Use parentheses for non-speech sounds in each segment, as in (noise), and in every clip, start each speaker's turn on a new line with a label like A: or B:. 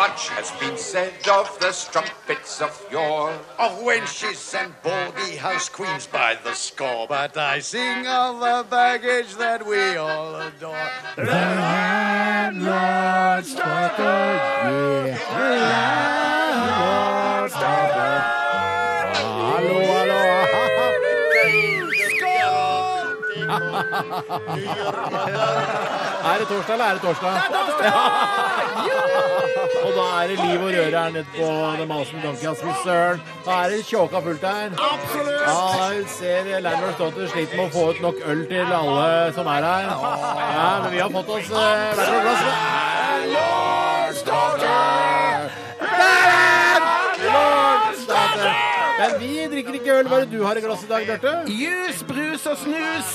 A: Much has been said of the strumpets of yore, of wenches and baldy house queens by the score. But I sing of the baggage that we all adore.
B: (laughs) Er det torsdag, eller er det torsdag? Det er torsdag! (laughs) og da er det liv og røre her nede på The Mountain Donkey House Fy Søren. Da er det tjåka fullt her. Absolutt! Ja, vi Ah, ser Landlord Stotter sliter med å få ut nok øl til alle som er her. Ja, men vi har fått oss eh, hvert vårt glass. Landlord Stotter! Landlord Stotter! Men vi drikker ikke øl. Hva er det du har i glass i dag, Bjarte?
C: Jus, brus og snus.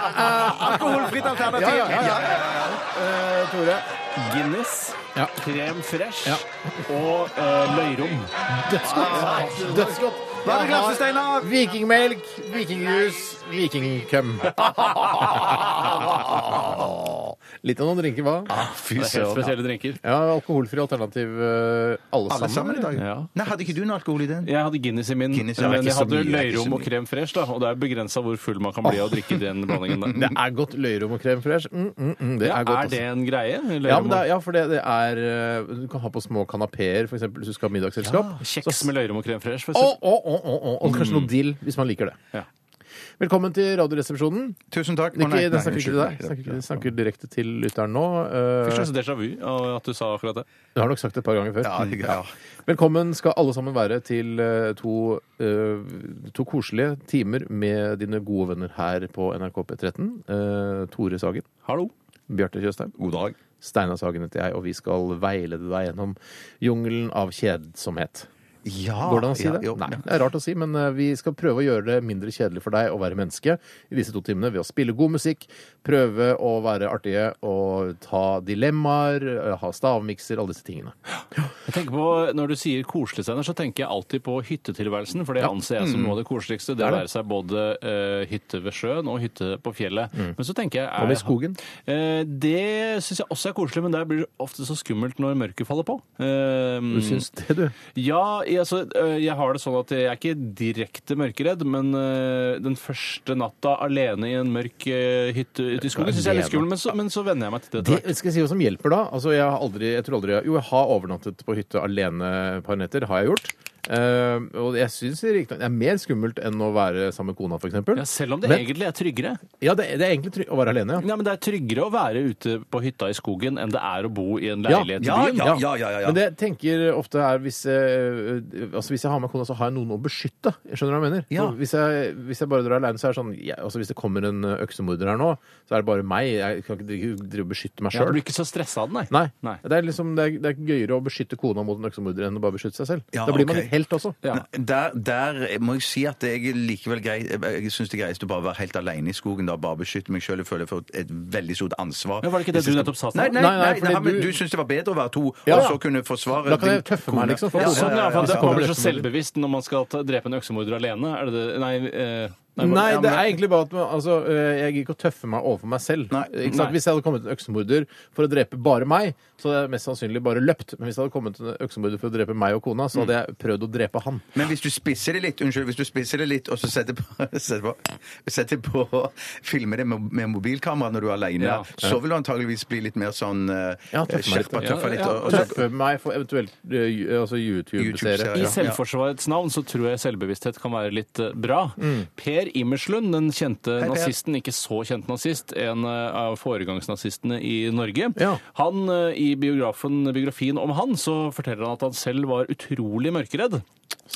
C: Eh, alkoholfritt alternativ.
B: Ja, ja, ja, ja. Eh, Tore.
D: Guinness,
B: Ja.
D: krem fresh
B: Ja.
D: og eh, løyrom.
B: Dødsgodt. Dødsgodt.
C: Hva er det
B: Jeg har
C: glasset, Steinar?
B: Vikingmelk, vikingjus, vikingkøm. (laughs) Litt av noen drinker, hva?
D: Fy
C: (laughs)
D: søren. Spesielle drinker.
B: Ja, Alkoholfri alternativ, eh, alle
C: Alle sammen i dag?
D: Ja.
C: Nei, hadde ikke du noe alkohol i den?
D: Jeg hadde Guinness i min,
C: Guinness, ja, det er
D: men
C: ikke
D: jeg
C: så
D: hadde
C: mye, det er ikke så
D: løyrom og
C: mye.
D: krem fresh, da, og det er begrensa hvor full man kan bli av å drikke den blandingen. der.
B: Det
C: (laughs)
B: er godt løyrom og krem fresh. Mm, mm, mm, det
D: Ja,
B: er godt.
D: er det
B: altså.
D: en greie?
B: Ja, men det er, ja, for det, det er eh, Du kan ha på små kanapeer, f.eks. hvis du skal ha middagsselskap.
D: Kjeks med løyrom og krem fresh. for
B: Å,
D: eksempel.
B: å, å, å, å, og kanskje noe dill, hvis man liker det.
D: Ja.
B: Velkommen til Radioresepsjonen.
C: Tusen takk. Å,
B: Nikki,
C: nei,
B: den
C: nei,
B: snakker ikke til
C: unnskyld, nei,
B: deg. Snakker,
C: det-
B: snakker direkte til lytteren nå.
D: Fikk
B: Eh,
D: slags déjà vu av at du sa akkurat det.
B: Det har du nok sagt et par ganger før.
C: Ja, det- ja.
B: Velkommen skal alle sammen være til eh, to, eh, to koselige timer med dine gode venner her på NRK P13. Eh, Tore Sagen,
D: Hallo.
B: Bjarte Tjøstheim,
C: God dag.
B: Steinar Sagen heter jeg, og vi skal veilede deg gjennom jungelen av kjedsomhet.
C: Ja,
B: Går det an å si
C: ja,
B: det?
C: jo.
B: Nei, det er rart å si, men eh, vi skal prøve å gjøre det mindre kjedelig for deg å være menneske i disse to timene ved å spille god musikk, prøve å være artige og ta dilemmaer, eh, ha stavmikser, alle disse tingene.
D: Jeg tenker på, Når du sier koselig, Steinar, så tenker jeg alltid på hyttetilværelsen. For det anser jeg som noe av det koseligste. Det å være seg både eh, hytte ved sjøen og hytte på fjellet. Men så tenker jeg er-
B: Og ved skogen.
D: Eh, det syns jeg også er koselig, men der blir det ofte så skummelt når mørket faller på. Eh,
B: Du syns det, du?
D: Ja, jeg, altså, øh, jeg har det sånn at jeg er ikke direkte mørkeredd, men øh, den første natta alene i en mørk øh, hytte ute i skogen syns jeg er litt
B: Alene.
D: skummel, men så, men så venner jeg meg til det. etter hvert.
B: Det skal jeg si hva som hjelper da. Altså, jeg, har aldri, jeg tror aldri Jo, jeg har overnattet på hytte alene et par netter. Har jeg gjort. Eh, og jeg syns det er mer skummelt enn å være sammen med kona,
D: Ja,
B: f.eks.
D: selv om det
B: Men-
D: egentlig er tryggere.
B: Ja, det, det er egentlig trygt å være alene, ja.
D: Nei, men Det er tryggere å være ute på hytta i skogen enn det er å bo i en
B: Ja.
D: leilighet
C: Ja,
D: i byen.
C: ja, ja, ja, ja.
B: Men det jeg tenker ofte er hvis jeg, altså hvis jeg har med kona, så har jeg noen å beskytte. Jeg skjønner hva jeg mener.
C: Ja.
B: For Hvis, jeg, hvis jeg bare drar alene, så er det sånn ja, altså Hvis det kommer en øksemorder her nå, så er det bare meg. Jeg kan ikke drive drive og beskytte meg
D: Ja, du
B: sjøl.
D: blir ikke så stressa av den, nei.
B: Nei. Det, er liksom, det, er, det er gøyere å beskytte kona mot en øksemorder enn å bare beskytte seg selv.
C: Ja,
B: da blir man
C: ok.
B: litt helt også.
D: Ja.
C: Der, der må jeg si at jeg likevel grei, jeg syns det er greiest å bare være helt alene i skogen. da, Bare beskytte meg sjøl. Jeg føler jeg får et veldig stort ansvar.
D: Men var det ikke det du nettopp sa,
C: Nei,
D: Steinar?
C: nei,
B: Nei,
C: nei,
B: nei,
C: nei,
B: fordi
C: men
B: du-
C: du syns det var bedre å være to,
B: Ja,
C: og
B: ja.
C: så kunne forsvare
B: Da kan jeg
C: din
B: tøffe meg,
C: kone.
B: liksom, for
C: Ja,
B: å-
C: ja,
D: Sånn, ja,
C: ja,
D: for
C: ja,
D: det
C: ja.
D: Man
B: kommer
D: blir så
B: øksemorder.
D: selvbevisst når man skal ta, drepe en øksemorder alene. Er det det? Nei, eh, nei,
B: Nei,
D: bare-
B: det er egentlig bare at man, altså, øh, jeg gidder ikke å tøffe meg overfor meg selv.
C: Nei.
B: Ikke sant?
D: Nei.
B: Hvis jeg hadde kommet en øksemorder for å drepe bare meg, så hadde jeg mest sannsynlig bare løpt. Men hvis det hadde kommet en øksemorder for å drepe meg og kona, så hadde jeg prøvd å drepe han.
C: Men hvis du spisser det litt, unnskyld, hvis du spisser det litt, og så setter på, (laughs) setter på, setter på filmer det med, med mobilkamera når du er alene,
D: Ja.
C: så vil du antageligvis bli litt mer sånn eh,
B: Ja, tøffe meg litt.
C: skjerpa,
D: Ja,
C: tøffa litt.
D: ja,
C: og- og så-
B: Tøffe meg for eventuelt øh, ju- altså YouTube-seere.
C: YouTube-serie.
D: I
C: Ja.
D: selvforsvarets navn så tror jeg selvbevissthet kan være litt eh, bra. Per Immerslund, den kjente
C: Mm. Per.
D: nazisten, ikke så kjent nazist, en eh, av foregangsnazistene i Norge.
B: Ja.
D: Han, eh, I biografen, biografien om han så forteller han at han selv var utrolig mørkeredd.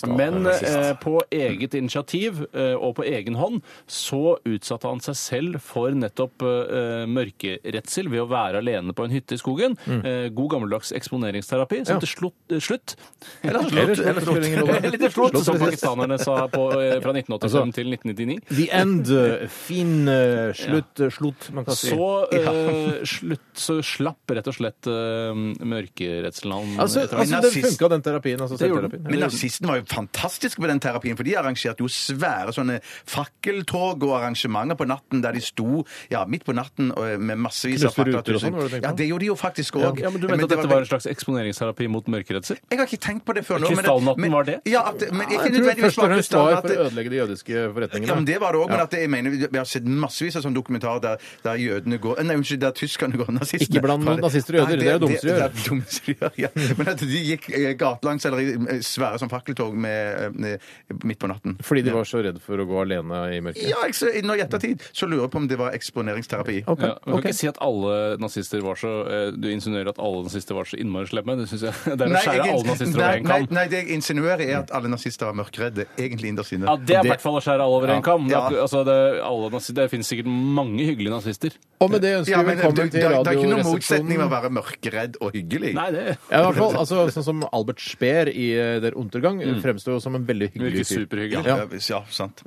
D: Men
C: rasist.
D: eh, på eget initiativ eh, og på egen hånd så utsatte han seg selv for nettopp eh, mørkeredsel ved å være alene på en hytte i skogen.
C: Mm.
D: Eh, god gammeldags eksponeringsterapi som til slutt, eh, slutt
C: Eller slått.
B: Eller
C: Eller slått.
B: spiller ingen rolle.
D: Eller til slutt,
B: Slått,
D: som
B: precis.
D: pakistanerne sa på, eh, fra 1985
B: Altså,
D: til 1999.
B: The end. eh, Fin eh, slutt, eh, slutt, man kan si.
D: Så, eh, slutt, så slapp rett og slett eh, mørkeredselen han
B: Altså,
D: etter hvert.
B: altså den
C: nazist-
B: funka, den terapien. Altså,
D: Det gjorde den.
B: selvterapien.
C: Men nazistene var jo fantastiske på den terapien, for de arrangerte jo svære sånne fakkeltog og arrangementer på natten der de sto ja, midt på natten og eh, med massevis av
B: Knuste ruter og
C: fakkeltusen.
B: sånn, var det du tenkte
C: Ja,
B: på?
C: det gjorde de jo faktisk òg.
D: ja, men Du mente at dette var en slags eksponeringsterapi mot mørkeredsel?
C: Jeg har ikke tenkt på det før nå. men-
D: Krystallnatten
C: men-
D: var det?
C: Ja, at, men ikke
B: Jeg tror det
C: nødvendigvis
B: først og
C: var
B: fremst var for
C: krystallnatten.
B: å ødelegge de jødiske forretningene.
C: Ja, men det var det òg. Men at det, jeg mener, vi har sett massevis av sånne dokumentarer der, der jødene går eh, Nei, unnskyld, der tyskerne går nazistene.
B: Ikke bland
C: Fra det-
B: nazister og jøder,
C: Nei,
B: det er jo dumser å gjøre.
C: Det, det er dumser å gjøre, ja. Men at de gikk eh, gatelangs eller i eh, svære som fakkeltog med, eh, midt på natten.
B: Fordi de var så redd for å gå alene i mørket.
C: Ja, jeg, så, nå i ettertid så lurer jeg på om det var eksponeringsterapi.
B: Ok,
D: Ja, man kan
B: ok.
D: ikke si at alle nazister var så eh, Du insinuerer at alle nazister var så innmari slemme. Det synes jeg (laughs) Det er å
C: Nei,
D: skjære
C: jeg-
D: alle nazister
C: nei,
D: over en
C: nei,
D: kam.
C: nei, det jeg insinuerer, er at alle nazister er mørkredde, egentlig innerst inne.
D: Ja, Det er i hvert fall å skjære alle over en kam. Det, er
C: Ja.
D: akkur- altså, det, er alle nazister, det finnes sikkert mange hyggelige nazister.
B: Og med det ønsker
C: Ja,
B: vi
C: men det,
B: velkommen
C: det, det,
B: til
C: er- det er ikke noen motsetning med
B: Radioresepsjonen.
C: å være mørkredd og hyggelig.
D: Nei, det
B: Ja, i hvert fall, altså, sånn som Albert Speer i eh, Der Untergang fremstår jo som en veldig hyggelig
D: virker
B: fyr.
D: superhyggelig.
C: Ja, ja, sant.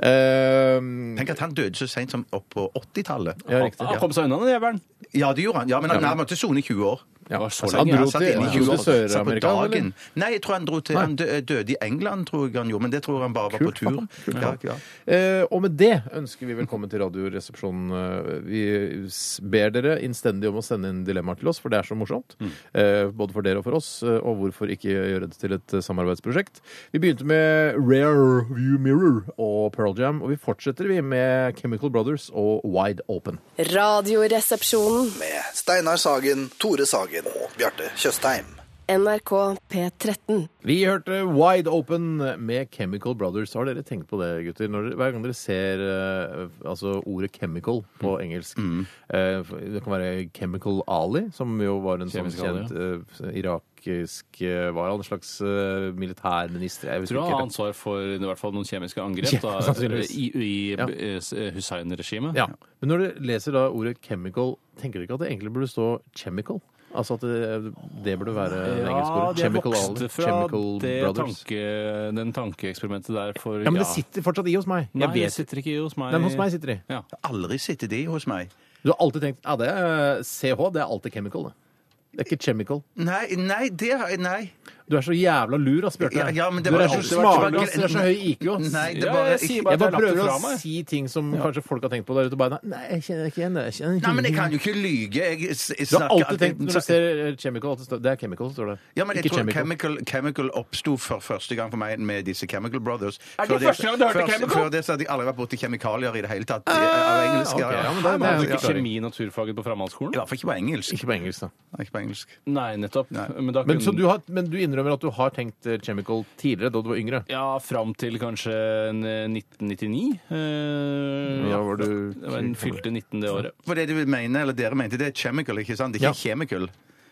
B: Ehm,
C: Tenk at han døde så seint som opp på 80-tallet.
B: ja, riktig.
D: Han kom seg unna den jævelen.
C: Ja, det gjorde han. Ja, men han, han måtte sone i 20 år.
D: Det var så
B: altså, Han
D: lenge.
B: dro
C: satt
B: til,
C: inne i
B: han dro
C: 20
B: til
C: år. Satt på
B: Sør-Amerika,
C: dagen.
B: eller?
C: Nei, jeg tror han dro til Han dø- døde i England, tror jeg han gjorde. Men det tror jeg han bare var på tur. Ja, ja.
B: Eh, og med det ønsker vi velkommen til Radioresepsjonen. Eh, Vi s- ber dere innstendig om å sende inn dilemmaer til oss, for det er så morsomt. Eh, både for dere og for oss. eh, Og hvorfor ikke gjøre det til et eh, samarbeidsprosjekt? Vi begynte med Rare View Mirror og Pearl Jam, og vi fortsetter vi med Chemical Brothers og Wide Open.
E: Radioresepsjonen.
F: med Steinar Sagen, Tore Sagen og Bjarte Tjøstheim.
E: NRK P13.
B: Vi hørte Wide Open med Chemical Brothers. Har dere tenkt på det, gutter? Når, dere- hver gang dere ser eh, altså ordet 'chemical' på
D: Mm.
B: engelsk eh, Det kan være Chemical Ali, som jo var en sånn
D: Kjemisk Ali,
B: kjent eh, irakisk eh, Var han en slags eh, militærminister? Jeg
D: Jeg tror han har ansvar for i hvert fall noen kjemiske angrep
B: Ja,
D: da,
B: (laughs) sannsynligvis.
D: i, i
B: Ja.
D: eh, Hussein-regimet.
B: Ja. Men når dere leser da ordet 'chemical', tenker dere ikke at det egentlig burde stå 'chemical'? Altså at det, det burde være
D: Eh,
B: det engelske
D: Ja,
B: ordet.
D: det
B: Chemical Ali.
D: vokste fra
B: Chemical
D: det
B: Brothers.
D: tanke, den tankeeksperimentet der for
B: Ja, men det sitter fortsatt i hos meg.
D: Nei,
B: Jeg
D: det
B: vet.
D: sitter ikke i hos meg.
B: Nei, men hos meg sitter de.
D: Ja.
C: Aldri sitter de hos meg.
B: Du har alltid tenkt ja, det er CH, det er alltid chemical. Det. det er ikke chemical.
C: Nei, nei, det har jeg Nei.
B: Du er så jævla lur, ass, Bjarte.
C: Ja, ja, men det
B: du
C: var
B: er så
C: alltid-
B: smart, ass. Du er så høy IQ, ass.
C: Nei, det
D: Ja,
C: bare,
D: jeg sier
B: Jeg
D: Bare
B: bare
D: lagt det
B: prøver
D: fra
B: å
D: meg.
B: si ting som kanskje folk har tenkt på der ute på beina. Nei, jeg kjenner ikke igjen det. Jeg kjenner ikke
C: Nei, men jeg
B: igjen
C: kan
B: det.
C: jo ikke lyge. Jeg s- jeg
B: Du har
C: snakker
B: alltid tenkt når du ser eh, chemical, at det står- det er chemical, står det.
C: ja, men jeg
B: ikke chemical.
C: tror Chemical, chemical oppsto for første gang for meg med disse Chemical Brothers.
D: Er det
C: Før
D: første gang du hørte
C: først-
D: Chemical? Ah,
C: Før det så hadde jeg aldri vært borti kjemikalier i det hele tatt. eh, av engelsk.
B: ok, ja, men det- det er
C: altså,
D: Hadde
B: jo
D: du ikke
B: klart.
D: kjemi i naturfaget på
C: I
D: framhaldsskolen?
C: hvert fall ikke på engelsk.
B: Ikke på engelsk, da.
C: Nei, Ikke på engelsk.
D: Nei, nettopp.
C: Nei.
D: Men, da
B: Men,
D: kunne-
B: så du har, men du innrømmer at du har tenkt eh, chemical tidligere, da du var yngre?
D: Ja, fram til kanskje en, eh, 1999. Eh,
B: Da var du-
D: Det var en fylte 19 det året.
C: For det du mener, eller dere mente, det er chemical, ikke sant? Det er ikke chemical.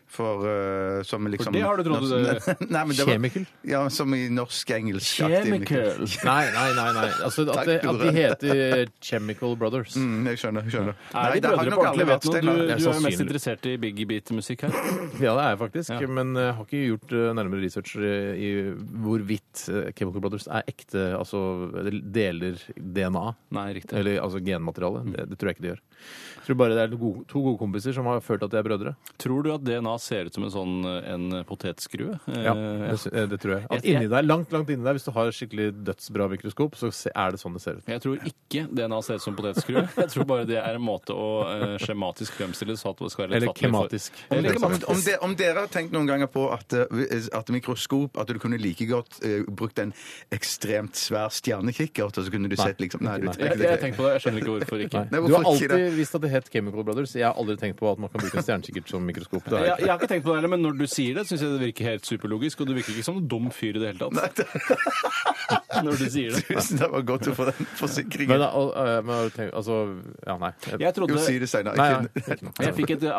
C: For, eh, som liksom,
D: det har du trodd
C: det (laughs) Nei, men det var,
B: Chemical?
C: Ja, som i norsk-engelsk.
B: Nei, nei, nei. nei. Altså, at,
C: Takk,
B: det, at de
C: Tore.
B: heter Chemical Brothers.
C: Mm, jeg skjønner. jeg skjønner.
D: Er de
C: det har
D: brødre
C: nok
D: på
C: aldri
D: ordentlig? Vet
C: vært
D: du, noe?
C: Steinar.
D: du,
B: Det er
D: du er jo mest
B: sannsynlig.
D: interessert i Biggie Beat-musikk her.
B: (laughs) Ja, det er jeg faktisk.
D: Ja.
B: Men jeg har ikke gjort eh, nærmere research eh, i hvorvidt eh, Chemical Brothers er ekte, altså eller deler DNA.
D: Nei, riktig.
B: Eller altså genmateriale.
D: Mm.
B: Det, det tror jeg ikke de gjør. Jeg tror bare det er to gode, to gode kompiser som har følt at de er brødre.
D: Tror du at DNA ser ut som en sånn eh, en potetskrue? Eh, ja.
B: Det, sy- eh, det tror jeg. At
D: Jeg-
B: inni deg, langt, langt inni deg, hvis du har et skikkelig dødsbra mikroskop, så se- er det sånn det ser ut.
D: Jeg tror ikke DNA ser ut som potetskrue. Jeg tror bare det er en måte å eh, skjematisk fremstille det så at det skal være litt
B: Eller
D: fattelig for-
B: kematisk.
D: Eller
C: Om,
D: kematisk.
C: om, de, om dere har tenkt noen ganger på at, eh, at mikroskop At du kunne like godt eh, brukt en ekstremt svær stjernekikkert, og så kunne du sett liksom Nei, du
D: Jeg,
C: trenger
D: jeg
C: (laughs) ikke det.
D: tenker på det. Jeg skjønner ikke hvorfor ikke.
B: Du
C: Nei,
B: har
C: hvorfor ikke
B: alltid visst at det het Chemical Brothers. Jeg har aldri tenkt på at man kan bruke en stjernekikkert som mikroskop. Det har
D: Ja,
B: jeg ikke.
D: jeg har ikke tenkt på det heller, men når du sier det, syns jeg det virker helt superlogisk, og du virker ikke som en dum fyr i det hele tatt. (laughs) Når du sier
C: (laughs)
D: det.
C: Tusen takk, det var godt å få den forsikringen.
B: Men, al- eh, men tenk, altså Ja, nei.
D: Jeg
C: Jo,
D: trodde
C: si det seinere.
B: Nei, nei, ikke noe.
D: Jeg fikk et eh,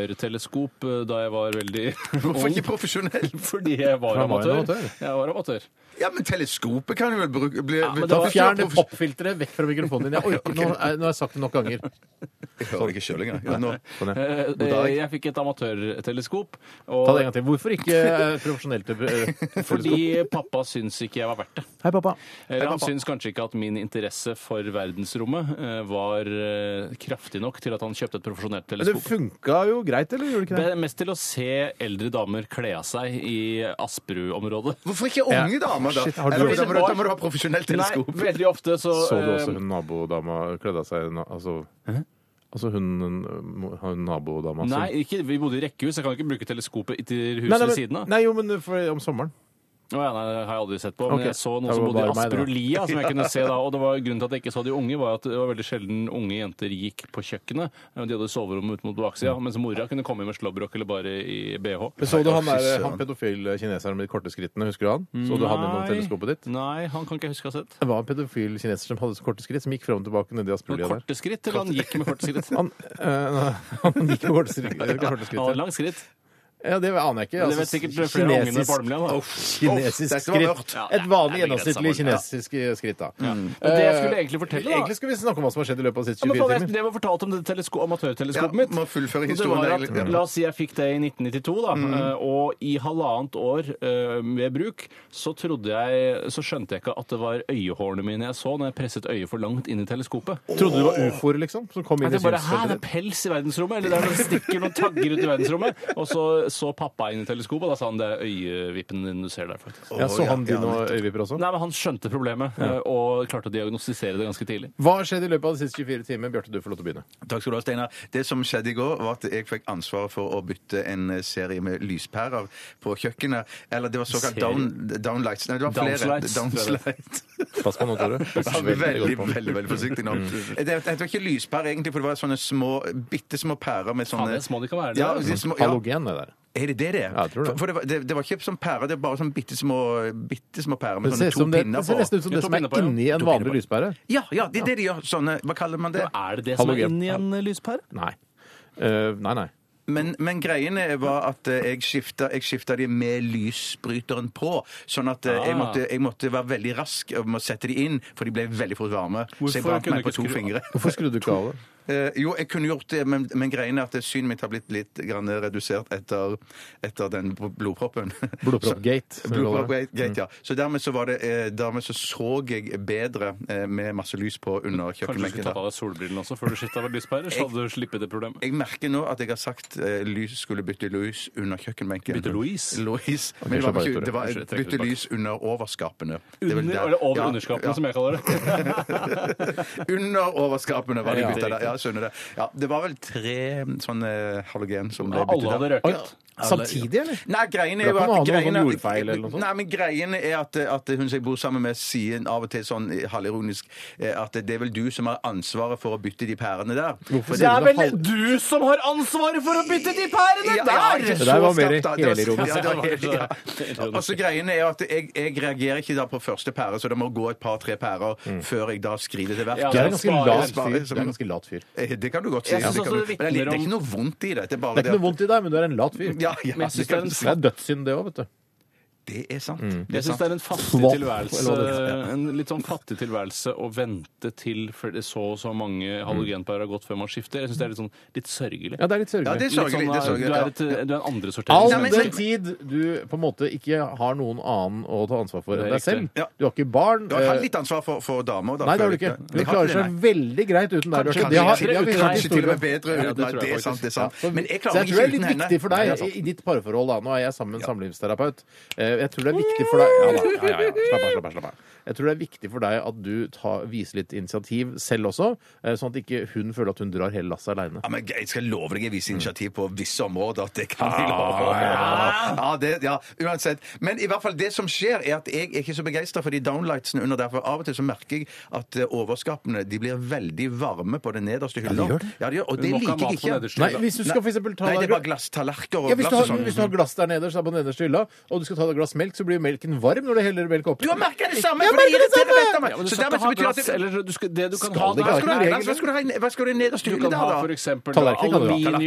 D: amatørteleskop eh, da jeg var veldig
C: Hvorfor
D: ung.
C: ikke profesjonell?
D: (laughs) Fordi jeg var
B: han var en
D: amatør.
B: amatør.
D: Jeg var amatør.
C: Ja, men teleskopet kan du vel bruke bli,
D: men
B: Da
D: det var-
B: fjern det
C: profes-
B: popfilteret vekk fra mikrofonen din. Jeg orker, nå, er- nå har jeg sagt det nok ganger.
C: Jeg hører det ikke sjøl engang. Ja, nå.
B: Sånn, ja.
D: Eh,
C: God dag.
D: Jeg fikk et amatørteleskop.
B: Ta det en
D: Og
B: gang til. Hvorfor ikke eh, profesjonelt? eh,
D: (laughs) fordi pappa syns ikke jeg var verdt det.
B: Hei, pappa.
D: Eller han syns kanskje ikke at min interesse for verdensrommet eh, var eh, kraftig nok til at han kjøpte et profesjonelt
B: Men det
D: teleskop.
B: funka jo greit, eller gjorde det ikke
D: Det
B: det?
D: er mest til å se eldre damer kle av seg i Asperud-området. (laughs)
C: Hvorfor ikke unge damer, da?
B: Shit, har du-
C: Eller, da, må du, da må du ha profesjonelt
D: Nei,
C: teleskop.
D: veldig ofte så,
B: Så du
D: eh,
B: også hun nabodama kledde av seg na- Altså, altså hun, hun- hun nabodama som-
D: Nei, ikke, vi bodde i rekkehus. Jeg kan ikke bruke teleskopet til huset
B: Nei, nei,
D: ved
B: men-
D: siden av.
B: Nei, jo, men for, om sommeren.
D: Å ja, nei, det har jeg aldri sett på. Men
B: Ok.
D: jeg så noen
B: Det
D: som
B: var
D: bodde i
B: bare meg, det da.
D: Asperolia, som jeg kunne se da. Og det var grunnen til at jeg ikke så de unge, var at det var veldig sjelden unge jenter gikk på kjøkkenet. De hadde soverom ut mot baksida,
B: Mm.
D: mens mora kunne komme inn med slåbrok eller bare i bh.
B: Men så du han, der,
C: søren.
B: han pedofil kineseren med de korte skrittene, husker du han? Så du han gjennom
D: Nei.
B: teleskopet ditt?
D: Nei, han kan ikke jeg huske å ha sett.
B: Det var en pedofil kineser som hadde så korte skritt, som gikk fram og tilbake nedi
D: Med
B: Aspelia der.
D: korte skritt, eller han gikk med
B: (laughs)
D: korte skritt?
B: Han, eh, (laughs) han gikk med korte skritt.
D: (laughs)
B: Korte
D: Han hadde
B: skritt.
D: langt skritt.
B: Ja, det aner jeg ikke.
D: Men det vet sikkert flere av ungene på Holmlia, da.
B: kinesisk
C: Dette var mørkt.
B: skritt. Et vanlig
D: Ja, det er begrenset,
B: gjennomsnittlig
D: Morten. Ja.
B: kinesisk eh, skritt, da.
D: Men det jeg skulle egentlig fortelle, da-
B: Egentlig skulle vi snakke om hva som har skjedd i løpet av de
D: Ja,
B: siste
D: men
B: 24
D: faen, jeg
B: timer.
D: drev og fortalte om det telesko amatørteleskopet
C: Ja,
D: mitt.
C: må fullføre Mm.
D: Og det
C: historien,
D: var at,
C: egentlig. Ja.
D: La oss si jeg fikk det i 1992, da. eh, Og i halvannet år eh, ved bruk så trodde jeg Så skjønte jeg ikke at det var øyehårene mine jeg så når jeg presset øyet for langt inn i teleskopet.
B: Trodde du det var ufoer, liksom? Som kom inn i
D: At jeg bare, Hæ, det
B: synsfeltet
D: er
B: ditt?
D: pels i verdensrommet? Eller det er noen stikker noen tagger ut i verdensrommet? Og så så pappa inn i teleskopet, og da sa han det er øyevippen din du ser der, faktisk.
B: Ja, så han
C: Ja, ja,
B: dine og øyevipper også?
D: Nei, men Han skjønte problemet eh, og klarte å diagnostisere det ganske tidlig.
B: Hva har skjedd i løpet av de siste 24 timer? Bjarte, du får lov til å begynne.
C: Takk skal du ha, Steinar. Det som skjedde i går, var at jeg fikk ansvaret for å bytte en eh, serie med lyspærer på kjøkkenet. Eller det var såkalt
D: Serie?
C: down, downlights. Nei, det var flere.
D: Downslights,
B: (laughs)
D: tror jeg
C: Downslights.
B: Pass på nå, Tore.
C: Ja, Veldig, veldig, veldig, forsiktig nå.
B: Mm.
C: Eh, Det, det var ikke lyspærer egentlig, for det var sånne små, bitte små pærer med
D: Faen,
C: sånne
D: det er små de kan være, det
C: Ja,
D: der.
C: de små, ja.
B: Halogen, det der.
C: Er det det det er?
B: Ja, jeg tror det.
C: For, for det, var, det, det var ikke som pærer, det var bare sånn bitte små, bitte små pærer med
B: Det
C: sånne
B: ser,
C: to
B: som det, det
C: pinner
B: ser nesten ut som
D: Ja,
B: det
D: to
B: som er
D: pinner på, ja.
B: inni en
D: To pinner på.
B: vanlig lyspære.
C: Ja, ja, det er det de gjør. Sånne, hva kaller man det?
D: Er det det som er
B: Halogen.
D: inni en lyspære?
B: Nei. Eh, nei, nei.
C: Men, men greien er- var at eh, jeg skifta, jeg skifta de med lysbryteren på. Sånn at eh, jeg,
D: Ah.
C: måtte, jeg måtte være veldig rask med å sette de inn, for de ble veldig fort varme. så
D: Hvorfor
C: jeg brant
D: kunne
C: meg
D: du
C: på
D: ikke
C: to
D: skru-
C: fingre. (laughs)
B: Hvorfor skrudde du ikke av det?
C: Eh, jo, jeg kunne gjort det, men, men greien er at synet mitt har blitt litt grann redusert etter, etter den blodproppen. (laughs)
B: Blodproppgate, som vi kaller det. Mm.
C: Blodproppgate, gate, ja. Så dermed så, var det, eh, dermed så så jeg bedre eh, med masse lys på under
D: Kanskje du skulle
C: kjøkkenbenken.
D: tatt
C: da.
D: av deg solbrillene også før du skifta lyspære? Så hadde du sluppet det problemet.
C: Jeg merker nå at jeg har sagt eh, lys skulle bytte lys under kjøkkenbenken.
D: Bytte Louise?
C: Lys. Men det
B: slapp av,
C: var, ikke,
B: Tore.
C: det var
D: Unnskyld, jeg trekker
C: bytte
D: tilbake.
C: lys under overskapene. Det er vel
D: Under,
C: der-
D: eller over
C: Ja,
D: underskapene,
C: ja.
D: som jeg kaller det.
C: (laughs) Under overskapene var det
D: Ja,
C: bytta
D: riktig.
C: der. Ja, jeg skjønner det. Ja, det var vel tre sånne halogen som ble byttet
D: Alle hadde
C: der.
D: røket.
B: Samtidig, eller?
C: Nei, greien er
B: Da
C: jo
B: kan
C: at,
B: man ha noe
C: greien
B: sånn
C: er,
B: jordfeil eller noe sånt.
C: Nei, men greien er at, at hun som jeg bor sammen med, sier av og til sånn halvironisk eh, at det er vel du som har ansvaret for å bytte de pærene der. For
B: sier du det? Halv-
D: du som har ansvaret for å bytte de pærene
C: Ja, ja, ikke
B: Det
C: så
B: der var mer
C: skarpt, da. Det var-
B: helironisk.
C: Ja, det var
B: (laughs)
C: helt- ja. Og så greien er jo at jeg, jeg reagerer ikke da på første pære, så det må gå et par-tre pærer før jeg da skriver til verket.
B: Mm.
D: Ja,
B: Det er en ganske lat
C: Sparer-
B: fyr. Det er en ganske lat fyr. Det
C: Eh, Det kan du godt si.
D: Jeg synes
C: Det kan
D: også
C: du-
D: det
C: men det, er litt, det er
D: vitner
C: ikke noe vondt i det. Det er bare
B: er ikke noe vondt i deg, men du er en lat fyr.
C: Ja, ja,
D: Men jeg synes
C: det, kan
D: det er
C: du
D: en
C: si.
B: Det er Mm. dødssynd, det òg, vet du.
C: det er sant. Det
D: Jeg syns
C: er sant.
D: det er en fattig
B: Svamp,
D: tilværelse,
B: eller hva det heter.
D: en litt sånn fattig tilværelse å vente til før det så og så mange halogenpærer har gått før man skifter. Jeg syns det er litt sånn litt sørgelig.
B: Mm. Ja,
D: sånn, eh,
B: det er litt
C: Ja,
B: sørgelig.
C: det er sørgelig. det er
D: du, er
C: sørgelig, ja.
D: et, du er en
B: All
C: Nei, men-
D: andresorteringsmenneske.
B: den tid du på en måte ikke har noen annen å ta ansvar for enn
D: Det er
B: deg selv.
D: riktig.
C: Ja.
B: Du har ikke barn.
C: Du har
B: eh,
C: litt ansvar for, for damer. Da,
B: Nei, det har
C: føler
B: du ikke.
C: jeg.
B: Hun
C: Jeg har
B: klarer
C: ikke
B: seg
C: det, nei.
B: veldig greit uten deg. Bjarte.
C: Kanskje,
B: Det har-
C: kanskje,
B: det har vi hørt
C: kanskje til og med
B: historier om.
C: bedre.
D: Ja, det
C: Nei,
D: tror jeg
C: det er
D: faktisk.
C: sant. det er sant. Men jeg
B: Så
C: klarer
B: jeg tror det
C: ikke
B: er
C: uten
B: litt
C: henne.
B: viktig for
C: Nei,
B: deg
C: det er sant.
B: i i ditt parforhold. da. Nå er jeg sammen med en samlivsterapeut. Eh, jeg tror det er viktig for deg ja, da, ja, ja, ja. Slapp av, slapp av, slapp av. Jeg tror det er viktig for deg at du tar, viser litt initiativ selv også, eh, sånn at ikke hun føler at hun drar hele lasset aleine.
C: Ja, men jeg skal love deg jeg viser initiativ på visse områder. at Det kan jeg love. Ja, det, ja, uansett. Men i hvert fall det som skjer, er at jeg er ikke så begeistra for de downlightsene under der. For av og til så merker jeg at eh, overskapene de blir veldig varme på den nederste hylla.
B: gjør det.
C: Ja, de gjør, og det
D: Nok av
C: liker
D: mat
C: jeg
D: på
C: ikke.
D: nederste
B: Nei,
D: hylle.
B: hvis du skal for eksempel ta
C: Nei, det
B: deg
C: er bare glasstallerker og
B: ja, hvis, du
C: glass og
B: har,
C: sånn.
B: hvis du har glass der nederst, da på den nederste hylla, og du skal ta deg et glass melk, så blir melken varm når du heller melk oppi.
C: Du har merka det samme!
B: Jeg
C: for det
B: merker det
C: irriterer
B: samme!
C: vettet av meg.
D: Ja, men du
C: Så
D: skal
C: dermed
D: ikke
C: så
D: ha
C: betyr
D: glass,
C: det at
D: eller du skal, det du kan
B: Skal
D: ha
B: det
D: da,
B: ikke ha
C: hva
D: er-
C: skal du ha i
D: Nei,
C: glass? Hva skal du ha i- Hva skal du ha i nederste
D: Du
C: hylle
D: kan
C: da?
D: ha
C: da?
D: f.eks.
B: Tallerken kan du ha.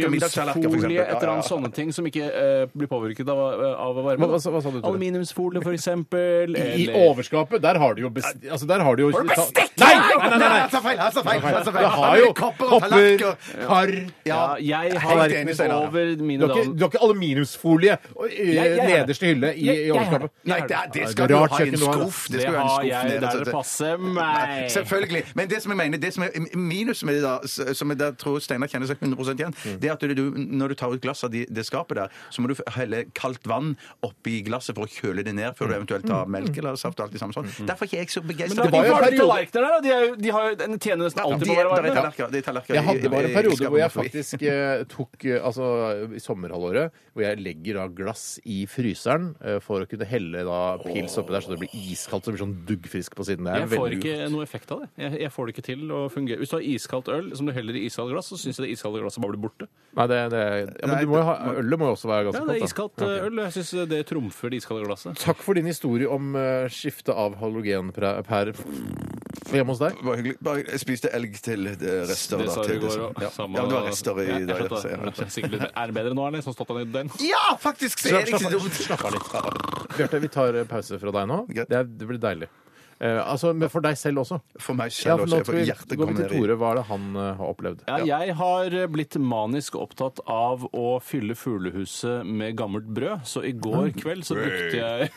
D: aluminiumsfolie, et eller
C: Aluminiumsfolie, Ja, ja, ja.
D: annet sånne ting som ikke eh, blir påvirket av, eh, av varme.
B: Hva- hva sa- hva sa du, Tore?
D: Aluminiumsfolie, f.eks. I
B: I overskapet, der har du jo best... Altså, der har du jo Bestikk! Nei! Nei, nei, nei!
C: Jeg tar feil! Jeg tar feil! jeg tar feil.
B: Jeg har jo
C: kopper og
B: kopper.
C: tallerkener. Kar.
D: Ja, jeg har
C: Helt enig, Steinar.
D: over
B: Du
D: mine
B: har ikke,
D: dager
B: du har ikke aluminiumsfolie og, i
D: Jeg- jeg har det.
B: nederste hylle i,
D: Jeg-
B: i
D: jeg har
B: overskapet.
D: det.
C: Nei, det, er- det skal
B: Det
C: du
B: er
C: ha
B: rart
C: i en
B: kjøkken du har, da.
C: skuff. Det
D: Det
C: skal være en
D: har
C: skuff
D: jeg.
C: nederst.
D: Der det passer meg.
C: Selvfølgelig. Men det som jeg mener, det som er minus med det, da, s- som jeg da tror Steinar kjenner seg 100 igjen,
B: Mm.
C: det er at du, når du tar ut glasset av de- det skapet der, så må du helle kaldt vann oppi glasset for å kjøle det ned før
B: Mm.
C: du eventuelt tar melk eller saft og alt det samme sånn. Derfor er ikke jeg så begeistra.
D: Men det var jo
B: en periode-
D: tallerkener der, da. De, er jo- de har jo en tjener nesten alltid på å være varme.
B: Jeg hadde bare en periode hvor jeg faktisk eh, tok eh, Altså i sommerhalvåret hvor jeg legger da glass i fryseren eh, for å kunne helle da pils oppi der så det blir iskaldt så det blir sånn duggfrisk på siden. Det er
D: Jeg får
B: veldig
D: ikke
B: godt.
D: noe effekt av det. Jeg, jeg får det ikke til å fungere. Hvis du har iskaldt øl som du heller i iskaldt glass, så syns jeg det iskalde glasset bare blir borte.
B: Nei, det, det, ja, men
C: Nei,
B: du må jo ha, ølet må jo også være ganske
D: Ja,
B: godt.
D: det er
B: da.
D: iskaldt
B: Ja, ok.
D: eh, øl. Jeg syns det trumfer det iskalde glasset.
B: Takk for din historie om eh, skifte av halogenpærer hjemme hos deg.
C: Bare hyggelig. Bare, jeg spiste elg til eh, rester.
D: Det
C: da,
D: sa du
C: til
D: i går
C: dessert.
D: òg.
C: Ja. ja, det var rester i
D: jeg,
C: dag.
D: jeg
C: ja, så
D: skjønte
C: jeg-
D: det. Sikkert litt- Er det bedre nå, eller? Sånn stått han i den?
C: Ja, faktisk! Så er det ikke så dumt.
B: Bjarte, vi tar eh, pause fra deg nå. Det,
C: Greit.
B: er, det blir deilig. Eh, altså, men for deg selv også.
C: For meg
B: Ja, for
C: selv også.
B: nå
C: Jeg
B: skal
C: får
B: vi, går
C: hjertet
B: vi
C: komme
B: til
C: ned i
B: Tore. Hva er det han eh, har opplevd?
D: Ja, jeg har blitt manisk opptatt av å fylle fuglehuset med gammelt brød, så i går kveld så brukte jeg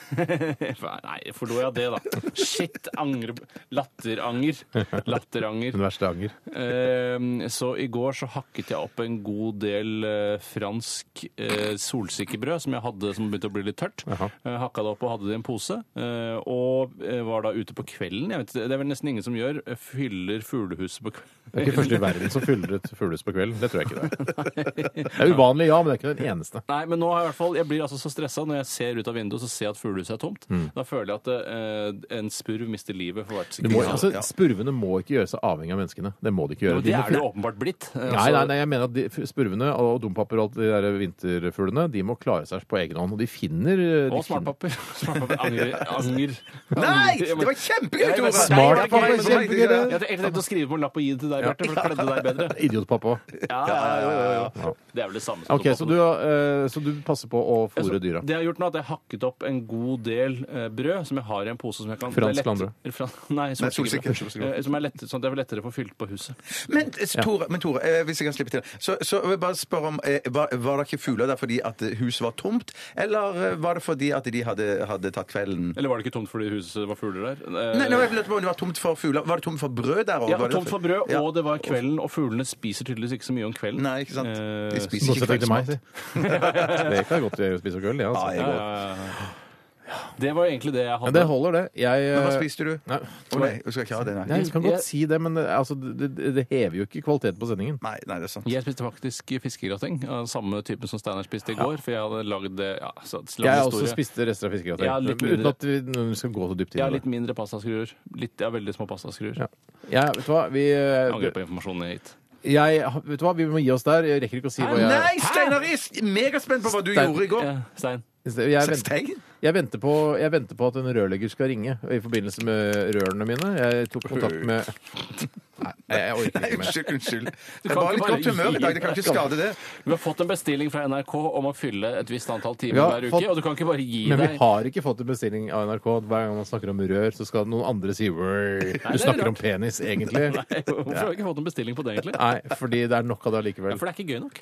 D: (laughs) Nei, forlot jeg det, da. Shit, angre Latteranger. Latteranger.
B: Den verste anger.
D: Eh, Så i går så hakket jeg opp en god del eh, fransk eh, solsikkebrød som jeg hadde som begynte å bli litt tørt.
B: Jaha.
D: Eh, Hakka det opp og hadde det i en pose. eh, Og eh, var da ute på kvelden. Jeg vet, ikke, det er vel nesten ingen som gjør eh, fyller fuglehuset på
B: Det
D: kvelden.
B: er ikke første i verden som fyller et fuglehus på kvelden. Det tror jeg ikke det er. Det er uvanlig, ja, men det er ikke den eneste.
D: Nei, men nå har jeg i hvert fall Jeg blir altså så stressa når jeg ser ut av vinduet og så ser jeg at fuglehuset er tomt. Da føler jeg at eh, en spurv mister livet for hvert
B: Du
D: sekund.
B: må, altså, spurvene må ikke gjøre seg avhengig av menneskene. Det må de ikke
D: Jo,
B: gjøre.
D: det
B: De må-
D: er det jo åpenbart blitt. Eh,
B: Nei, nei,
D: altså,
B: nei, jeg mener at de, spurvene og dompaper og alt de der vinterfuglene, de må klare seg på egen hånd. Og de finner eh, de
D: Og smartpapper. smartpapper. Angrer. angrer.
C: Nei! Det var kjempegøy,
D: Nei, men-
C: Tore!
B: Smartpappa,
C: Nei, men-
B: kjempegøy, det.
D: Jeg hadde egentlig tenkt å skrive på en lapp og gi det til deg, Bjarte, for å kledde deg bedre.
B: finner- Idiotpappa.
D: Ja, ja, ja, ja, ja. Det er vel det samme som
B: OK, så du, eh, så du passer på å fôre dyra.
D: Det jeg har gjort nå, er at jeg har hakket opp en god del eh, brød som jeg har i en pose som jeg kan
B: Fransk
D: det er lett-
B: landbrød.
D: Fran- Nei,
C: solsikker.
D: solsikker. Eh, Som er lett, sånn at det er lettere å få fylt på huset.
C: Men eh, Tore, men, Tore eh, hvis jeg kan slippe til Så, så vil jeg bare spørre om eh, var, var det ikke fugler der fordi at huset var tomt, eller eh, var det fordi at de hadde, hadde tatt kvelden?
D: Eller var det ikke tomt fordi huset var fugler der? Eh,
C: Nei, nei, jeg lurte på om det var tomt for fugler. Var det tomt for brød der òg?
D: Ja, og tomt for brød, og det var kvelden, og fuglene spiser tydeligvis ikke så mye om kvelden.
C: Nei, ikke sant?
D: (laughs)
C: De
D: Eh,
C: spiser ikke
B: Bortsett fra til meg,
C: kveldsmat.
B: si. (laughs) Det kan jeg godt gjøre å spise øl, jeg,
C: Ja, jeg
B: altså.
C: går.
D: det var egentlig det jeg hadde.
B: Men det holder, det. Jeg
C: Men hva
B: eh,
C: spiste du?
B: Nei,
C: Å nei, du skal ikke ha det, nei.
B: Nei, jeg kan godt
D: Jeg-
B: si det, men eh, altså, det, det- det hever jo ikke kvaliteten på sendingen.
C: Nei, nei, det er sant.
D: Jeg spiste faktisk fiskegrateng av samme type som Steinar spiste i går. For jeg hadde lagd det ja, så, lang
B: Jeg har
D: historie.
B: også spist rester av fiskegrateng.
D: Ja, litt
B: uten
D: mindre.
B: at vi nå skal gå så dypt inn
D: Jeg har
B: i
D: litt
B: det.
D: mindre pastaskruer. Litt, jeg har veldig små pastaskruer.
B: Ja. Ja, vet, du hva? Vi, eh,
D: Jeg angrer på informasjonen jeg har gitt.
B: jeg, vet du hva, vi må gi oss der. Jeg rekker ikke å si hva jeg
C: Nei, Steinar Is! Megaspent på hva du
B: Stein-
C: gjorde i går.
D: Ja, Stein.
B: Jeg venter,
C: Stein?
B: jeg, venter på, jeg venter på at en rørlegger skal ringe i forbindelse med rørene mine. Jeg tok kontakt med Nei, jeg orker
C: Nei,
B: ikke mer.
C: unnskyld. unnskyld. Det
D: kan
C: er bare
D: ikke
C: litt
D: bare
C: godt humør
D: gi-
C: i dag. Det kan ikke skade det.
D: Vi har fått en bestilling fra NRK om å fylle et visst antall timer
B: Vi har
D: hver uke.
B: fått-
D: Og du kan ikke bare gi
B: Men vi
D: deg
B: har ikke fått en bestilling av NRK. Hver gang man snakker om rør, så skal noen andre si «Rør». Du snakker om penis, egentlig.
D: Nei, Hvorfor har vi ikke fått en bestilling på det, egentlig?
B: Nei, fordi det er nok av det
D: Ja,
B: allikevel.
D: for det er ikke gøy nok.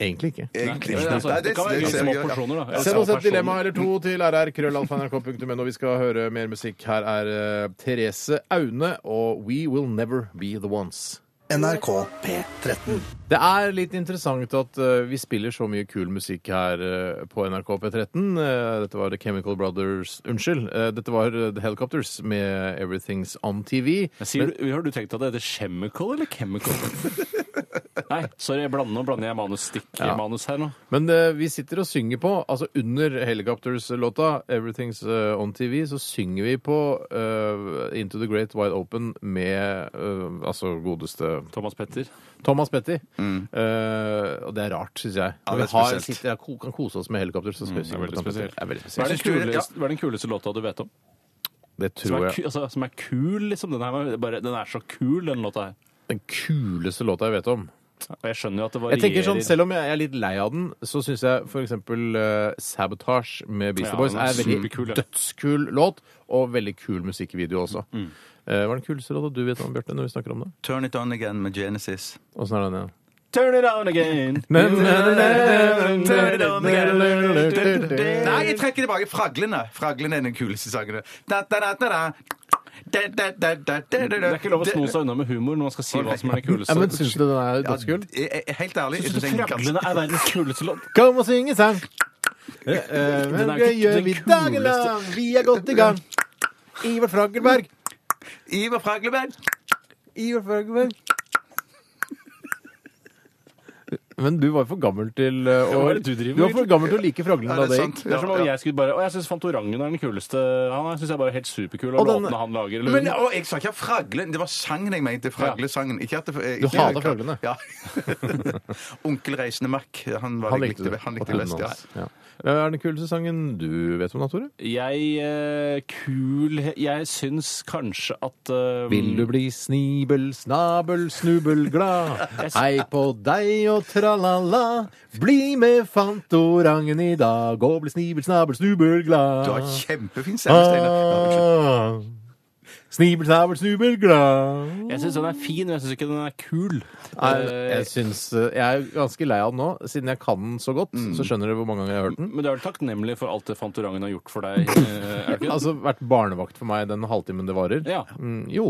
B: Egentlig ikke.
C: Egentlig.
D: Men altså,
C: Nei,
D: det kan være
C: det
D: gøy
C: ser
D: små
C: jeg gjør.
D: porsjoner, da. Eller
B: Send oss
D: små
B: et dilemma
D: personer.
B: eller to til rrkrøllalfa.nrk.no. Vi skal høre mer musikk. Her er eh, Therese Aune og We Will Never Be The Ones.
F: NRK P13.
B: Det er litt interessant at eh, vi spiller så mye kul musikk her eh, på NRK P13. Eh, dette var The Chemical Brothers Unnskyld, eh, dette var eh, The Helicopters med Everything's On TV.
D: Jeg Sier, du- har du tenkt at det heter Chemical
B: (laughs)
D: eller Chemical? Nei, sorry, jeg blander, nå blander jeg manus, stikker
B: Ja.
D: manus her nå.
B: Men eh, vi sitter og synger på, altså under Helicopters-låta 'Everything's eh, On TV', så synger vi på eh, 'Into the Great Wide Open' med eh, altså godeste
D: Thomas Petter.
B: Thomas Petty. Eh, og det er rart, syns jeg.
C: Ja,
B: Når
C: det er
B: vi har,
C: spesielt.
B: sitter, her og ko- kan kose oss med Helicopters, så skal vi synge
D: veldig
B: på Thomas Petty.
D: spesielt.
B: Det er veldig
D: Hva er
B: spesielt.
D: den kuleste, hva er den kuleste låta du vet om?
B: Det
D: Som
B: tror
D: er,
B: jeg
D: ku- altså, som er kul, liksom. Den, her, var bare, den er så kul, den låta her.
B: den kuleste låta jeg vet om.
D: Og jeg skjønner jo at det
B: Jeg
D: varierer.
B: tenker sånn, Selv om jeg er litt lei av den, så syns jeg f.eks. Uh, 'Sabotage' med Beastie
D: Ja,
B: Boys
D: den
B: er
D: er
B: en veldig
D: superkul, ja.
B: dødskul låt, og veldig kul musikkvideo også.
D: Mm.
B: Eh, hva er den kuleste låta du vet om, Bjarte, når vi snakker om det?
C: Turn it on again med Genesis.
B: Åssen er den igjen?
D: Turn it
B: (laughs)
D: on again!
C: Nei, jeg trekker tilbake fraglene. Fraglene er den kuleste sangen. Da, da, da, da, da. Da, da, da, da, da, da.
D: Det er ikke lov å sno seg unna med humor når man skal si hva som er det kuleste.
B: Ja, men Syns du den er dødskul?
C: Ja, jeg- jeg- Helt ærlig. Jeg
B: (laughs)
C: synes jeg kan-
D: Fraglene er verdens kuleste låt.
B: Kom og synge sang! Eh, eh,
D: Den er
B: Men
D: jo
B: det
D: ikke
B: gjør
D: den
B: vi dagen
D: kuleste.
B: lang, vi er godt i gang. Ivar Frankelberg.
C: Ivar Fragleberg.
B: Ivar Frankelberg. Men du var jo for gammel til eh, å
D: hva er det du driver
B: Du var
D: med?
B: for gammel til å like fraglene
C: Ja,
B: da
C: det er
B: det
C: sant.
B: gikk.
D: Det er som om
C: Ja, ja.
D: jeg skulle bare Og jeg syns Fantorangen er den kuleste. Han er- synes jeg bare er helt superkul, og,
B: Og den-
D: låtene han lager eller
B: Mm.
C: Men og jeg sa ikke fraglen. Det var sangen jeg mente. Fraglesangen. Ikke at det, ikke,
B: hater fraglene.
C: Ja. (laughs) Onkel Reisende Mack. Han, var,
B: Han
C: jeg
B: likte det.
C: Han
B: Og
C: likte det best,
B: filmen
C: ja.
B: hans. Ja. Hva er den kuleste sangen du vet om, da, Tore?
D: Jeg eh, Kul Jeg syns kanskje at eh,
B: Vil du bli snibel, snabel, snubel, glad? (laughs) Hei på deg og tralala. Bli med Fantorangen i dag og bli snibel, snabel, snubel, glad.
C: Du har kjempefin stemme, Steinar.
B: Ah. Snibel, snabel, snubel, glad.
D: Jeg syns den er fin, men jeg syns ikke den er kul.
B: Nei,
D: Eh,
B: jeg, syns, jeg er ganske lei av den nå. Siden jeg kan den så godt, så skjønner dere hvor mange ganger jeg har hørt den.
D: men du er vel takknemlig for alt det Fantorangen har gjort for deg? eh, Er du ikke det?
B: (laughs) Altså vært barnevakt for meg den halvtimen det varer.
D: Ja.
B: Mm, jo.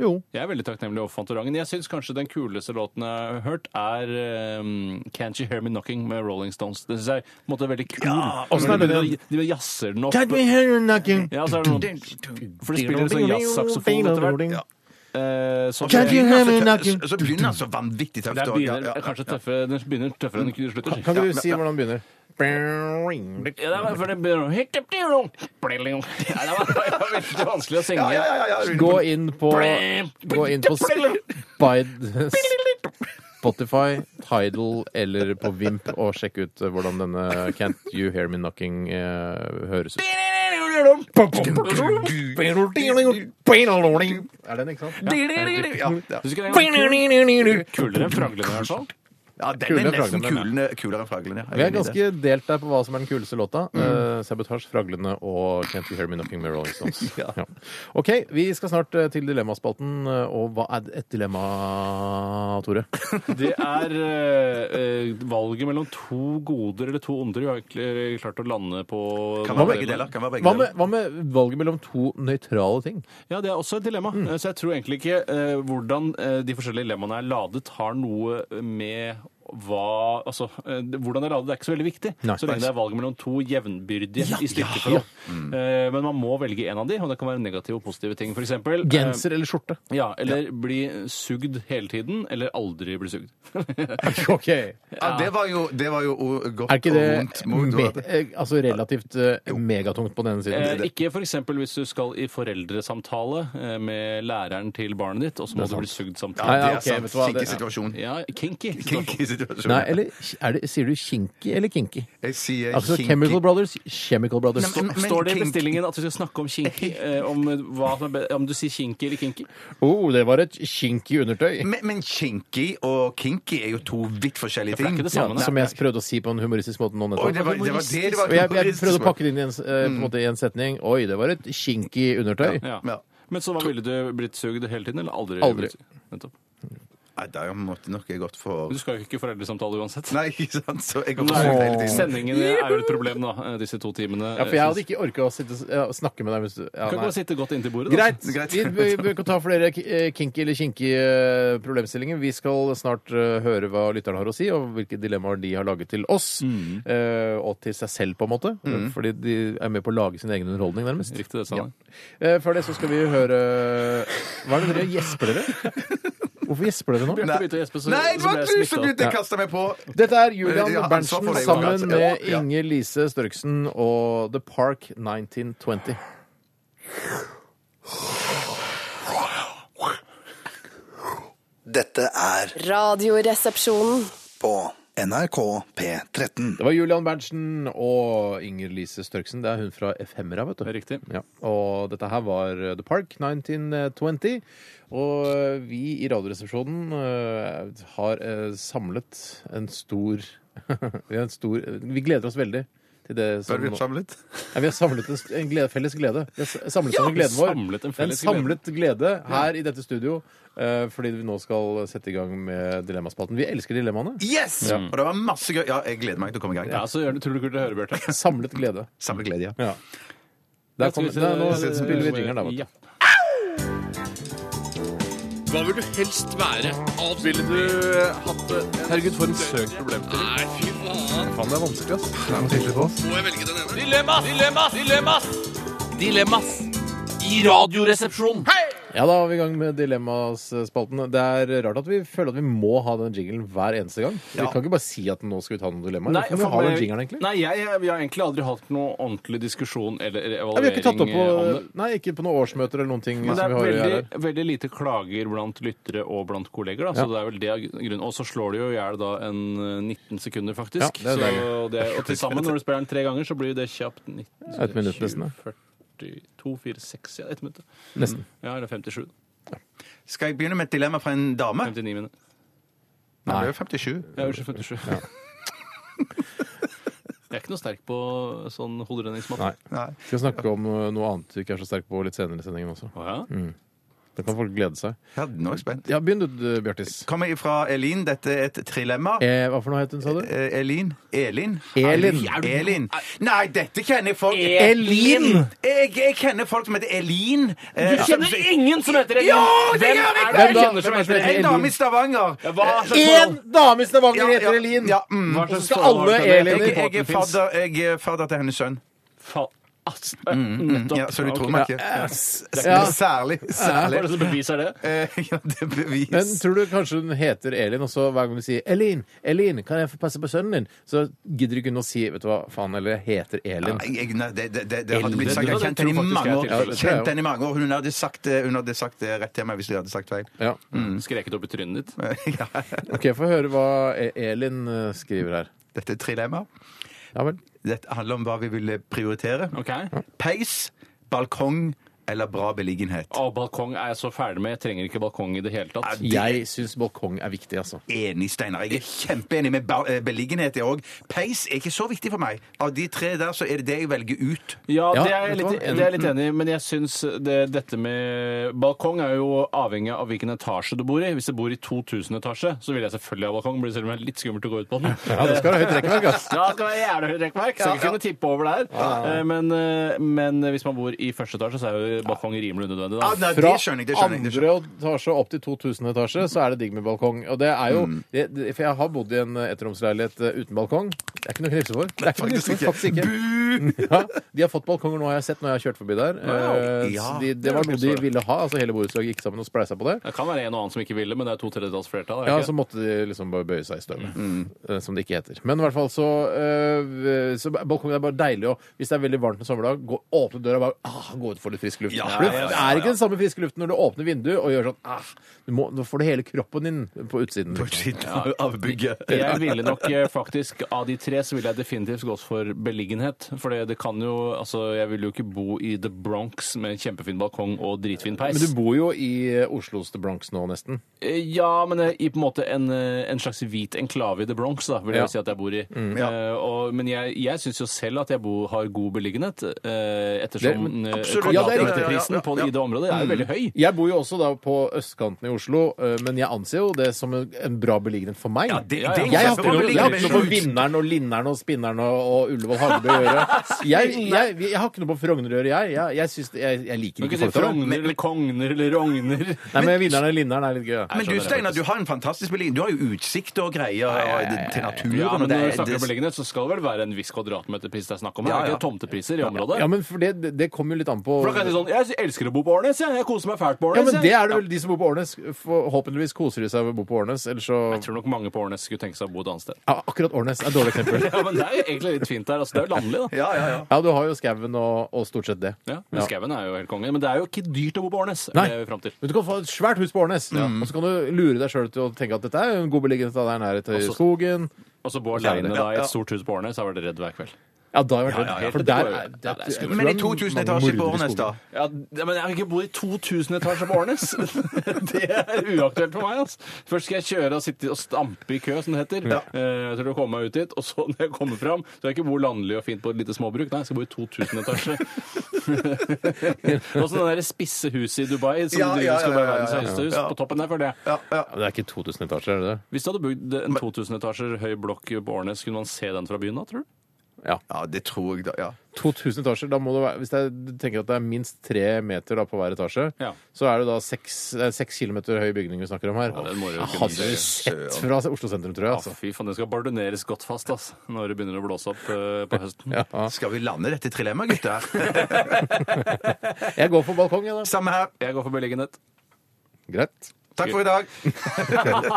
B: Jo.
D: Jeg er veldig takknemlig overfor Fantorangen. Jeg syns kanskje den kuleste låten jeg har hørt, er ehm, Can't You Hear Me Knocking med Rolling Stones. Det syns jeg på en måte er veldig kul.
B: åssen er det
D: de, de jazzer den opp. Ja, så er det noen, for det spiller en sånn jazzsaksofon etter hvert.
B: Ja.
D: eh, som-
B: Can't you hear me
C: Så-
B: knocking?
C: Så altså, begynner han så vanvittig tøft.
D: Det
C: og- ja,
D: begynner
C: ja, ja.
D: kanskje tøffere, den begynner tøffere enn den slutter.
B: Kan ikke du si hvordan den begynner?
D: Ja, det var, for det begynner å- Hit up there, no. Bling. Ja, det var, det var veldig vanskelig å synge.
C: Ja, ja, ja, ja.
B: Gå inn på Gå inn på Spide Spotify, Tidal eller på Vimp og sjekk ut eh, hvordan denne Can't You Hear Me Knocking eh, høres ut. Er den, ikke sant?
C: Ja, ja.
D: Husker du den gangen? Kulere enn fraglene, i hvert fall.
C: Ja, den
B: Kulere
C: er nesten
B: fraglene,
C: kulene, kulere enn fraglene. ja.
B: Vi er
C: Jeg er enig i det. Mm.
B: ganske delt der på hva som er den kuleste låta. Eh, Sabotage, Fraglene og Can't You Hear Me Knocking med Rolling
C: (laughs)
B: Stones. Ja. OK, vi skal snart eh, til Dilemmaspalten. eh, Og hva er et dilemma,
C: (laughs)
B: Tore?
D: Det er eh, eh, valget mellom to goder eller to onder. Vi har egentlig klart å lande på
C: Kan være begge deler. Kan være begge
B: Hva med,
C: deler.
B: hva med valget mellom to nøytrale ting?
D: Ja, det er også et dilemma. Eh, Så jeg tror egentlig ikke eh, hvordan eh, de forskjellige dilemmaene er ladet, har noe med hva Altså, eh, det- hvordan det er ladet, det er ikke så veldig viktig.
B: Nei.
D: så lenge det er valget mellom to jevnbyrdige i styrkeforhold. Eh, Men man må velge en av de, og det kan være negative og positive ting. For eksempel, eh,
B: Genser eller skjorte? (laughs)
D: Ja, eller bli sugd hele tiden, eller aldri bli sugd.
B: OK.
C: Ja, det var jo, det var jo o- godt
B: Er ikke
C: og
B: det
C: vondt. mot-
B: me eh, altså relativt eh, megatungt på den ene siden?
D: Eh, ikke f.eks. hvis du skal i foreldresamtale eh, med læreren til barnet ditt, og så må du bli sugd
C: Ja,
D: samtidig.
B: Nei,
C: det
B: ja,
C: er
B: ok,
C: sant.
B: vet du hva,
C: Sikker
B: det-
C: situasjon.
D: Ja, kinky.
C: Kinky situasjon.
B: Nei, eller er det, sier du kinky eller kinky?
C: Jeg sier
B: Altså
C: Eh, kinky.
B: Chemical Brothers, Chemical Brothers.
C: Nei, men-
D: Står det i
C: kinky-
D: bestillingen at vi skal snakke om
C: (laughs)
D: kinky? Eh, om, hva, som er be- om du sier kinky eller kinky?
B: Oh, det var et kinky undertøy.
C: Men, men kinky og kinky er jo to vidt forskjellige
D: For det er
C: ting.
D: ikke det
B: Ja,
D: samme. nei.
B: som jeg prøvde å si på en humoristisk måte nå
C: Oi, det
B: nettopp.
C: var det var det det var
B: Og jeg, jeg prøvde å pakke det inn i en, s- eh, på en, måte, i en setning. Oi, det var et kinky undertøy.
D: Mm. ja.
C: Ja.
D: Men så hva ville du blitt sugd hele tiden, eller aldri?
B: Aldri.
D: blitt sugd? Nettopp.
C: Nei, da måtte nok jeg gått for
D: Du skal jo ikke i foreldresamtale uansett.
C: Nei, ikke sant? Så jeg går
D: Nei.
C: for hele tiden.
D: Sendingene er jo et problem, da, eh, disse to timene.
B: Ja, for jeg hadde ikke orka å sitte, ja, snakke med deg hvis du ja,
D: Kan ikke
B: nei.
D: bare sitte godt inntil bordet. da.
B: Greit. Vi vi- vi kan ta flere k- eh, kinky eller kinky eh, problemstillinger. Vi skal snart eh, høre hva lytterne har å si, og hvilke dilemmaer de har laget til oss.
D: Mm.
B: eh, Og til seg selv, på en måte. Fordi de er med på å lage sin egen underholdning, nærmest.
D: Riktig det, Sanne.
B: Eh, Før det så skal vi høre Hva er det dere gjesper
D: (laughs)
B: dere? Hvorfor gjesper dere nå?
D: Bjarte begynte å gjespe, så-
C: Nei, det
D: så ble
C: var
D: jeg
C: du
D: smittet.
C: som begynte å kaste meg på!
B: Dette er Julian
C: Ja, ansvar
B: Berntsen
C: for det, Julian.
B: sammen
C: Ja,
B: med
C: ja.
B: Inger Lise Størksen og The Park 1920.
F: Dette er
E: Radioresepsjonen.
F: på NRK P13.
B: Det var Julian Berntsen og Inger Lise Størksen. Det er hun fra Efemera, vet du.
D: Det er riktig.
B: Ja, og dette her var The Park 1920. Og eh, vi i Radioresepsjonen eh, har eh, samlet en stor (laughs) Vi har en stor Vi gleder oss veldig til det som
C: Bør vi samle litt?
B: Nei, vi har samlet en, st- en glede, felles glede. Vi har s- samlet sammen gleden vår.
D: samlet en
B: Det er
D: felles
B: en samlet glede, her i dette studio, eh, fordi vi nå skal sette i gang med Dilemmaspalten. Vi elsker dilemmaene.
C: Yes! Og det var masse gøy. Ja, jeg gleder meg til å komme i gang.
D: Ja, så gjør det utrolig kult å høre, Bjarte.
B: Samlet glede.
C: Samme glede, ja.
B: Ja. Der kom, der, nå spiller vi jingeren, da. Vet du.
D: Ja.
A: Hva vil du helst være? Ville du hatt det? Herregud, for en søk problemstilling. Nei, fy faen.
B: Faen, det er vanskelig, ass.
A: Må jeg velge den ene?
G: Dilemmas! Dilemmas! Dilemmas! Dilemmas! I radioresepsjonen!
B: Ja, da er vi i gang med Dilemmaspalten. Det er rart at vi føler at vi må ha den jinglen hver eneste gang. Vi kan ikke bare si at nå skal vi ta noen dilemmaer. Nei, vi
D: for
B: ha den
D: meg-
B: jingeren, egentlig?
D: Nei, jeg, vi har egentlig aldri hatt noe ordentlig diskusjon eller
B: Nei, vi
D: eller
B: har
D: evaluering
B: ikke tatt opp på,
D: eh, om det.
B: nei, ikke på noen årsmøter eller noen ting.
D: Men det
B: som
D: er
B: vi har
D: veldig,
B: her.
D: veldig lite klager blant lyttere og blant kolleger. Da, så
B: Ja.
D: det er vel det er grunnen. Og så slår det jo i hjel da en eh, 19 sekunder, faktisk.
B: Ja, det er
D: så det
B: (laughs)
D: er, og til sammen, når du spiller den tre ganger, så blir det kjapt 19
B: Et minutt nesten,
D: 42, 4, 6, ja, ett minutt.
B: Nesten.
D: Ja, eller 57.
C: Skal jeg begynne med et dilemma fra en dame?
D: 59 minutter.
C: Nei, det er jo 57.
D: Ja, unnskyld, 57. (laughs) Jeg er ikke noe sterk på sånn
B: Nei.
D: hoderedningsmatte.
C: Nei.
B: Vi skal snakke om eh, noe annet vi ikke er så sterke på litt senere i sendingen også. Mm.
D: Å ja?
B: Da kan folk glede seg.
C: Ja, nå er jeg spent.
B: Ja, begynn du, d- Bjartis.
C: Kommer fra Elin. Dette er et trilemma.
B: Eh, hva for noe het hun, sa du?
C: Eh, Elin? Elin?
B: Elin.
C: Er du- Elin. Nei, dette kjenner folk
B: Elin!
C: Jeg, jeg kjenner folk som heter Elin. Eh,
G: Jeg kjenner ingen som heter
C: Jo, det gjør jeg!
B: Hvem da?
G: kjenner som
B: Hvem er det som
C: En
B: heter
C: dame i
B: Elin?
C: Stavanger.
D: Hva slags
B: Én dame i Stavanger
C: Ja, ja.
B: heter Elin!
C: Ja, mm.
D: Hva
B: Og så
D: slags
B: skal
D: forhold
B: alle
D: har du til det?
B: Elin i
C: Jeg, jeg, er fadder, jeg er fadder til hennes sønn.
D: Fa ass, eh, nettopp.
C: Ja, så du tror
D: Ok.
C: meg ikke.
B: Ja.
C: Særlig.
D: Hva
C: Særlig.
D: er det som beviser det?
C: Eh, Ja, det er bevis.
B: Men tror du kanskje hun heter Elin, og så hver gang du sier 'Elin, Elin, kan jeg få passe på sønnen din?' Så gidder du ikke hun å si 'Vet du hva, faen', eller 'Jeg heter Elin'.
C: Nei, jeg- nei, det, det, det, det hadde blitt
D: Eldre,
C: sagt. Jeg har
D: det
C: kjent
D: tror
C: henne i
D: jeg faktisk er
C: mange år.
B: tilfellet.
C: Kjent henne i mange år. Hun hadde sagt, det- hun hadde sagt det rett til meg hvis jeg hadde sagt feil. (laughs)
B: Ja.
C: Mm.
D: Mm. Skreket opp i trynet ditt?
C: Ja.
B: OK, få høre hva E- Elin eh, skriver her.
C: Dette er et trilemma.
B: Ja vel.
C: Dette handler om hva vi ville prioritere.
D: Ok.
C: Peis, balkong eller bra beliggenhet.
D: Og balkong er jeg så ferdig med. Jeg trenger ikke balkong i det hele tatt.
C: Det-
B: Jeg syns balkong er viktig, altså.
C: Enig, Steinar. Jeg er kjempeenig med ba- eh, beliggenhet, jeg òg. Peis er ikke så viktig for meg. Av de tre der, så er det det jeg velger ut.
D: Ja,
B: Ja,
D: det er jeg
B: vet du
D: litt,
B: hva? Enig.
D: det er jeg litt enig i, men jeg syns det, dette med Balkong er jo avhengig av hvilken etasje du bor i. Hvis du bor i 2000 etasje, så vil jeg selvfølgelig ha balkong, blir det selv om det er litt skummelt å gå ut på den.
B: Ja, det skal ha høyt rekkverk, ass.
D: Ja, det skal være jævlig høyt rekkverk. Skal ikke kunne tippe over der. Eh, Men, eh, men hvis man bor i første etasje, så er jo balkong rimelig unødvendig. Da.
C: Ah, nei,
B: Fra
C: det skjønner jeg, det skjønner jeg. Det skjønner.
B: andre etasje opp til 2000 etasje, så er det digg med balkong. Og det er jo,
C: Mm.
B: det, det- For jeg har bodd i en ettromsleilighet eh, uten balkong. Det er ikke noe å knipse for. Det er ikke noe å knipse for, faktisk ikke.
C: Bu!
B: Ja, de har fått balkonger nå, har jeg sett når jeg har kjørt forbi der. Eh,
C: Ja,
B: så de, det
C: det
B: var
C: er
B: noe de
C: faktisk
B: ville ha. altså Hele borettslaget gikk sammen og spleisa på det.
D: Det kan være en og annen som ikke ville, men det er to tredjedels flertall. er det
B: Ja,
D: ikke?
B: Så måtte de liksom bare bøye seg i støvet,
C: Mm.
B: eh, som det ikke heter. Men i hvert fall så, eh, så Balkongen er bare deilig. Og hvis det er veldig varmt en sommerdag, gå, åpne døra og bare ah, gå ut for litt frisk luft.
C: Ja,
B: For det
C: ja, ja,
B: det
C: ja,
B: er ikke den samme friske luften når du åpner vinduet og gjør sånn ah, du må, Nå får du hele kroppen din på utsiden.
C: På
B: Liksom.
C: siden av- av bygget.
D: Jeg ville nok eh, faktisk Av de tre så ville jeg definitivt gått for beliggenhet. For det det kan jo Altså, jeg vil jo ikke bo i The Bronx med en kjempefin balkong og dritfin peis.
B: Men du bor jo i eh, Oslos The Bronx nå, nesten.
D: Eh, Ja, men eh, i på en måte en, eh, en slags hvit enklave i The Bronx, da, vil jeg
B: Ja. Mm.
D: si at jeg bor i. Eh, og, men jeg, jeg syns jo selv at jeg bo, har god beliggenhet, eh, ettersom
B: Det- men
D: eh,
C: absolutt.
B: Ja, Mm. det er riktig.
D: kvadratmeterprisen på
C: Ja, ja, ja.
D: i det området er jo veldig høy.
B: Jeg bor jo også da på østkanten i Oslo, eh, men jeg anser jo det som en- en bra beliggenhet for meg.
C: det-
D: ja, ja.
C: det-
B: Jeg har ikke
C: det-
B: noe, jeg har ikke noe på
C: det-
B: Vinneren og Linneren og Spinneren og, og Ullevål Hagebø å gjøre.
D: (laughs)
B: Jeg, jeg, jeg har ikke noe på Frogner å gjøre, jeg. Jeg, jeg, syns- jeg, jeg liker
D: Du
B: ikke
D: kan ikke si
B: folk der.
D: Frogner eller Kogner eller
B: (laughs)
D: Rogner.
B: Nei, men Vinneren og Linneren er litt gøy.
C: Men du Steinar, du har en fantastisk beliggenhet. Du har jo utsikt og greier og det- til naturen.
D: Ja,
C: og
D: men
C: det
D: når
C: er-
D: vi snakker
C: det-
D: beliggenhet, så skal det vel være en viss kvadratmeterpris det er snakk om her?
C: Ja,
D: Er det
C: ja.
D: ikke tomtepriser i området?
B: Ja, men for det, det- det kommer jo litt an på
D: For da kan jeg si sånn Jeg elsker å bo på Årnes, jeg. Jeg koser meg fælt på
B: Ja,
D: Årnes.
B: men det
D: jeg.
B: er det vel de som bor på Årnes. Forhåpentligvis koser de seg ved å bo på Årnes, ellers så
D: Jeg tror nok mange på Årnes skulle tenke seg å bo et annet sted. (laughs)
B: ja, Akkurat Årnes er et dårlig eksempel.
D: Ja, men det er jo egentlig litt fint der. Altså, det er jo landlig, da.
C: Ja, ja, ja.
B: Ja, du har jo skauen og, og stort sett det.
D: Ja, men Skauen er jo helt konge. Men det er jo ikke dyrt å bo på Årnes. er
B: Nei.
D: det vi er frem til.
B: Men du kan få et svært hus på Årnes, og så kan du lure deg sjøl til å tenke at dette er jo en god beliggenhet, det er nærhet til
D: Også-
B: skogen.
D: Og så bo
B: Kjære.
D: aleine da i
C: Ja, ja.
D: et stort hus på Årnes, har vært redd hver kveld.
B: Ja, da har jeg vært
D: Ja, ja,
B: redd.
D: helt
B: For
D: redd.
B: der
D: Ja,
B: er
D: det er
B: jeg tror
D: skummelt.
B: det
C: Men
B: er
C: i 2000
B: mange
C: etasjer på
B: mordere i
C: Årnes, da?
B: skogen.
D: Ja, det- men jeg har ikke bodd i 2000 etasjer på Årnes. (laughs) Det er uaktuelt for meg. Altså. Først skal jeg kjøre og sitte og stampe i kø, som det heter, eh, til å komme meg ut dit. Og så når jeg kommer fram, så skal jeg ikke bo landlig og fint på et lite småbruk. Nei, jeg skal bo i 2000
C: (laughs)
D: etasjer. og så det derre spisse huset i Dubai som
C: Ja,
D: du
C: ja,
D: skal
C: ja,
D: være
C: ja,
D: verdens
C: ja.
D: høyeste hus.
C: Ja.
D: På toppen der, føler jeg.
C: Ja, ja.
B: Ja, men Det er ikke 2000 etasjer, er det det?
D: Hvis du hadde bygd en 2000 etasjer høy blokk på Årnes, kunne man se den fra byen da, tror du?
C: ja, det tror jeg, da. Ja.
B: 2000 etasjer, da må det være, Hvis jeg tenker at det er minst tre meter da på hver etasje,
D: Ja.
B: så er det da seks, det er seks kilometer høy bygning vi snakker om her.
D: Ja, den må du jo
B: Jeg
D: kunne
B: hadde
D: se.
B: sett fra Oslo sentrum, tror jeg.
D: Ja,
B: Altså.
D: fy faen, den skal bardoneres godt fast altså, når det begynner å blåse opp eh, på
B: (laughs)
D: høsten.
C: Skal vi lande dette trilemmaet, gutter? (laughs)
B: Jeg går for balkong, jeg, da.
C: Samme her.
D: Jeg går for beliggenhet.
B: Greit.
C: Takk for i dag.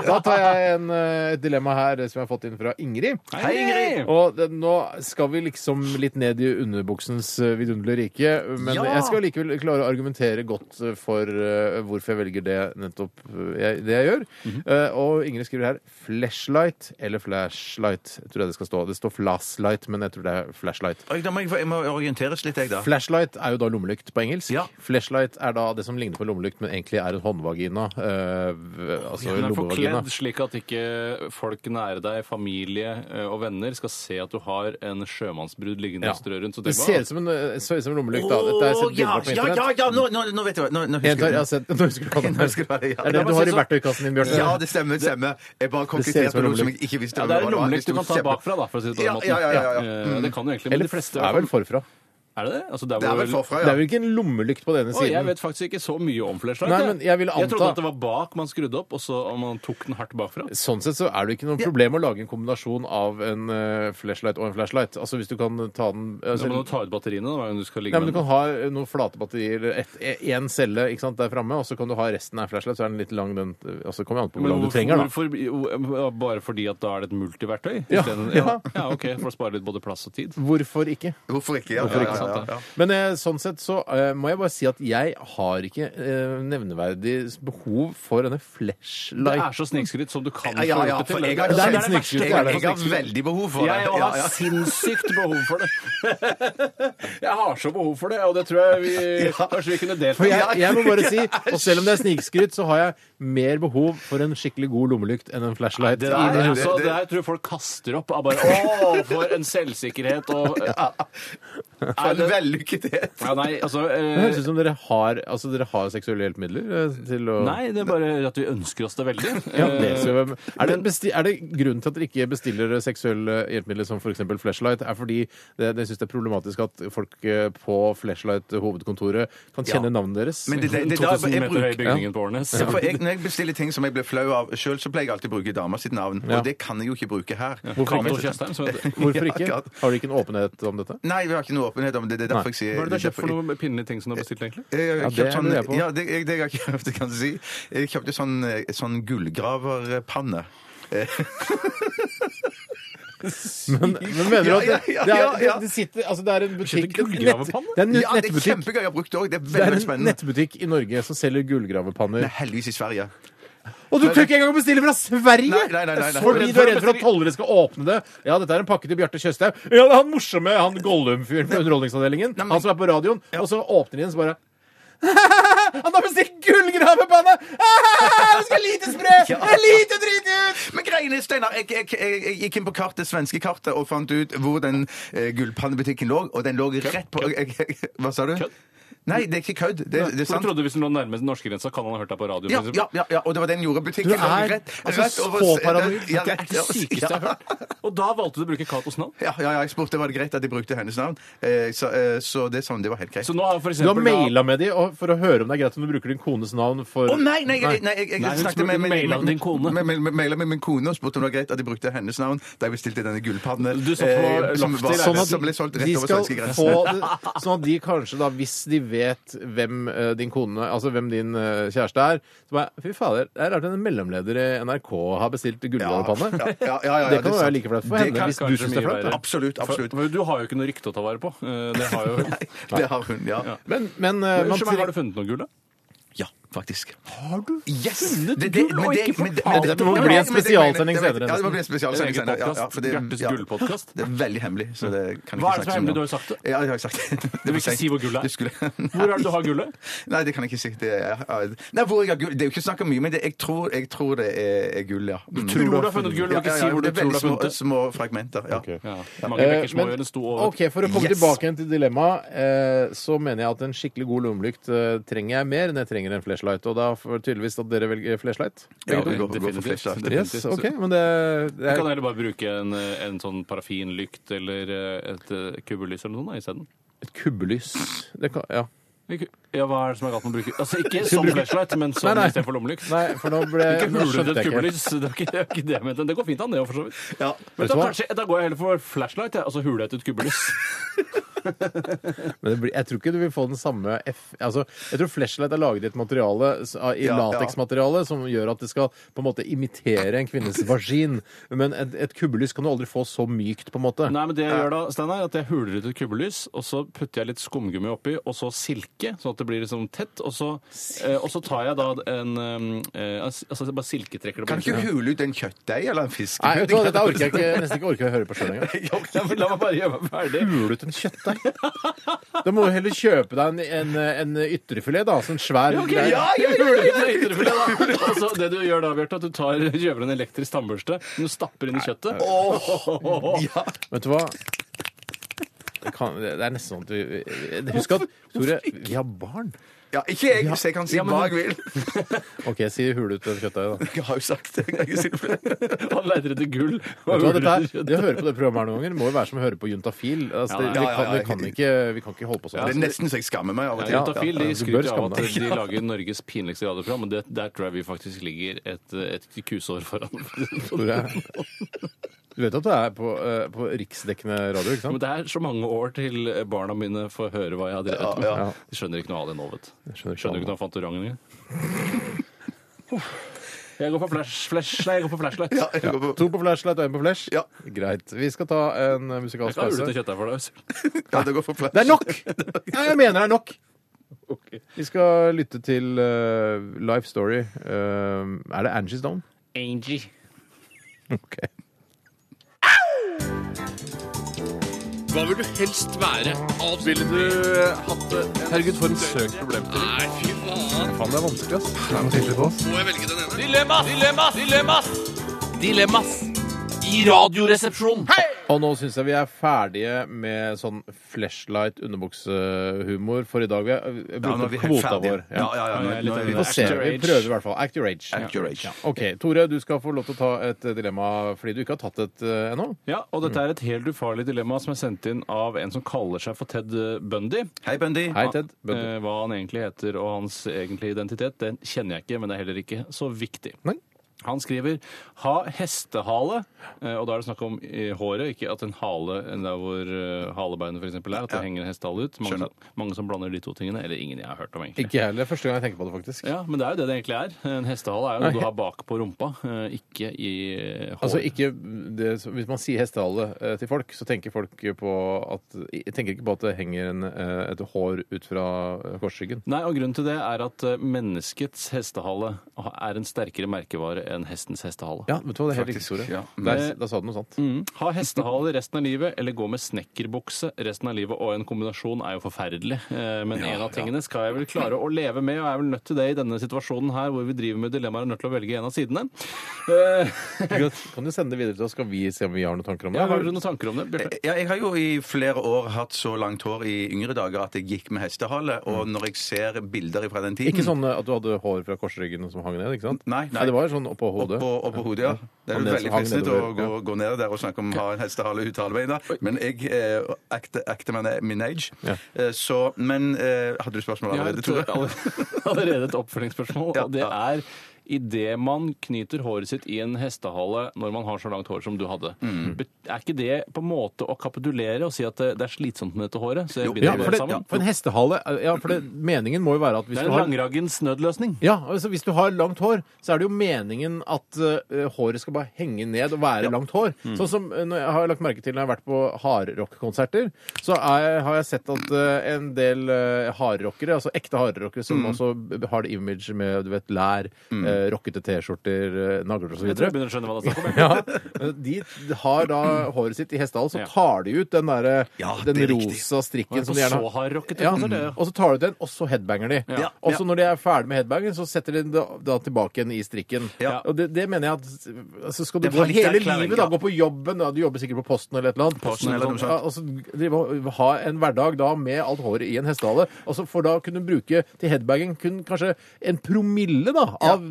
B: Da tar jeg en, eh, et dilemma her eh, som jeg har fått inn fra Ingrid.
D: Hei, Ingrid!
B: Og det, nå skal vi liksom litt ned i underbuksens eh, vidunderlige rike, men
C: Ja!
B: jeg skal likevel klare å argumentere godt eh, for eh, hvorfor jeg velger det nettopp eh, jeg, det jeg gjør.
D: Mhm.
B: Eh, og Ingrid skriver her 'flashlight' eller 'flashlight'. Jeg tror jeg det skal stå. Det står 'flashlight', men jeg tror det er 'flashlight'.
C: Oi, Da må jeg, få- jeg må orienteres litt, jeg, da.
B: Flashlight er jo da lommelykt på engelsk.
C: Ja.
B: Flashlight er da det som ligner på lommelykt, men egentlig er en håndvagina. eh, v- altså
D: Den er
B: lommevagina.
D: forkledd slik at ikke folk nære deg, familie eh, og venner, skal se at du har en sjømannsbrud liggende og strø rundt. Så
B: det
D: tenk
B: ser
D: bare,
B: ut som en, eh, ser ut som en lommelykt, da. Dette har jeg
C: Å,
B: sett bilder
C: ja,
B: på
C: ja,
B: internett.
C: ja, ja, nå, nå, nå vet jeg hva. Nå, nå
B: Jeg
C: husker
B: tar, jeg
C: jeg.
B: har sett, (laughs) nå husker du hva
C: (laughs) Nå husker jeg hva
B: det
C: det er.
B: er. Det er det du har i verktøykassen din, Bjørte.
C: Ja, det stemmer. det stemmer.
B: Det
C: Jeg bare
B: ser ut
C: konkreterte
B: som en
C: noe som jeg
B: lommelykt.
C: ikke visste
D: ja, det er
C: hva
D: en lommelykt du
C: var.
D: kan ta bakfra, da, for å si det på den
C: Ja,
D: måten.
C: ja, ja, ja,
D: Eh, Det kan du egentlig, men
B: Mm. Eller
D: de fleste
B: det er vel forfra.
D: Er det det? Altså, der
C: Det er
D: hvor-
C: vel forfra,
B: Det er
C: ja.
B: vel ikke en lommelykt på den ene
D: Å, jeg
B: siden?
D: vet faktisk ikke så mye om flashlight.
B: Nei, men jeg ville
D: trodde
B: anta-
D: at det var bak man skrudde opp, og så om man tok den hardt bakfra.
B: Sånn sett så er det ikke noe problem å lage en kombinasjon av en eh, flashlight og en flashlight. Altså hvis du kan ta den
D: Så
B: altså,
D: må du ta ut batteriene da, hver gang du skal ligge
B: Nei, men Du kan
D: med
B: ha eh, noen flate batterier, én celle ikke sant, der framme, og så kan du ha resten av en flashlight. Så er den litt lang, den eh, altså, Kommer an på hvor lang du trenger, da.
D: hvorfor, hvorfor- bare fordi at da er det et multiverktøy?
B: Ja,
D: isteden-
B: ja.
D: ja, ok, for å spare litt både plass og tid.
B: Hvorfor ikke?
C: Hvorfor ikke? Ja,
B: Hvorfor
C: ja,
B: ikke,
C: ja,
D: sant,
C: ja, ja.
B: Men eh, sånn sett så eh, må jeg bare si at jeg har ikke eh, nevneverdig behov for denne
D: Det er
B: flashlight.
D: så snikskryt som du kan
C: Ja, ja, ja,
D: få hjelpe
C: for
D: til.
C: jeg
D: Det
C: har,
D: er det
B: litt
D: verste
B: snikskryt,
D: jeg
C: jeg,
D: vet.
B: det.
C: jeg har veldig behov for det.
D: Jeg har
C: Ja, ja.
D: sinnssykt behov for det.
C: (laughs)
D: Jeg har så behov for det, og det tror jeg vi kanskje vi kunne delt.
B: For jeg, jeg må
C: (laughs)
B: bare si, og selv om det er snikskryt, så har jeg mer behov for en skikkelig god lommelykt enn en flashlight.
D: Det
B: Ingen-
D: der,
C: det-
D: altså,
C: det-
D: det der tror jeg folk kaster opp. av Bare, Å, for en selvsikkerhet
C: (laughs)
D: og
C: For en vellykket
D: ja, Nei, altså
B: Det
D: eh,
B: høres ut som dere har, altså dere har seksuelle hjelpemidler eh, til å
D: Nei, det er bare at vi ønsker oss det veldig. Eh,
B: Ja, det
C: Eh,
B: skal vi- er, det besti er det grunnen til at dere ikke bestiller seksuelle hjelpemidler som f.eks. flashlight, er fordi det- dere syns det er problematisk at folk eh, på flashlight-hovedkontoret kan kjenne
C: Ja.
B: navnet deres?
C: Men det, det, det, det,
D: 2000
C: jeg
D: meter høy
C: bruker
D: bygningen på Årnes.
C: Ja, for jeg, når jeg bestiller ting som jeg blir flau av sjøl, så pleier jeg alltid å bruke dama sitt navn.
B: Ja.
C: Og det kan jeg jo ikke bruke her.
B: Hvorfor
D: Cato
B: ikke?
D: Tjøstheim, som heter
B: Hvorfor ikke?
C: Ja,
B: Har
C: akkurat.
B: dere ikke en åpenhet om
C: (laughs)
B: dette?
C: Nei, vi har ikke noe åpenhet om det. Det er derfor jeg sier
D: Hva er det du har
C: det er
D: kjøpt for
C: derfor-
D: noen pinlige ting som du har bestilt, egentlig?
C: Jeg har
B: Ja,
C: kjøpt
B: det
C: sånn,
B: lurer jeg på.
C: ja, det, jeg- det jeg har kjøpt, kan du si. Jeg kjøpte sånn, sånn gullgraverpanne.
B: Men, men mener du at det,
C: Ja, ja, ja,
B: det, er,
C: ja.
B: det, det sitter Altså, det er en butikk
D: Skjønte gullgravepanne?
B: Det er en nett-
C: Ja, det er
B: nettbutikk.
C: kjempegøy. Jeg har brukt det òg. Det er
B: Det er
C: veldig
B: en
C: spennende.
B: nettbutikk i Norge som selger
C: Det
B: gullgravepanner.
C: er heldigvis i Sverige.
B: Og du tør ikke engang å bestille fra Sverige!
C: Nei, nei, nei, nei, nei.
B: Fordi du er redd for at tollere skal åpne det. Ja, dette er en pakke til Bjarte Tjøstheim. Ja, det er han morsomme han Gollum-fyren på Underholdningsavdelingen.
C: Nei, men- (laughs)
B: Han som er på radioen. Og så åpner de den, så bare Han har bestilt gullgravepanne! (laughs) Det skal lite spre! Det er lite drit ut!
C: Men greiene, Steinar, jeg, jeg, jeg, jeg gikk inn på kartet, det svenske kartet og fant ut hvor den eh, gullpannebutikken lå, og den lå rett på jeg, jeg, (laughs) Hva sa du?
D: Kødd.
C: Nei, det er ikke kødd. Eh, Det, det er
D: For du
C: sant.
D: trodde hvis den lå nærmest norskegrensa, kan han ha hørt deg på radio?
C: Ja,
D: for eksempel?
C: ja, ja, ja, og det var den gjorde butikken.
B: Du er
C: lå rett,
B: altså
C: rett over-
B: så paranoid.
C: Ja,
D: Det er det
C: ja,
D: sykeste jeg har hørt. (laughs) Og da valgte du å bruke Katos navn.
C: Ja, ja, ja, jeg spurte var det greit at jeg brukte hennes navn. Eh, så, eh, så det er sånn, det var helt greit.
D: Så nå har for
B: Du har
D: eksempel da-
B: maila med de og- for å høre om det er greit om du bruker din kones navn for
C: Å nei, nei, nei, nei, jeg, jeg
D: Nei, hun
C: snakket
D: spurte
C: med, med,
D: maila
C: med,
D: din kone.
C: med, med, med, maila med min kone og spurte om det var greit at jeg brukte hennes navn da jeg bestilte denne gullpannen eh,
D: Du satt på
C: som,
D: loft
C: var-
B: Sånn
D: til leiligheten.
B: at
C: som ble solgt rett
B: de
C: over
B: skal
C: svenskegrensen.
B: få det,
C: (laughs)
B: sånn at de kanskje da, hvis de vet hvem eh, din kone, altså hvem din eh, kjæreste er, så bare Fy fader, det er rart en mellomleder i NRK har bestilt gullgravepanne.
C: ja, ja, ja,
B: det kan
C: er
B: jo
C: sant.
B: være like flaut for
C: Det
B: henne
C: kan
B: hvis du
D: kanskje
B: syns det er
D: mye
B: flaut. da.
D: være.
C: Absolutt, absolutt.
D: For, du har jo ikke noe rykte å ta vare på. Eh, Det har
C: (laughs)
D: jo
C: Det har hun, ja.
B: Men, men eh, man
D: Unnskyld meg, har
B: trenger
D: du funnet noe gull, da?
C: Ja, faktisk.
D: Yes!
C: men det- men det- men det-
B: Det må bli en spesialsending senere,
C: Ja, det må bli en spesialsending
D: En egen
C: senere. Ja, ja, for det-
D: podcast. Bjertes
C: ja.
D: gullpodcast.
C: Det er veldig hemmelig, så det kan jeg
D: Hva
C: ikke
D: er det som er
C: snakke så mye
D: hemmelig?
C: om.
D: Du har jo sagt det.
C: Ja, jeg har ikke sagt det. det.
D: vil ikke
C: seint.
D: si hvor gullet er?
C: Du skulle...
D: Hvor er det du har gullet?
C: Nei, det kan jeg ikke si. Det er, nei, hvor jeg har gull Det er jo ikke snakk om mye, men det, jeg, tror, jeg tror det er, er gull, ja. Mm.
D: tror du har funnet gull, men ikke si hvor du
C: det er
D: tror du
C: veldig
D: har funnet det.
C: Små, små fragmenter. ja.
D: Ja. Mange
B: Eh,
D: bekker små
B: men-
D: gjør en stor over.
B: Ok, For å komme
C: Yes.
B: tilbake igjen til dilemmaet, eh, så mener jeg at en skikkelig god lommelykt eh, trenger jeg mer enn jeg trenger en flashlight. Og da får tydeligvis at dere velger flashlight.
C: Ja, vi går- går for
D: definitivt.
C: flashlight.
B: Yes,
D: Definitivt.
B: ok, men det, det
D: Du
B: er
D: kan heller bare bruke en, eh, en sånn parafinlykt eller eh, et eh, kubbelys eller noe sånt da, isteden.
B: et kubbelys. Det kan, ja.
D: Ikke- Ja, hva er det som er galt med å bruke Altså (laughs)
B: Skal
D: ikke som
B: du bruke-
D: flashlight, men som
B: Nei, nei.
D: istedenfor lommelykt.
B: Nei, for nå ble
D: Ikke
B: nå
D: huler
B: skjønte
D: et
B: jeg ikke helt.
D: kubbelys. Det er ikke det, er ikke det jeg mente. Det går fint an, det òg, for så vidt. Men
B: Vet du
D: da,
B: hva?
D: kanskje, da går jeg heller for flashlight, jeg. Altså hule etter et kubbelys. (laughs)
B: Men det blir, jeg tror ikke du vil få den samme F... Altså, jeg tror flashlight er laget i et materiale s- av- i
C: Ja, ja.
B: lateksmateriale som gjør at det skal på en måte imitere en kvinnes vagin. Men et, et kubbelys kan du aldri få så mykt, på en måte.
D: Nei, men det jeg gjør da, Steinar, er at jeg huler ut et kubbelys, og så putter jeg litt skumgummi oppi, og så silke, sånn at det blir liksom tett, og så, eh, og så tar jeg da en eh, eh, Altså jeg bare silketrekker det
C: Kan du ikke
D: på.
C: hule ut en kjøttdeig eller en fisk?
B: Nei, vet du hva, dette orker jeg ikke,
D: (laughs)
B: nesten ikke orker jeg å høre på sjøl engang.
D: Ja, men La meg bare gjøre meg ferdig.
B: Huler ut en kjøttdeig? Da må du heller kjøpe deg en, en, en ytrefilet, da. Sånn svær
D: Ok,
B: greie.
D: ja, ja, ja, (laughs) ja, ja, ytterfilet, da. Og så Altså, det du gjør da, Bjarte, at du tar, kjøper en elektrisk tannbørste, men du stapper inn i kjøttet. (laughs)
C: Ja.
B: Vet du hva? Det, kan, det er nesten sånn at du Husk at Tore, vi har barn.
C: ja, ikke jeg, så jeg kan si hva
D: (laughs)
C: jeg vil.
B: OK, si hule ut en kjøttdeig, da.
C: Jeg har jo sagt det. Jeg kan ikke si det flere.
D: (laughs) Han leter etter gull.
B: Vet du hva, dette
D: Huler i
B: her,
D: kjøttet.
B: det å høre på det programmet her noen ganger må jo være som å høre på Juntafil. Altså, det,
D: Ja,
B: vi,
C: ja,
B: kan,
C: ja,
B: vi, kan ikke, vi kan ikke holde på
C: Det er
B: sånn.
C: nesten så jeg skammer meg av og til.
D: Ja, Juntafil
B: ja, ja, du
D: de
B: bør
D: skryter av
B: skamme
D: at
B: deg.
D: de lager Norges pinligste radioprogram, og det, der tror jeg vi faktisk ligger et, et kusår foran. (laughs)
B: Tore, Du vet at du er på, eh, på riksdekkende radio, ikke
D: Men
B: sant?
D: det er så mange år til barna mine får høre hva jeg har drevet med.
B: ja.
D: De skjønner ikke noe av det nå, vet du.
B: skjønner ikke
D: Skjønner
B: noe
D: ikke noe av Fantorangen engang. Jeg går for flash, flash, nei, jeg går for flashlight.
C: Ja, jeg går på-
B: To på flashlight og én på flash?
C: Ja.
B: Greit. Vi skal ta en eh,
D: Jeg
B: musikalsk
D: kan hule
B: pause.
D: til kjøttet for deg. Øystein.
C: ja, det går for plass.
B: Det er nok! Nei, jeg mener det er nok.
D: (laughs)
B: Vi skal lytte til eh, Life Story. Eh, er det Angie's Down?
D: Angie.
B: Ok.
G: Hva vil du helst være? Ville du
C: eh,
G: hatt det? Herregud, for en søk problemstilling. Nei, fy faen.
B: Faen, det er vanskelig, ass.
G: Må jeg velge den ene? Dilemmas! Dilemmas! Dilemmas! Dilemmas! I radioresepsjonen. Hei!
B: Og nå syns jeg vi er ferdige med sånn flashlight underbuksehumor for i dag. Vi har vi har
C: Ja, nå er
B: brukt opp
C: vi helt
B: kvota
C: ferdige.
B: vår.
C: Ja, ja, ja.
D: Ja, jeg er
C: nå-
D: litt
C: nå er
B: Vi
C: vi
D: enig.
B: får se.
D: Act your
B: Vi
D: age.
B: prøver i hvert fall. Act your age.
C: Act your age.
B: OK, Tore, du skal få lov til å ta et eh, dilemma fordi du ikke har tatt et eh, ennå.
D: Ja, og dette er et helt ufarlig dilemma som er sendt inn av en som kaller seg for Ted eh, Bundy.
C: Hei, Bundy.
B: Hei, Ted. Bønder.
D: Eh, Hva han egentlig heter og hans egentlige identitet, den kjenner jeg ikke, men det er heller ikke så viktig.
B: Nei.
D: Han skriver 'ha hestehale', eh, og da er det snakk om i håret, ikke at en hale der hvor eh, halebeinet f.eks. er, at det henger en hestehale ut. Mange,
C: Skjønner.
D: som, mange som blander de to tingene, eller ingen jeg har hørt om, egentlig.
B: Ikke jeg heller. Første gang jeg tenker på det, faktisk.
D: Ja, Men det er jo det det egentlig er. En hestehale er jo noe du har bak på rumpa, eh, ikke i håret.
B: Altså ikke det, som- Hvis man sier hestehale eh, til folk, så tenker folk på at Jeg tenker ikke på at det henger en, eh, et hår ut fra eh, korsryggen.
D: Nei, og grunnen til det er at eh, menneskets hestehale er en sterkere merkevare enn hestens hestehale.
B: Ja, vet du hva, det er helt riktig, Tore.
C: Faktisk, ja.
B: Der, da sa du noe sant.
D: Mm. Ha hestehale resten av livet, eller gå med snekkerbukse resten av livet. Og en kombinasjon er jo forferdelig, eh, men en av tingene skal jeg vel klare å leve med, og jeg er vel nødt til det i denne situasjonen her, hvor vi driver med dilemmaer og er nødt til å velge en av sidene. Eh, (laughs)
B: Du kan- Kan du sende det videre til oss, skal vi se om vi har noen tanker om det?
D: Ja, har du noen tanker om det, Bjarte?
C: Ja, jeg har jo i flere år hatt så langt hår i yngre dager at jeg gikk med hestehale. Og når jeg ser bilder fra den tiden
B: Mm. Ikke sånn eh, at du hadde hår fra korsryggen som hang ned? ikke sant?
C: Nei, nei.
B: det var jo sånn oppå hodet.
C: Oppå, oppå hodet, ja.
B: Og
C: Det er jo
B: ned-
C: veldig
B: hang
C: fristende å
B: nedover,
C: gå,
B: ja.
C: gå ned der og snakke om å ha en hestehale ut halvveien. da. Men jeg eh, akter akter meg ned- min age.
B: Ja.
C: Eh, så, men eh, hadde du spørsmål
D: Jeg har
C: allerede,
D: et,
C: Tore?
D: aller- (laughs) allerede et oppfølgingsspørsmål,
C: Ja.
D: og det er Idet man knyter håret sitt i en hestehale når man har så langt hår som du hadde, bet- er ikke det på en måte å kapitulere og si at det det er slitsomt med dette håret? Så jeg
C: Jo,
B: Ja,
D: binder
B: for,
D: det
B: det,
D: sammen?
B: for en hestehale eh, ja, for det, Meningen må jo være at hvis
D: Det
B: du
D: er en
B: har
D: langraggens nødløsning.
B: ja, altså Hvis du har langt hår, så er det jo meningen at eh, håret skal bare henge ned og være langt hår.
D: Mm.
B: Sånn som eh, når jeg har lagt merke til når jeg har vært på hardrockkonserter, så er, har jeg sett at eh, en del eh, hardrockere, altså ekte hardrockere
D: Mm.
B: som også b- har det image med du vet, lær, eh, rockete T-skjorter, eh, nagler osv.
D: Jeg tror jeg begynner å skjønne hva det
B: (laughs)
D: er snakk om.
B: Ja, de har da håret sitt i hestehalen, så
D: Ja.
B: tar de ut den, der,
C: Ja, det
B: den
C: er riktig.
B: rosa strikken
D: Men
B: som
D: på
B: de gjerne
D: så hard rocket
B: Ja,
C: altså,
D: konsert, det er jo-
B: og så tar du ut den, og så headbanger de.
D: Ja.
B: Og så når de er ferdig med headbangen, så setter de den da, da tilbake igjen i strikken.
C: Ja.
B: Og det, det mener jeg at altså Skal du
C: Det er
B: gå
C: litt
B: hele
C: erklæring,
B: livet, da,
C: ja.
B: gå på jobben, da, du jobber sikkert på Posten eller et eller annet,
C: Posten eller noe sånt.
B: Ja, og så drive og ha en hverdag da med alt håret i en hestehale, og så for da kunne du bruke til headbanging kun kanskje en promille da, av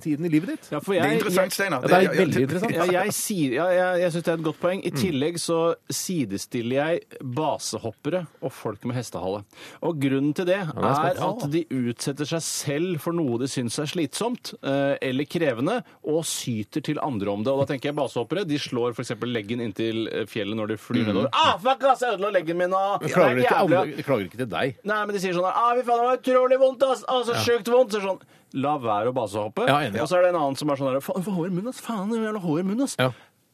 B: tiden i livet ditt.
D: Ja, for
C: Det er
D: jeg, jeg,
C: interessant, Steinar.
B: Ja, det er veldig interessant.
D: ja, jeg, sier- ja, jeg, jeg syns det er et godt poeng.
B: Mm.
D: I tillegg så sidestiller jeg basehoppere og folk med hestehale. Og grunnen til det
B: det er
D: er
B: spennende.
D: at de utsetter seg selv for noe de syns er slitsomt eh, eller krevende, og syter til andre om det. Og da tenker jeg basehoppere. De slår f.eks. leggen inntil eh, fjellet når de flyr nedover. Ah, fuck, ass, jeg ødela leggen min, ah!
B: Mm. Jeg
D: Det
B: klager
D: er
B: ikke,
D: jævlig.
B: alle, jeg klager ikke til deg.
D: Nei, men de sier sånn her ah, fy faen, det var utrolig vondt, ass! Ah, så sjukt vondt! Så er det sånn, La være å basehoppe.
B: Ja, enig.
D: Og så er det en annen som er sånn her Faen, du får hår i munnen, ass! Faen, du jævla hår i munnen, ass!
B: Ja.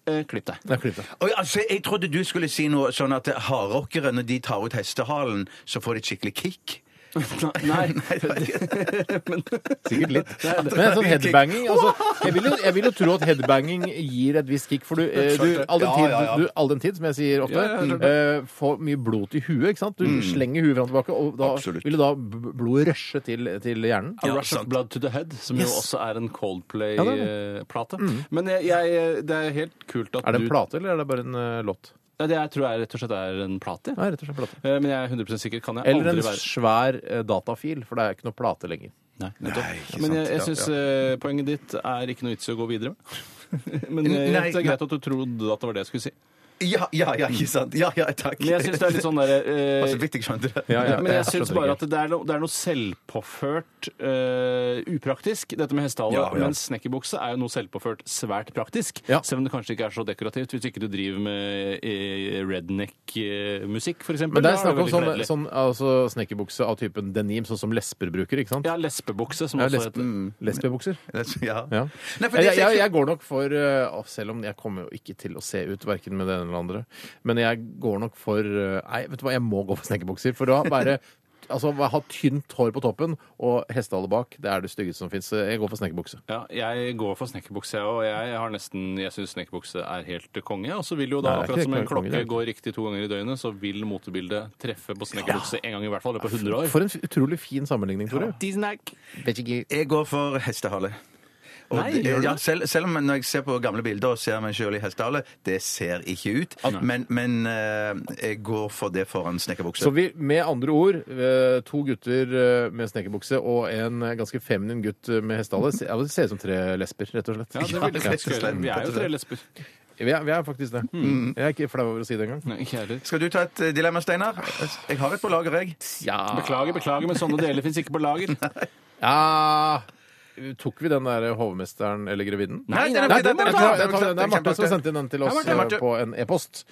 D: Eh, klipp (laughs) deg.
B: Det er klippet.
C: Oi, altså, jeg trodde du skulle si noe sånn at hardrockere, når de tar ut hestehalen, så får de et skikkelig kick.
D: Nei.
C: det var ikke-
D: men,
B: Sikkert litt. Men en sånn headbanging altså, jeg, vil jo, jeg vil jo tro at headbanging gir et visst kick, for du, eh, du, all, den
C: Ja,
B: tid,
C: ja, ja.
B: du all den tid, som jeg sier ofte,
D: Ja, ja, jeg Mm.
B: eh, får mye blod til huet. ikke sant? Du slenger huet fram og tilbake, og da
C: Absolutt.
B: vil jo da b- blodet rushe til, til hjernen.
D: A
C: Ja,
D: Rush of
C: sant.
D: Blood to the Head, som jo også er
B: Ja,
D: en
B: det er
D: Coldplay-plate. Men jeg, jeg, det er helt kult at
B: Er det
D: du
B: en plate, eller er det bare en eh, låt?
D: Ja, det er- tror jeg rett og slett er en plate.
B: Nei, rett og slett plate.
D: Eh, Men jeg er 100 sikker. Kan jeg
B: Eller en
D: aldri være
B: svær eh, datafil, for det er ikke noe plate lenger.
D: Nei, nettopp.
C: Nei, ikke
D: Men
C: sant.
D: jeg, jeg
C: Ja,
D: syns eh, poenget ditt er ikke noe vits i å gå videre med. (laughs) Men eh,
C: Nei,
D: det er
C: nei.
D: greit at du trodde at det var det jeg skulle si.
C: Ja, ja, ja, ikke sant. Ja, ja, takk. (laughs)
D: Men jeg syns det er litt sånn derre eh,
C: Det var så vidt Altså, jeg skjønte det. (laughs)
B: (laughs)
D: ja, Men jeg syns
B: skjønner
D: bare
B: ikke.
D: at det er, no, det er noe selvpåført eh, upraktisk, dette med hestehale.
C: Ja, ja.
D: Men snekkerbukse er jo noe selvpåført svært praktisk.
B: Ja.
D: Selv om det kanskje ikke er så dekorativt hvis ikke du driver med eh, redneck-musikk, f.eks.
B: Men det er snakk om sånn, sånn altså, snekkerbukse av typen denim, sånn som lesber bruker, ikke sant?
D: Ja, lesbebukse, som
B: Ja, mm.
D: også
B: lesb-
D: heter
B: lesbebukser.
C: Ja.
B: Ja.
C: Altså Nei, for det
B: jeg,
C: ser
B: jeg,
C: ikke-
B: jeg går nok for eh, å, Selv om jeg kommer jo ikke til å se ut verken med det ene eller andre, men jeg går nok for eh, Nei, vet du hva, jeg må gå for snekkerbukser. For å være (laughs) Altså, ha tynt hår på toppen og hestehale bak. Det er det styggeste som fins. Jeg går for snekkerbukse.
D: Ja, jeg går for snekkerbukse, jeg òg. Jeg har nesten, jeg syns snekkerbukse er helt konge. Og så vil jo da,
B: Nei, det er
D: akkurat
B: ikke
D: som en
B: helt konge, det
D: klokke
B: er det.
D: går riktig to ganger i døgnet, så vil motebildet treffe på snekkerbukse en gang i hvert fall i løpet av 100 år.
B: For en utrolig fin sammenligning, Tore. Vet ikke-
C: Jeg går for hestehale. Og
D: Nei,
C: det-
D: gjør du
C: ja,
D: det?
C: selv, selv om når jeg ser på gamle bilder og ser meg sjøl i hestehale, det ser ikke ut.
D: Ah,
C: Men, men eh, jeg går for det foran snekkerbukse.
B: Så vi, med andre ord, eh, to gutter eh, med snekkerbukse og en eh, ganske feminin gutt eh, med hestehale Se- ja, det ser ut som tre lesber, rett og slett.
D: Ja, det vil jeg faktisk gjøre. Vi er jo tre lesber.
B: Vi er, vi er faktisk det.
D: Hmm.
B: Mm. Jeg er ikke flau over å si det engang.
D: Nei, ikke heller.
C: Skal du ta et eh, dilemma, Steinar? Jeg har et på lager, jeg.
B: Ah.
D: Beklager, beklager, men sånne deler fins ikke på
B: (laughs)
D: lager.
B: Ja Tok vi den der hovmesteren eller grevinnen?
D: Nei, den er-
B: Nei,
D: den
B: den
D: er-
B: eh, jeg tar- jeg tar den. Det er Marte som sendte den til oss
C: Ja, Marte, Marte.
B: eh, på en e-post.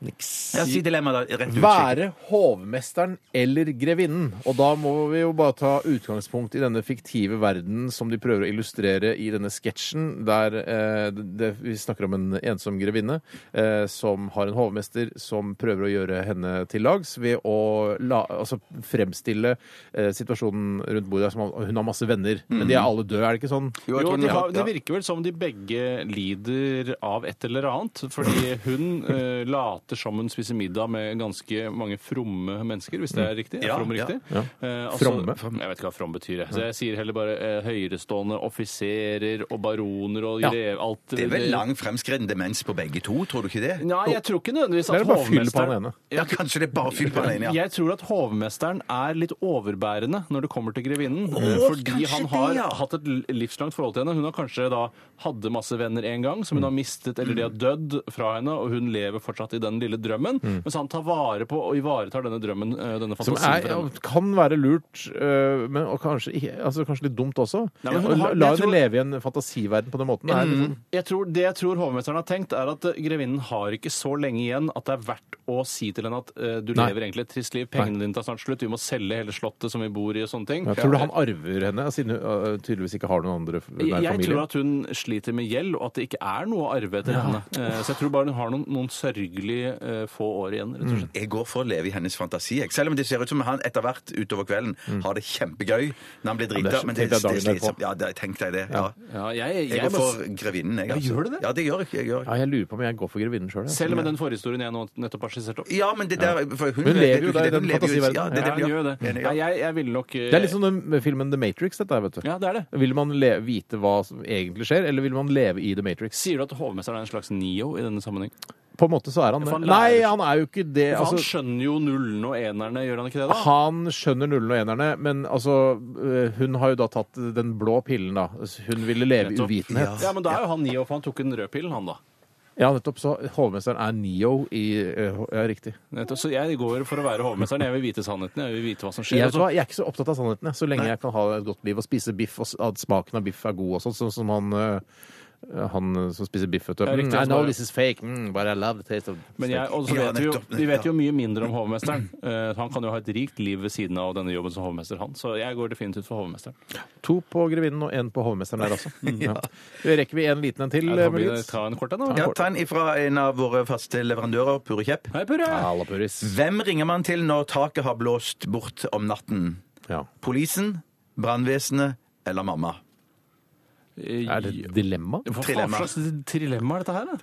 B: Niks.
C: Ja, si dilemma, da. Rett ut.
B: Være hovmesteren eller grevinnen. Og da må vi jo bare ta utgangspunkt i denne fiktive verden som de prøver å illustrere i denne sketsjen, der eh, det, vi snakker om en ensom grevinne eh, som har en hovmester som prøver å gjøre henne til lags ved å la, altså, fremstille eh, situasjonen rundt bordet der som om hun har masse venner, men de er alle døde, er det ikke sånn?
C: Jo, jeg
D: Jo,
C: tror
D: det,
C: den-
D: har,
C: ja.
D: det virker vel som de begge lider av et eller annet. Fordi hun eh, later som hun spiser middag med ganske mange fromme mennesker, hvis det er riktig?
C: Ja,
D: Ja, from
C: ja,
D: riktig.
B: Mm. ja.
D: Eh,
B: Fromme?
D: Jeg vet ikke hva from betyr, jeg. Så jeg sier heller bare eh, høyerestående offiserer og baroner og
B: Ja.
D: grev... Alt
C: Det er vel lang fremskreden demens på begge to, tror du ikke det?
D: Nei, jeg tror ikke nødvendigvis
B: Det
D: at
B: er bare å fylle på
D: hovmesteren-
B: den ene.
C: Ja, kanskje det er bare fyll på den ene, ja.
D: Jeg tror at hovmesteren er litt overbærende når det kommer til grevinnen. eh, fordi
C: kanskje
D: han
C: det,
D: har
C: ja.
D: hatt et livslangt forhold til henne. Hun har kanskje da hadde masse venner en gang, som hun
B: Mm.
D: har mistet, eller de har dødd fra henne, og hun lever fortsatt i den lille drømmen. Mens han tar vare på og ivaretar denne drømmen, eh, denne
B: Mm. Som
D: fantasien.
B: er,
D: for henne.
B: kan være lurt, øh, men, og kanskje, ikke- altså, kanskje litt dumt også.
D: Nei, men hun
B: Å la
D: har-
B: la
D: jeg
B: henne
D: tror- Mm.
B: leve i en fantasiverden på den måten. Er, liksom,
D: Jeg tror, det jeg tror hovmesteren har tenkt, er at eh, grevinnen har ikke så lenge igjen at det er verdt å si til henne at eh, du
B: Nei.
D: lever egentlig et trist liv, pengene dine tar snart slutt, vi må selge hele slottet som vi bor i og sånne ting.
B: jeg tror du han arver henne, siden hun øh, tydeligvis ikke har noen andre f- nær
D: Jeg jeg
B: familie?
D: tror at hun sliter med gjeld, og at det ikke er noe å arve etter henne. Eh, Så jeg tror bare hun har noen, noen sørgelige eh, få år igjen, rett og slett.
C: Jeg går for å leve i hennes fantasi. jeg. Selv om det ser ut som han etter hvert utover kvelden har det kjempegøy når han blir
B: det er
C: drita.
B: så-
C: Men
B: tenk deg
C: det, det,
B: dagen
C: er slitsomt.
B: derpå.
C: Ja, det, tenk deg det. Ja.
D: Ja, jeg, jeg,
C: Jeg går
D: må s-
C: for grevinnen, jeg. altså.
D: gjør du det?
C: Ja, det gjør jeg. jeg gjør.
B: Ja, jeg lurer på om jeg går for grevinnen altså. sjøl.
D: selv med den forhistorien jeg nå nettopp har skissert opp.
C: Ja, men det der for Hun,
B: Hun lever
C: vet
B: jo
C: ikke
B: da i
C: det,
B: den
C: hun lever jo-
B: fantasiverdenen.
C: Ja, det er
D: Ja,
C: det
D: hun
C: hun
D: gjør
C: gjør.
D: det.
C: Enig,
D: Nei,
C: ja.
D: jeg, jeg ville nok eh,
B: Det er litt sånn- som den med filmen The Matrix, dette her, vet du.
D: Ja, det er det.
B: Vil man le vite hva som egentlig skjer, eller vil man leve i The Matrix?
D: Sier du at hovmesteren er en slags Neo i denne sammenheng?
B: På en måte så er han
D: For
B: det.
D: han
B: Nei,
D: lærer-
B: han er jo ikke det.
D: For han
B: Altså,
D: skjønner jo nullen og enerne, gjør han ikke det? da?
B: han skjønner nullen og enerne, men altså øh, Hun har jo da tatt den blå pillen, da. Hun ville leve i
D: Nettopp.
B: uvitenhet.
D: Ja, men da er jo han Neo, for han tok den røde pillen, han da.
B: Ja, nettopp. Så hovmesteren er Neo i eh, ho- Ja, riktig.
D: Nettopp. Så jeg går for å være hovmesteren. Jeg vil vite sannheten. Jeg vil vite hva som skjer.
B: Jeg,
D: Og
B: vet
D: så-
B: du hva, jeg er ikke så opptatt av sannheten, jeg, så lenge jeg kan ha et godt liv og spise biff, og s- at smaken av biff er god og sånn, sånn som han eh, han eh, som spiser biff, vet du.
D: Ja, riktig,
B: Mm, I
D: han
B: know
D: bare-
B: this is fake, mm, but I love the taste of
D: Men jeg, og så
C: Ja,
D: vet vi, jo,
C: nettopp,
D: vi vet jo mye mindre om hovmesteren. (laughs) Eh, han kan jo ha et rikt liv ved siden av denne jobben som hovmester, han. Så jeg går definitivt for hovmesteren.
B: To på grevinnen og én på hovmesteren der, altså. ja. Rekker vi en liten en til,
D: Jeg
B: eh,
D: tar, blir-
B: muligens?
D: ta en kort en, da.
C: Ja, ta en ifra en av våre faste leverandører, Pure Kjepp.
D: Hei, Purre!
B: Halla, Puris.
C: Hvem ringer man til når taket har blåst bort om natten?
B: Ja.
C: Polisen, brannvesenet eller mamma?
B: Er det et dilemma?
D: Eh, hva faen
C: trilemma?
D: slags trilemma er dette her, da?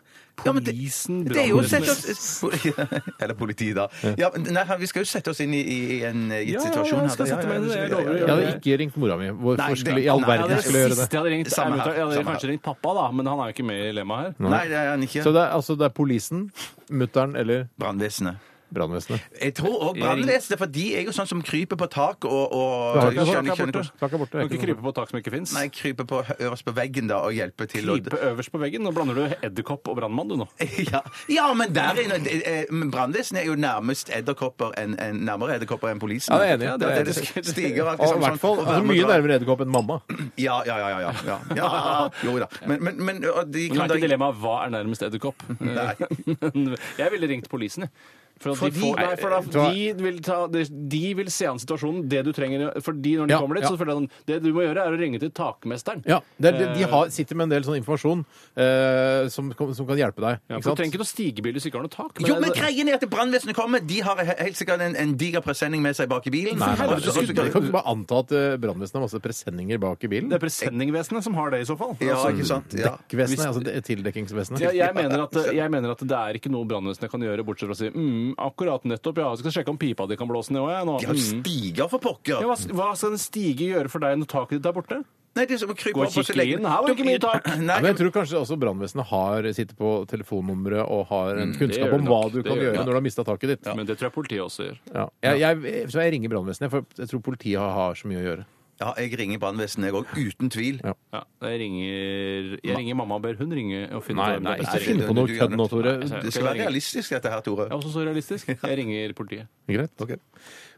C: Ja, men det-
D: Polisen,
C: Det er jo å sette
D: brannvesenet
C: oss (laughs) Eller politiet, da. Ja, men nei, vi skal jo sette oss inn i, i en eh, gitt
D: Ja, ja, ja,
C: situasjon.
D: jeg skal
C: her.
D: sette meg inn i det, jeg
C: ja, ja,
D: lover å
B: Jeg
C: ja.
D: gjøre
B: hadde ikke ringt mora mi.
C: Nei,
B: Hvorfor
C: det-
B: skulle i all
C: nei,
D: Ja,
B: verden
D: det
B: jeg skulle gjøre det?
D: siste jeg hadde ringt, er
C: Samme her,
D: mutter. Jeg hadde
C: samme her.
D: kanskje ringt pappa, da, men han er jo ikke med i lemmaet her.
C: Nei, det er han ikke.
B: Så det er altså det er polisen, mutter'n eller
C: Brannvesenet.
B: brannvesenet?
C: Jeg tror òg brannvesenet, for de er jo sånn som kryper på tak og, og
B: Du har ikke noe
C: skjønner-
B: tak her
C: skjønner
B: borte.
C: hvordan-
B: Tak her borte.
D: Kan
B: er
D: ikke
B: ikke noe-
D: krype på tak som ikke fins.
C: Nei, kryper på øverst på veggen da og hjelper til. å-
D: Krype øverst på veggen. Nå blander du edderkopp og brannmann, du nå.
C: (laughs) Ja, ja, men der inne det- eh, men Brannvesenet er jo nærmest edderkopper enn enn- nærmere edderkopper enn polisen.
B: Ja, det er enig, ja,
C: Ja,
B: det er
C: det, det,
B: enig.
C: stiger alltid
B: Og i
C: sånn-
B: hvert fall
C: sånn-
B: altså, mye nærmere edderkopp enn mamma.
C: Ja, ja, ja. ja,
B: (laughs)
C: ja, ja. ja jo da. Men, men, men og de
D: Men
C: kan
D: det er ikke
C: da
D: dilemmaet hva er nærmest edderkopp.
C: (laughs)
B: (laughs)
D: jeg ville ringt politiet. For, at de,
C: Fordi-
D: får, Eh, nei, for da,
B: Vet du hva?
D: de, vil ta, de, de vil se an situasjonen. Det du trenger For de, når de
B: Ja,
D: kommer dit,
B: ja.
D: så føler jeg sånn Det du må gjøre, er å ringe til takmesteren. Eh,
B: Ja, det er, de, de har, sitter med en del sånn informasjon eh, som, kom- som kan hjelpe deg. Ikke
D: Ja, for du
B: sant?
D: trenger ikke noe stigebil hvis du ikke har noe tak.
C: Jo,
B: altså-
C: men greien er at brannvesenet kommer. De har he- helt sikkert en, en diger presenning med seg bak i bilen.
B: Nei, altså, nei, nei,
C: Og så-
B: du kan ikke bare anta at eh, brannvesenet har masse presenninger bak i bilen.
D: det er presenningsvesenet som har det, i så fall.
C: Ja, ikke sant? Ja.
B: Vesenet, altså det- tildekkingsvesenet.
D: Ja, jeg, mener at, eh, jeg mener at det er ikke noe brannvesenet kan gjøre, bortsett fra å si mm, akkurat nettopp, ja, jeg skal sjekke om pipa di kan blåse ned òg, jeg nå.
C: De har jo
B: altså,
D: Mm.
C: stiger for pokker.
D: Ja, hva, hva skal en stige gjøre for deg når taket ditt er borte?
C: Nei, det er som å krype
D: Gå og
C: opp og så
D: kikke
C: legge-
D: inn. Her var det ikke mye tak.
C: (clears throat) Nei,
B: Ja, men jeg tror kanskje også brannvesenet har- sitter på telefonnummeret og har en kunnskap
D: gjør
B: om
D: Mm, det
B: hva
D: nok.
B: du
D: Det
B: kan
D: gjør
B: gjøre
D: det.
B: når du har mista taket ditt.
D: Men det tror jeg politiet også gjør.
B: Ja. Jeg, jeg, så jeg ringer brannvesenet, for jeg tror politiet har, har så mye å gjøre.
C: Ja, jeg ringer brannvesenet, jeg òg. Uten tvil.
B: Ja.
D: Ja, jeg ringer, jeg ringer mamma og ber hun ringe og finne
B: Nei,
D: ut hvem
B: nei,
D: det
B: ikke
D: beste
B: finn
D: ringer.
B: på noe
C: Du gjør
B: kødd nå,
C: det.
B: Tore.
D: Nei,
C: Det skal være realistisk, dette her, Tore.
D: Det er også så realistisk. Jeg ringer politiet.
B: Greit.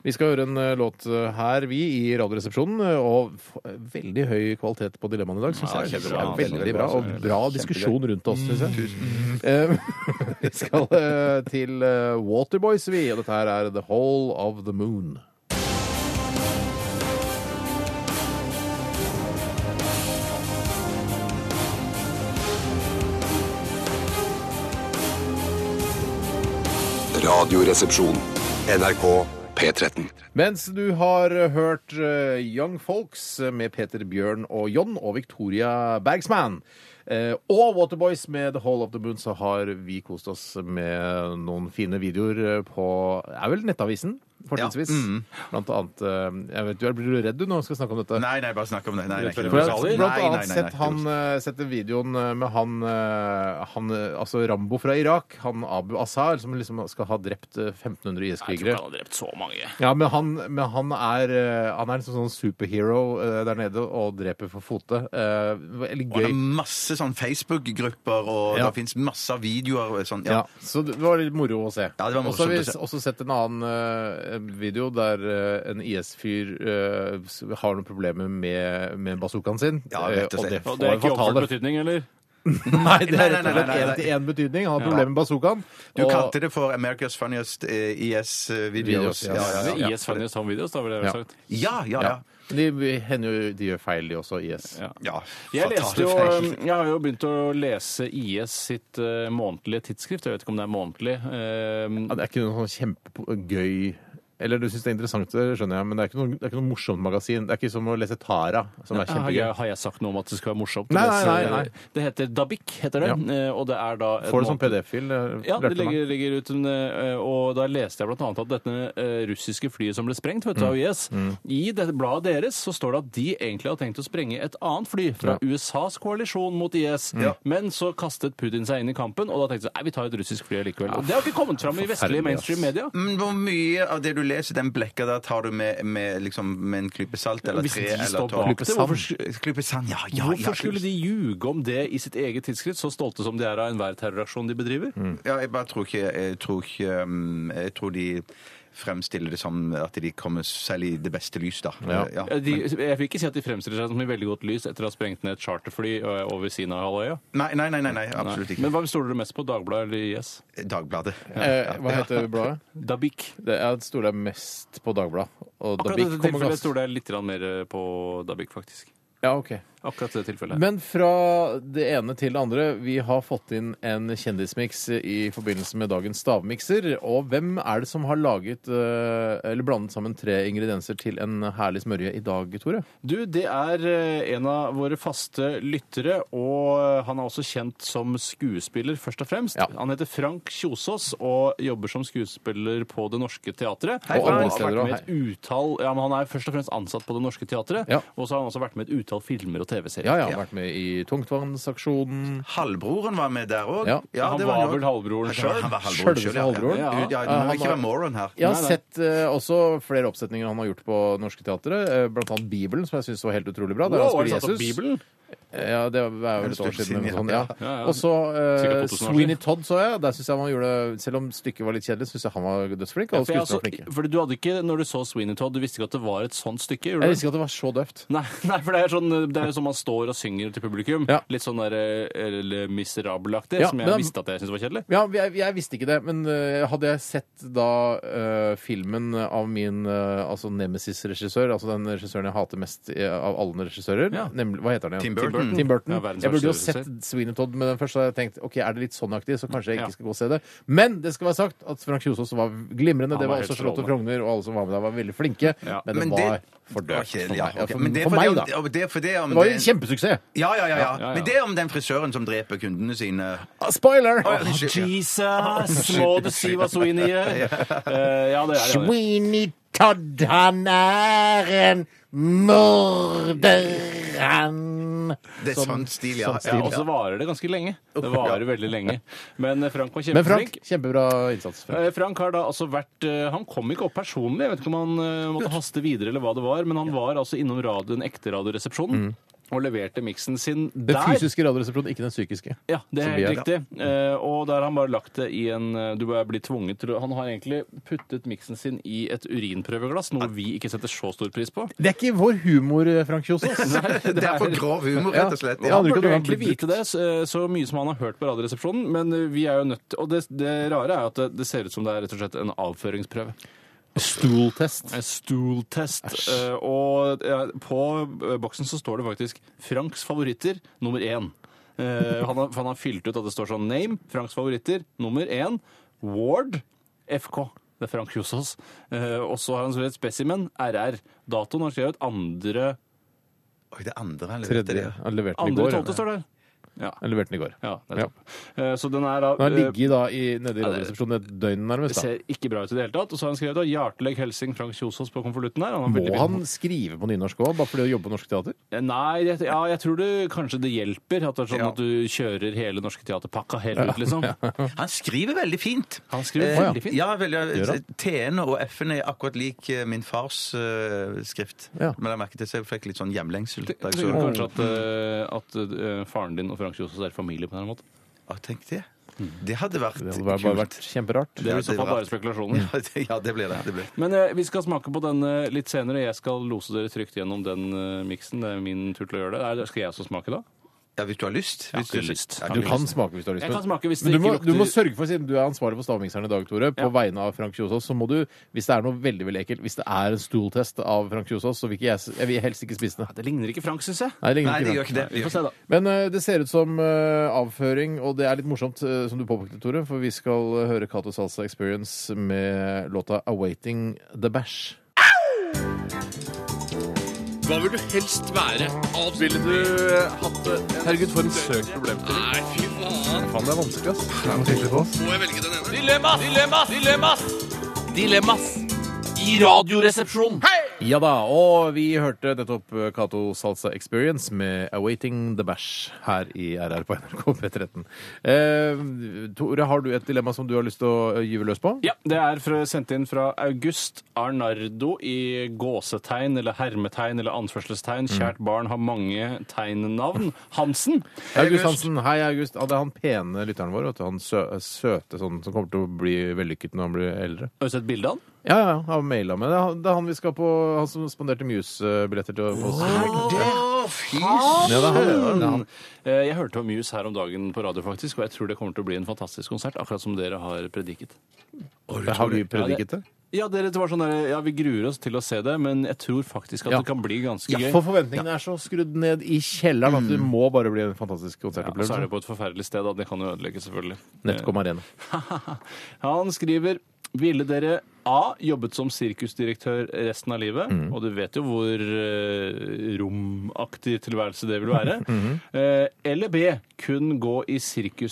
B: Vi skal høre en eh, låt eh, her, vi, i Radioresepsjonen. eh, Og f- eh, veldig høy kvalitet på dilemmaene i dag, syns
D: Ja,
B: jeg.
D: kjempebra.
B: Ja, veldig bra. Og bra diskusjon rundt oss, syns jeg. (laughs) Eh, vi skal eh, til eh, Waterboys, vi. Og dette her er The Hole of the Moon.
H: Radioresepsjon. NRK P13.
B: Mens du har hørt eh, Young Folks eh, med Peter Bjørn og John og Victoria Bergsman. eh, og Waterboys med The Hall of the Moon, så har vi kost oss med noen fine videoer eh, på er vel Nettavisen, fortrinnsvis.
C: Mm.
B: Blant annet eh, jeg vet, du er- Blir du redd du når vi skal snakke om dette?
C: Nei, nei, bare snakk om det. Nei, nei, ikke
B: For jeg
C: noe.
B: har
C: Nei,
B: blant
C: nei, nei,
B: annet
C: nei,
B: sett,
C: ikke
B: han,
C: noe.
B: eh, sett den videoen eh, med han, eh, han eh, Altså Rambo fra Irak. Han Abu Azhar, som liksom skal ha drept eh, 1500
D: Jeg tror ikke
B: IS-krigere.
D: han har drept så mange.
B: Ja, men han, men han er eh, Han er liksom sånn superhero eh, der nede og dreper for fote. Eh, Veldig
C: Og det
B: gøy.
C: er masse sånn Facebook-grupper, og
B: Ja.
C: det fins masse videoer. Sånn,
B: Ja.
C: ja.
B: Så det var litt moro å se.
C: Ja, det var
B: og så har vi
C: morsomt å se.
B: s- også sett en annen eh, video der eh, en IS-fyr eh, s- har noen problemer med, med bazookaen sin.
C: Ja, rett og
B: Eh,
C: slett.
D: Og det
B: får
D: er ikke overført
B: fatale
D: betydning, eller?
B: (laughs) Nei, det
C: Nei,
B: er
C: nei,
B: rett og
C: nei,
B: slett
C: nei, nei.
B: én-til-én betydning. Han har problemer med bazookaen.
C: Du
B: og-
C: kalte det for America's Funniest eh, IS-videos.
B: Videos, ja.
C: Ja, ja, ja.
D: IS Funniest Home Videos, da ville jeg
B: Ja.
D: vel sagt.
C: ja, ja, ja.
B: Ja. De, de hender jo de gjør feil, de også, IS.
D: Ja.
C: ja.
D: Jeg, leste jo, um,
C: Fatale feil.
D: jeg har jo begynt å lese IS sitt eh, månedlige tidsskrift. Jeg vet ikke om det er månedlig. eh,
B: Ja, det er ikke noe sånn kjempegøy Eller du syns det er interessant, det skjønner jeg, men det er ikke noe, det er ikke noe morsomt magasin. Det er ikke som å lese Tara, som er
D: har,
B: kjempegøy.
D: jeg, har jeg sagt noe om at det skal være morsomt?
B: Nei, nei,
D: Lese-
B: nei, nei.
D: Det heter Dabik, heter det.
B: Ja.
D: eh, Og det er da et
B: Får du sånn
D: måned-
B: PDF-fil? eh,
D: Ja, det
B: lærte meg.
D: ligger, ligger ut en, eh, Og da leste jeg blant annet at dette eh, russiske flyet som ble sprengt vet du,
C: Mm.
D: av IS I dette bladet deres så står det at de egentlig har tenkt å sprenge et annet fly fra USAs koalisjon mot IS.
C: Mm.
D: Men så kastet Putin seg inn i kampen, og da tenkte de nei, vi tar et russisk fly likevel. Og det har ikke kommet fram i
B: forferdelig,
D: vestlige mainstream media.
C: Men Mm, Hvor mye av det du leser, den blekka der, tar du med, med, liksom, med en klype salt eller
D: Hvis
C: tre?
D: de
C: eller
D: står
C: tolv?
D: bak det, hvorfor
C: Klype- Klype sand, ja. ja ja,
D: Hvorfor skulle de ljuge om det i sitt eget tidsskrift, så stolte som de er av enhver terroraksjon de bedriver?
C: Ja, jeg bare tror ikke Jeg tror, ikke, um, jeg tror de fremstiller det som at de kommer selv i det beste lys, da.
B: Ja.
D: Eh, De, jeg vil ikke si at de fremstiller seg som i veldig godt lys etter å ha sprengt ned et charterfly eh, over Sinai-halvøya.
C: Nei, nei, nei, nei, nei, absolutt
D: Men
C: ikke.
D: hvem stoler du mest på, Dagbladet eller IS?
C: Dagbladet.
B: Eh, hva heter bladet?
D: Dabik.
B: Det er- Jeg stoler mest på Dagbladet. Og
D: Akkurat i
B: Dabik
D: dette
B: kommer
D: tilfellet
B: ganske-
D: stoler jeg litt grann mer eh, på Dabik, faktisk.
B: Ja, ok.
D: Akkurat det tilfellet.
B: Men fra det ene til det andre. Vi har fått inn en kjendismiks i forbindelse med dagens stavmikser. Og hvem er det som har laget eh, eller blandet sammen tre ingredienser til en herlig smørje i dag, Tore?
D: Du, det er eh, en av våre faste lyttere, og eh, han er også kjent som skuespiller, først og fremst.
B: Ja.
D: Han heter Frank Kjosås og jobber som skuespiller på Det Norske Teatret.
B: Hei,
D: og han
B: Frank.
D: har vært med et utall, ja, men han er først og fremst ansatt på Det Norske Teatret,
B: Ja.
D: og så har han også vært med i et utall filmer og TV-serier.
B: Ja, ja, vært med i Tungtvannsaksjonen.
C: Halvbroren var med der òg.
B: Ja.
D: Han var vel halvbroren selv.
C: Han var halvbroren
B: Sjølveste
C: sjøl, ja.
B: halvbroren.
C: Ja, ja, du
B: Ja,
C: må
B: han
C: ikke
B: var-
C: være moron her.
B: Jeg har
D: Nei, nei.
B: sett eh, også flere oppsetninger han har gjort på Norske Teatret. eh, blant annet Bibelen, som jeg syns var helt utrolig bra. Der han
D: Wow, har du
B: spiller
D: satt opp
B: Jesus.
D: Bibelen?
B: Eh, Ja, det er vel et år siden. eller noe sånt, ja.
D: Ja, ja.
B: Og så eh,
D: Sikkert 2000 år siden.
B: Sweeney Todd så jeg. Der synes jeg han gjorde, Selv om stykket var litt kjedelig, syns jeg han var dødsflink. Og
D: For jeg,
B: skuespillerne var
D: altså,
B: flinke.
D: fordi du hadde ikke, når du så Sweeney Todd, du visste ikke at det var et sånt stykke?
B: Jeg
D: gjorde du?
B: visste ikke at det var så døvt.
D: Nei, (laughs) nei, for det er, sånn, det er jo sånn man står og synger til publikum.
B: Ja.
D: Litt sånn der eh, Le Miserable-aktig,
B: Ja,
D: som
B: men
D: jeg
B: da-
D: visste at jeg syntes var kjedelig.
B: Ja, jeg, jeg visste ikke det, men eh, hadde jeg sett da eh, filmen av min eh, altså nemesis-regissør, altså den regissøren jeg hater mest eh, av alle regissører,
D: Ja.
B: nemlig Hva heter han igjen?
C: Tim Burton.
B: Tim Burton.
D: Ja, verdens
B: jeg burde jo
D: verste
B: sett Sweeney Todd med den først, så hadde jeg tenkt ok, er det litt sånnaktig, så kanskje jeg
D: Ja.
B: ikke skal gå og se det. Men det skal være sagt at Frank Kjosås var glimrende.
D: Han
B: det var
D: var helt
B: også Charlotte
D: strålende.
B: Frogner, og alle som var med der, var veldig flinke.
D: Ja.
B: Men det
C: Men
B: var
C: det-
B: for
C: Det var
B: dødt.
C: kjedelig,
B: for
C: ja.
B: meg, ja,
C: ok.
B: for,
C: Men det er
B: for
C: fordi
B: meg,
C: om-
B: da.
C: om- Det er fordi om
B: Det var jo
C: den-
B: en kjempesuksess.
C: Ja, ja, ja,
D: Ja, ja,
C: ja.
D: ja.
C: Men det er om den frisøren som dreper kundene sine.
B: Ah, Spoiler!
C: Å, ja, unnskyld, ja.
D: Jesus! Må du si hva Sweeney gjør? Eh, ja, det er det.
B: Sweeney
I: Todd, han er en morder, han.
C: Det er sånn stil, ja.
D: Ja, og så varer det ganske lenge. Det varer veldig lenge. Men eh, Frank var
B: Men Frank,
D: kjempeflink.
B: kjempebra innsats. Frank.
D: Eh, Frank har da altså vært eh, Han kom ikke opp personlig. Jeg vet ikke om han eh, måtte haste videre, eller hva det var, men han var altså innom radioen, ekte Radioresepsjonen. Og leverte miksen sin
B: Den
D: der.
B: fysiske radioresepsjonen, ikke den psykiske.
D: Ja, det
B: Som
D: er
B: vi
D: helt
B: er.
D: riktig. Eh, og der har han bare lagt det i en eh, Du er blitt tvunget til å- Han har egentlig puttet miksen sin i et urinprøveglass, noe vi ikke setter så stor pris på.
B: Det er ikke vår humor, Frank Kjosås.
D: (laughs)
C: Det er for grov humor, rett og slett.
B: Ja,
C: Ja.
B: det er
D: Han
B: ikke
D: burde jo
B: at han
D: egentlig
B: blir
D: vite det, så så mye som han har hørt på Radioresepsjonen, men eh, vi er jo nødt til Og det, det rare er jo at det, det ser ut som det er rett og slett en avføringsprøve.
B: Stooltest.
D: En Stooltest. Eh, og eh, på eh, boksen så står det faktisk 'Franks favoritter nummer én'. Eh, han, har, for han har fylt ut at det står sånn 'Name', Franks favoritter nummer én, Ward, FK. Det er Frank Kjosås. Eh, og så har han skrevet 'Specimen', RR. Datoen har skrevet andre
C: Oi, det andre han leverte
B: Tredje.
C: der.
B: Han leverte den i
D: Andre
B: går.
D: tolvte, står det her.
B: Han leverte den i går.
D: Ja,
B: Ja.
D: nettopp. Eh, Så den er da
B: Han har
D: eh,
B: ligget da i, nede i radioresepsjonen et døgn nærmest. Da.
D: Ser ikke bra ut i det hele tatt. Og så har han skrevet da 'Hjarteleg hilsing Frank Kjosås' på konvolutten her. Han har
B: Må
D: veldig-
B: han skrive på nynorsk òg, bare fordi å jobbe på Norsk Teater?
D: Eh, Nei, jeg, ja, jeg tror det kanskje det hjelper. At det er sånn
C: Ja.
D: at du kjører hele Norske Teaterpakka helt ut,
C: (laughs)
D: liksom.
C: Han skriver veldig fint.
D: Han skriver
C: Eh,
D: veldig fint.
C: Ja, veldig,
B: Gjør han?
C: T-ene og F-ene er akkurat lik eh, min fars eh, skrift.
B: Ja.
C: Men jeg merket det, så jeg fikk litt sånn hjemlengsel.
D: Jeg tror kanskje at, eh, at eh, faren din og Frank Kjosås er familie på en eller annen måte.
C: Å, tenk det. Det hadde vært
B: Det hadde bare, bare vært kjemperart.
D: Det er i
C: Ja,
D: så
C: det er
D: fall bare
C: rart.
D: spekulasjoner.
C: Ja, det- (laughs) ja, det ble det. det ble.
D: Men eh, vi skal smake på den eh, litt senere. Jeg skal lose dere trygt gjennom den eh, miksen. Det er min tur til å gjøre det. Er det. Skal jeg også smake da?
C: Ja, hvis du har lyst. Hvis
D: ikke lyst.
C: Ja,
B: Du kan smake hvis du har lyst.
D: Jeg kan
B: men-
D: smake hvis
B: men du,
D: det
B: må,
D: ikke lukter-
B: du må sørge for, siden du er ansvarlig for stavmikseren i dag, Tore, på
D: Ja.
B: vegne av Frank Kjosås, så må du, hvis det er noe veldig veldig ekkelt, hvis det er en stooltest av Frank Kjosås, så vil ikke jeg, s- jeg vil helst ikke spise det.
D: Det ligner ikke Frank, syns jeg.
B: Nei, det
C: Nei,
B: ligner
C: det
B: ikke
C: gjør
B: Frank.
C: ikke det.
D: Vi får se, da.
B: Men eh, det ser ut som eh, avføring, og det er litt morsomt, eh, som du påpekte, Tore, for vi skal eh, høre Cato Salsa Experience med låta 'Awaiting The Bash'.
G: Hva vil du helst være? Ville du eh, hatt det? Herregud, for en søk problemstilling. Nei, fy faen. Faen, det er vanskelig, ass. Må jeg velge den ene?
D: Dilemmas! Dilemmas! Dilemmas! Dilemmas i Radioresepsjonen.
B: Ja da, og vi hørte nettopp Cato Salsa Experience med 'Awaiting the Bash' her i RR på NRK P13. Eh, Tore, har du et dilemma som du har lyst til å eh, gyve løs på?
D: Ja, det er fra, sendt inn fra August Arnardo i gåsetegn eller hermetegn eller anførselstegn. Kjært barn har mange tegnnavn. Hansen.
B: August Hansen, hei August. Ja, det er han pene lytteren vår, vet du. han sø søte sånn som kommer til å bli vellykket når han blir eldre.
D: Har du sett bildet av han?
B: Ja, ja, han har maila med. Det er han, det er han vi skal på, han som spanderte Muse-billetter til oss.
C: Å, fy s-
B: Ja, det er han, ja, det er han.
D: Eh, Jeg hørte om Muse her om dagen på radio, faktisk, og jeg tror det kommer til å bli en fantastisk konsert, akkurat som dere har prediket.
B: Har vi prediket det?
D: Ja, dere det var sånn der, ja, vi gruer oss til å se det, men jeg tror faktisk at det kan bli ganske
B: Ja,
D: gøy. Mm.
B: for forventningene er så skrudd ned i kjelleren at det må bare bli en fantastisk
D: Ja, og så er
B: konsertopplevelse.
D: det på et forferdelig sted, da. Det kan jo ødelegge, selvfølgelig.
B: Netcom Arena.
D: (laughs) Han skriver Ville dere A. jobbet som sirkusdirektør resten av livet?
B: Mm.
D: Og du vet jo hvor eh, romaktig tilværelse det vil
B: (laughs)
D: være.
B: Mm-hmm.
D: Eh, eller B. kun gå i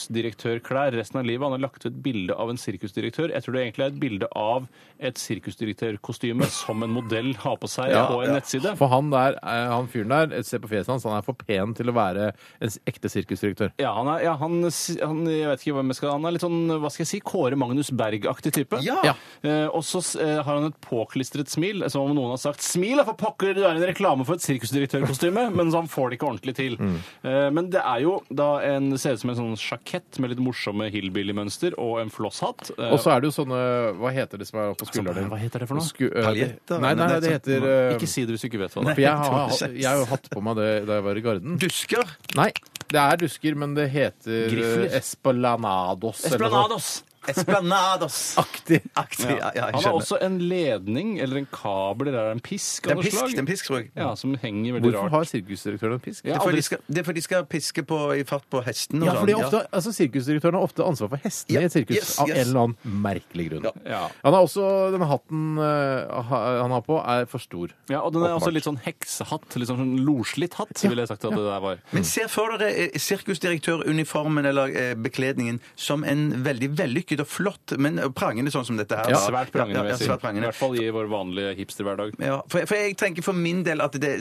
D: sirkusdirektørklær resten av livet. Han har lagt ut et bilde av en sirkusdirektør. Jeg tror det egentlig er et bilde av et sirkusdirektørkostyme som en modell har på seg
B: Ja,
D: på en nettside.
B: For han der, eh, han fyren der, se på fjeset hans, han er for pen til å være en s- ekte sirkusdirektør.
D: Ja, han er, ja, han, s- han, jeg vet ikke hvem jeg skal, han er litt sånn hva skal jeg si, Kåre Magnus Berg-aktig type.
C: Ja.
B: Ja.
D: Eh, og så s- eh, har han et påklistret smil, som om noen har sagt 'smil, da, for pokker, du er en reklame for et sirkusdirektørkostyme', (laughs) men så han får det ikke ordentlig til.
C: Mm.
D: Eh, men det er jo da en, det ser ut som en sånn sjakett med litt morsomme hillbilly-mønster og en flosshatt. Eh,
B: Og så er det jo sånne Hva heter det som er oppå skulderen din?
D: Altså, hva heter det for noe?
B: Sku, eh,
C: Paljetter?
B: Nei, nei, det heter eh,
D: sånn ikke si det hvis du ikke vet hva det er.
B: For jeg
C: (laughs)
B: har, jeg har jo hatt på meg det da jeg var i garden.
C: Dusker?
B: Nei, det er dusker, men det heter
D: Grifler.
B: eh, Espalanados. eller noe sånt.
D: Esplanados!
C: Esplanados.
B: Aktig.
C: (laughs) Aktig. Ja, ja, jeg
D: Han har
C: skjønner.
D: også en ledning, eller en kabel, eller er det en pisk
C: Det er
D: av
C: en
D: noe
C: pisk,
D: slag?
C: det er en pisk, tror jeg.
D: Ja, som henger veldig
B: Hvorfor
D: rart.
B: har sirkusdirektøren en pisk?
D: Ja,
C: Det er fordi de skal, det er fordi de skal piske på, i fart på hesten. og
B: Ja, fordi
C: sånn,
B: ofte, altså Sirkusdirektøren har ofte ansvar for hestene
C: Ja,
B: i et sirkus
C: yes,
B: av en
C: yes.
B: eller annen merkelig grunn.
D: Ja.
B: Han har også denne hatten eh, ha- han har på, er for stor.
D: Ja, og den er
B: Åpenbart.
D: også litt sånn heksehatt, litt sånn loslitt hatt, ville jeg sagt at det der var.
C: Men se for dere eh, sirkusdirektøruniformen eller eh, bekledningen som en veldig vellykket vellykket og flott, men prangende sånn som dette her.
D: Ja,
C: var.
D: svært prangende,
C: Ja,
D: vil
C: ja,
D: jeg si.
C: svært
D: I
C: prangende.
D: hvert fall i vår vanlige hipsterhverdag.
C: Ja, for, for jeg tenker for min del at det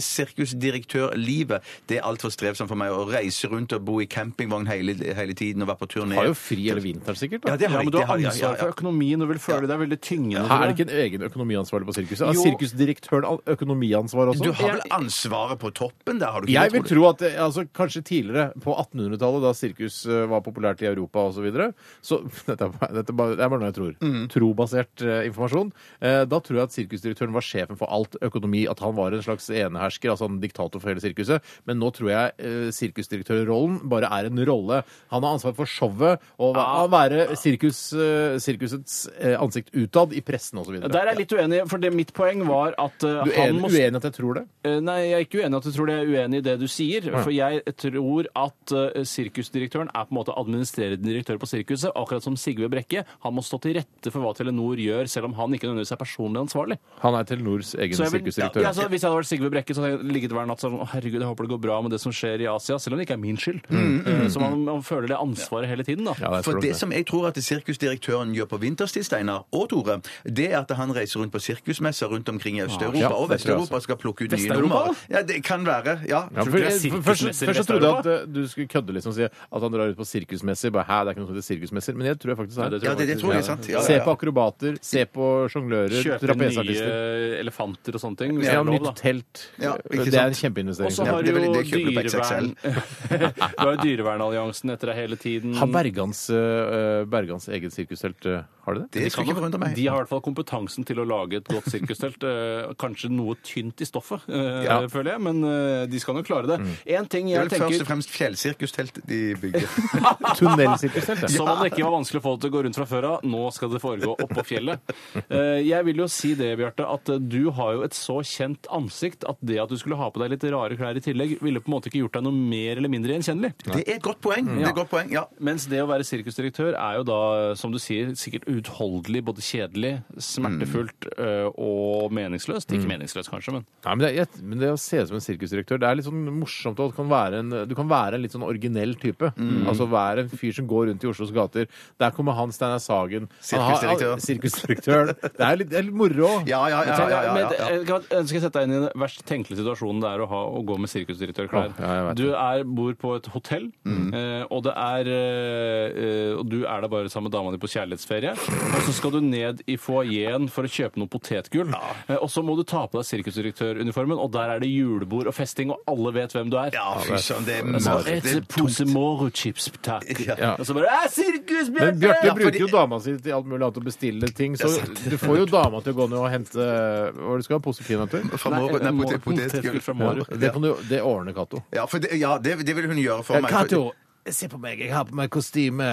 C: sirkusdirektørlivet det er altfor strevsomt for meg å reise rundt og bo i campingvogn hele, hele tiden og være på turné.
B: Har jo fri hele vinteren, sikkert.
C: Ja,
B: da.
C: det har
D: Ja,
C: jeg.
D: men du
C: det
D: har
C: har jeg, ja,
D: ansvar
C: ja.
D: for økonomien og vil føle deg veldig tyngende.
B: Her er det ikke
D: tror jeg.
B: en egen økonomiansvarlig på sirkuset. Er
D: Jo.
B: sirkusdirektøren al- økonomiansvar også?
C: Du har vel ansvaret på toppen? Der har du ikke
B: Jeg
C: det,
B: vil
C: tror du?
B: tro at eh, altså, kanskje tidligere, på 1800-tallet, da sirkus eh, var populært i Europa osv. Så videre, så (laughs) dette, er bare- dette er bare- det er bare noe jeg tror.
D: Mm.
B: Trobasert eh, informasjon. Eh, da tror jeg at sirkusdirektøren var sjefen for alt økonomi, at han var en slags enehersker, altså en diktator for hele sirkuset. Men nå tror jeg eh, sirkusdirektørrollen bare er en rolle. Han har ansvar for showet og hva- å være sirkus, eh, sirkusets eh, ansikt utad i pressen osv.
D: Der er jeg litt uenig, for det mitt poeng var at eh,
B: Du er
D: han
B: en-
D: må
B: uenig i at jeg tror det?
D: Eh, Nei, jeg er ikke uenig i at du tror det. Jeg er uenig i det du sier. For jeg tror at eh, sirkusdirektøren er på en måte administrerende direktør på sirkuset, akkurat som Sigve Brekke. Han må stå til rette for hva Telenor gjør, selv om han ikke nødvendigvis er personlig ansvarlig.
B: Han er Telenors egen
D: Så jeg vil, ja,
B: sirkusdirektør.
D: altså, hvis jeg hadde vært Sigve Brekke, så hadde jeg ligget hver natt sånn Å, herregud, jeg håper det går bra med det som skjer i Asia, selv om det ikke er min
C: Mm,
D: skyld. Eh, så man, man føler det ansvaret hele tiden, da.
B: Ja, jeg tror
C: For
B: nok
C: det som jeg tror at sirkusdirektøren gjør på vinterstid, Steinar og Tore, det er at han reiser rundt på sirkusmesser rundt omkring i Øst-Europa
B: Ah, Ja,
C: og
B: det tror jeg også.
C: Vest-Europa og skal plukke ut nye
D: Vest-Europa?
C: nummer. Ja, det kan være. Ja.
B: Ja,
C: Tror
B: for,
C: du ikke det?
B: jeg, for, først, først så trodde jeg at eh, du skulle kødde liksom og si at han drar ut på sirkusmesser. Bare, Hæ, det er ikke noe som heter sirkusmesser. Men jeg tror jeg faktisk
D: Ja,
B: er
D: det
C: Ja, det, det tror jeg er sant. Ja,
B: Se
C: ja,
B: på
C: ja.
B: akrobater, se på sjonglører,
D: Kjøpe nye
C: eh,
B: trapesartister.
D: elefanter og sånne ting. hvis det
B: Ja,
D: er lov,
B: nytt
D: da.
B: telt.
C: Ja, ikke
B: det er en
C: sant.
D: Og
B: kjempeinvestering.
D: så
C: Ja,
D: har
C: det er
D: jo
C: vel- det kjøper du på
D: dyrevern... (laughs) Du har jo Dyrevernalliansen etter deg hele tiden.
B: Har Bergans, eh, Bergans eget sirkustelt eh, Har de det?
C: Det skulle ikke forundre meg.
D: De har i hvert fall kompetansen til å lage et godt sirkustelt. eh, Kanskje noe tynt i stoffet, eh,
B: Ja.
D: føler jeg, men eh, de skal nok klare det. En ting
C: Mm. Det er
D: jeg
C: vel først og
D: tenker
C: fremst fjellsirkustelt de
B: (laughs)
C: bygger.
B: Tunnelsirkustelt, ja.
D: som om det ikke var vanskelig å få det til å gå rundt fra før av. Nå skal det foregå oppå fjellet. Eh, Jeg vil jo si det, Bjarte, at eh, du har jo et så kjent ansikt at det at du skulle ha på deg litt rare klær i tillegg, ville på en måte ikke gjort deg noe mer eller mindre gjenkjennelig.
C: Det er et godt poeng. Det er et godt poeng, ja.
D: Mens det å være sirkusdirektør er jo da, som du sier, sikkert uutholdelig, både kjedelig, smertefullt eh, og meningsløst. Ikke meningsløst, kanskje, men
B: Nei, men, det, jeg, men det å se ut som en sirkusdirektør Det er litt sånn morsomt og det kan være en, Du kan være en litt sånn originell type
C: Mm.
B: Altså være en fyr som går rundt i Oslos gater Der kommer han, Steinar Sagen Han har-
C: Sirkusdirektør.
B: ja, Sirkusdirektør Det er litt, det er litt moro
C: (laughs) Ja, ja, ja. ja, ja,
D: Men,
C: ja, ja.
D: eh, kan- Skal jeg sette deg inn i den verst tenkelige situasjonen det er å, ha, å gå med sirkusdirektørklær?
B: Å, ja, jeg vet
D: du er, bor på et hotell,
C: Mm.
D: eh, og, det er, eh, eh, og du er der bare sammen med dama di på kjærlighetsferie. Og så skal du ned i foajeen for å kjøpe noe potetgull. Eh, Og så må du ta på deg sirkusdirektøruniformen, og der er det julebord og festing, og alle vet hvem du er.
C: Ja, fy søren, det er
D: Altså,
C: mørkt. Det
D: et
C: er
D: pose
C: tungt.
D: morochips, takk.
C: Ja.
D: Og så bare «Æ, sirkus,
B: Men
D: Bjarte!
B: Bjarte
C: Ja, fordi-
B: bruker jo dama si til alt mulig annet å bestille ting Så du får jo dama til å gå ned og hente Hva er det du skal ha, en pose peanøtter?
C: Fra Moro- nei, potet- potetgull.
D: fra
B: Ja,
D: Moro.
B: det, kan du, det ordner Kato
C: Ja, for det, ja det, det vil hun gjøre for meg. for-
B: se på meg, jeg har på meg kostyme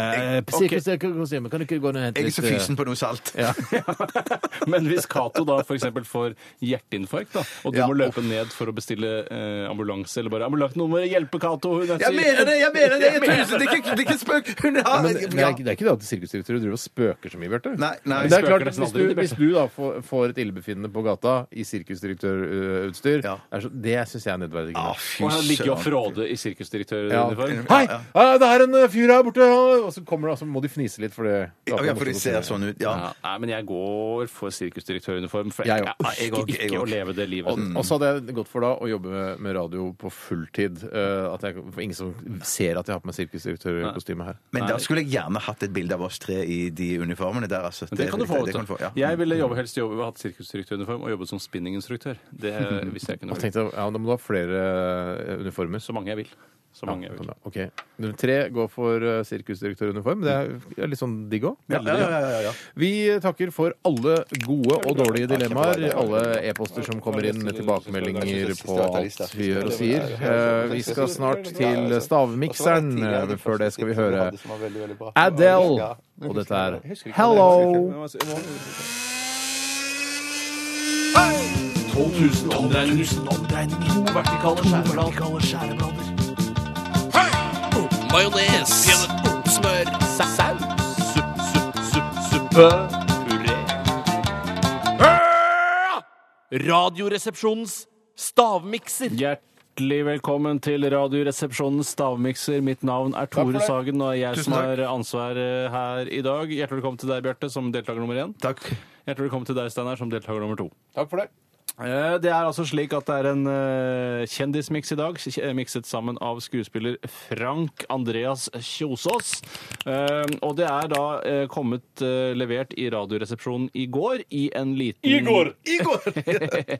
B: Sirkusdirektørkostyme, kan du ikke gå ned og hente eh,
C: Jeg er så fysen på noe salt.
D: (laughs) Men hvis Cato da f.eks. får hjerteinfarkt, da, og du
C: Ja.
D: må løpe ned for å bestille eh, ambulanse, eller bare 'Ambulansen, nå må dere hjelpe Cato', hun er
C: Jeg mener det! jeg mener det! Jeg
D: mener
C: tusen, det er ikke, det er ikke spøk! Hun har
B: Men, men det, er, ikke- det er ikke det at sirkusdirektører driver og spøker så mye, Bjarte.
C: Nei, nei,
B: Men
C: vi
B: det er
D: spøker
B: klart,
D: nesten
B: hvis
D: aldri,
B: du,
D: Bjarte.
B: hvis du da får, får et illebefinnende på gata i sirkusdirektørutstyr,
C: Ja.
B: er så- det syns jeg er nedverdigende.
C: Å, fy
D: Og han ligger jo og
C: søren.
D: fråder i
B: Ja.
D: sirkusdirektøruniform.
B: Hei! eh, Det er en eh, fyr her borte! Og så kommer det, og så må de fnise litt for det.
C: Ja, ja, for de ser sånn ut. Ja.
D: Ja, nei, men jeg går for sirkusdirektøruniform, for
B: Jeg
D: jeg,
B: òg.
D: jeg,
C: Jeg
D: orker
C: òg, jeg
D: ikke å
C: òg.
D: leve det livet.
B: Og, og så hadde jeg gått for da å jobbe med, med radio på fulltid. eh, at jeg, for ingen som ser at jeg har på meg sirkusdirektørkostyme her.
C: Men da skulle jeg gjerne hatt et bilde av oss tre i de uniformene der. Altså.
D: Men det kan du få.
C: det
D: vet
C: kan du
D: du.
C: få, ja. Mm.
D: Jeg ville jobbe, helst jobbe, hatt sirkusdirektøruniform og jobbet som spinninginstruktør. Det
C: (laughs)
D: eh, hvis jeg kunne
B: Og
D: velge.
B: tenkte, jeg, ja, Da må du ha flere eh, uniformer.
D: Så mange jeg vil. Så mange jeg vil.
B: Ok. Nummer tre går for eh, sirkusdirektøruniform. Det er- er litt sånn digg òg.
C: Ja, ja, ja, ja, ja.
B: Vi takker for alle gode og dårlige dilemmaer. Alle e-poster som kommer inn med tilbakemeldinger på alt vi gjør og sier. Eh, Vi skal snart til stavmikseren, eh, men før det skal vi høre Adele. Og dette er Hello!
D: 12 000 omdreininger. To vertikale skjæreblader. Majones. Smør. Saus. Supp, supp, supp, suppe. Puré. Radioresepsjonens stavmikser. Hjertelig Hjertelig velkommen til Radioresepsjonens stavmikser. Mitt navn er
C: for
D: Tore
C: det.
D: Sagen, og det er jeg
C: Tusen
D: som
C: takk.
D: har ansvar eh, her i dag. Hjertelig velkommen til deg, Bjarte, som deltaker nummer én.
C: Takk.
D: Hjertelig velkommen til deg, Steinar, som deltaker nummer to.
B: Takk for det.
D: Eh, Det er altså slik at det er en eh, kjendismiks i dag, kj- eh, mikset sammen av skuespiller Frank Andreas Kjosås. Eh, Og det er da eh, kommet eh, levert i Radioresepsjonen i går i en liten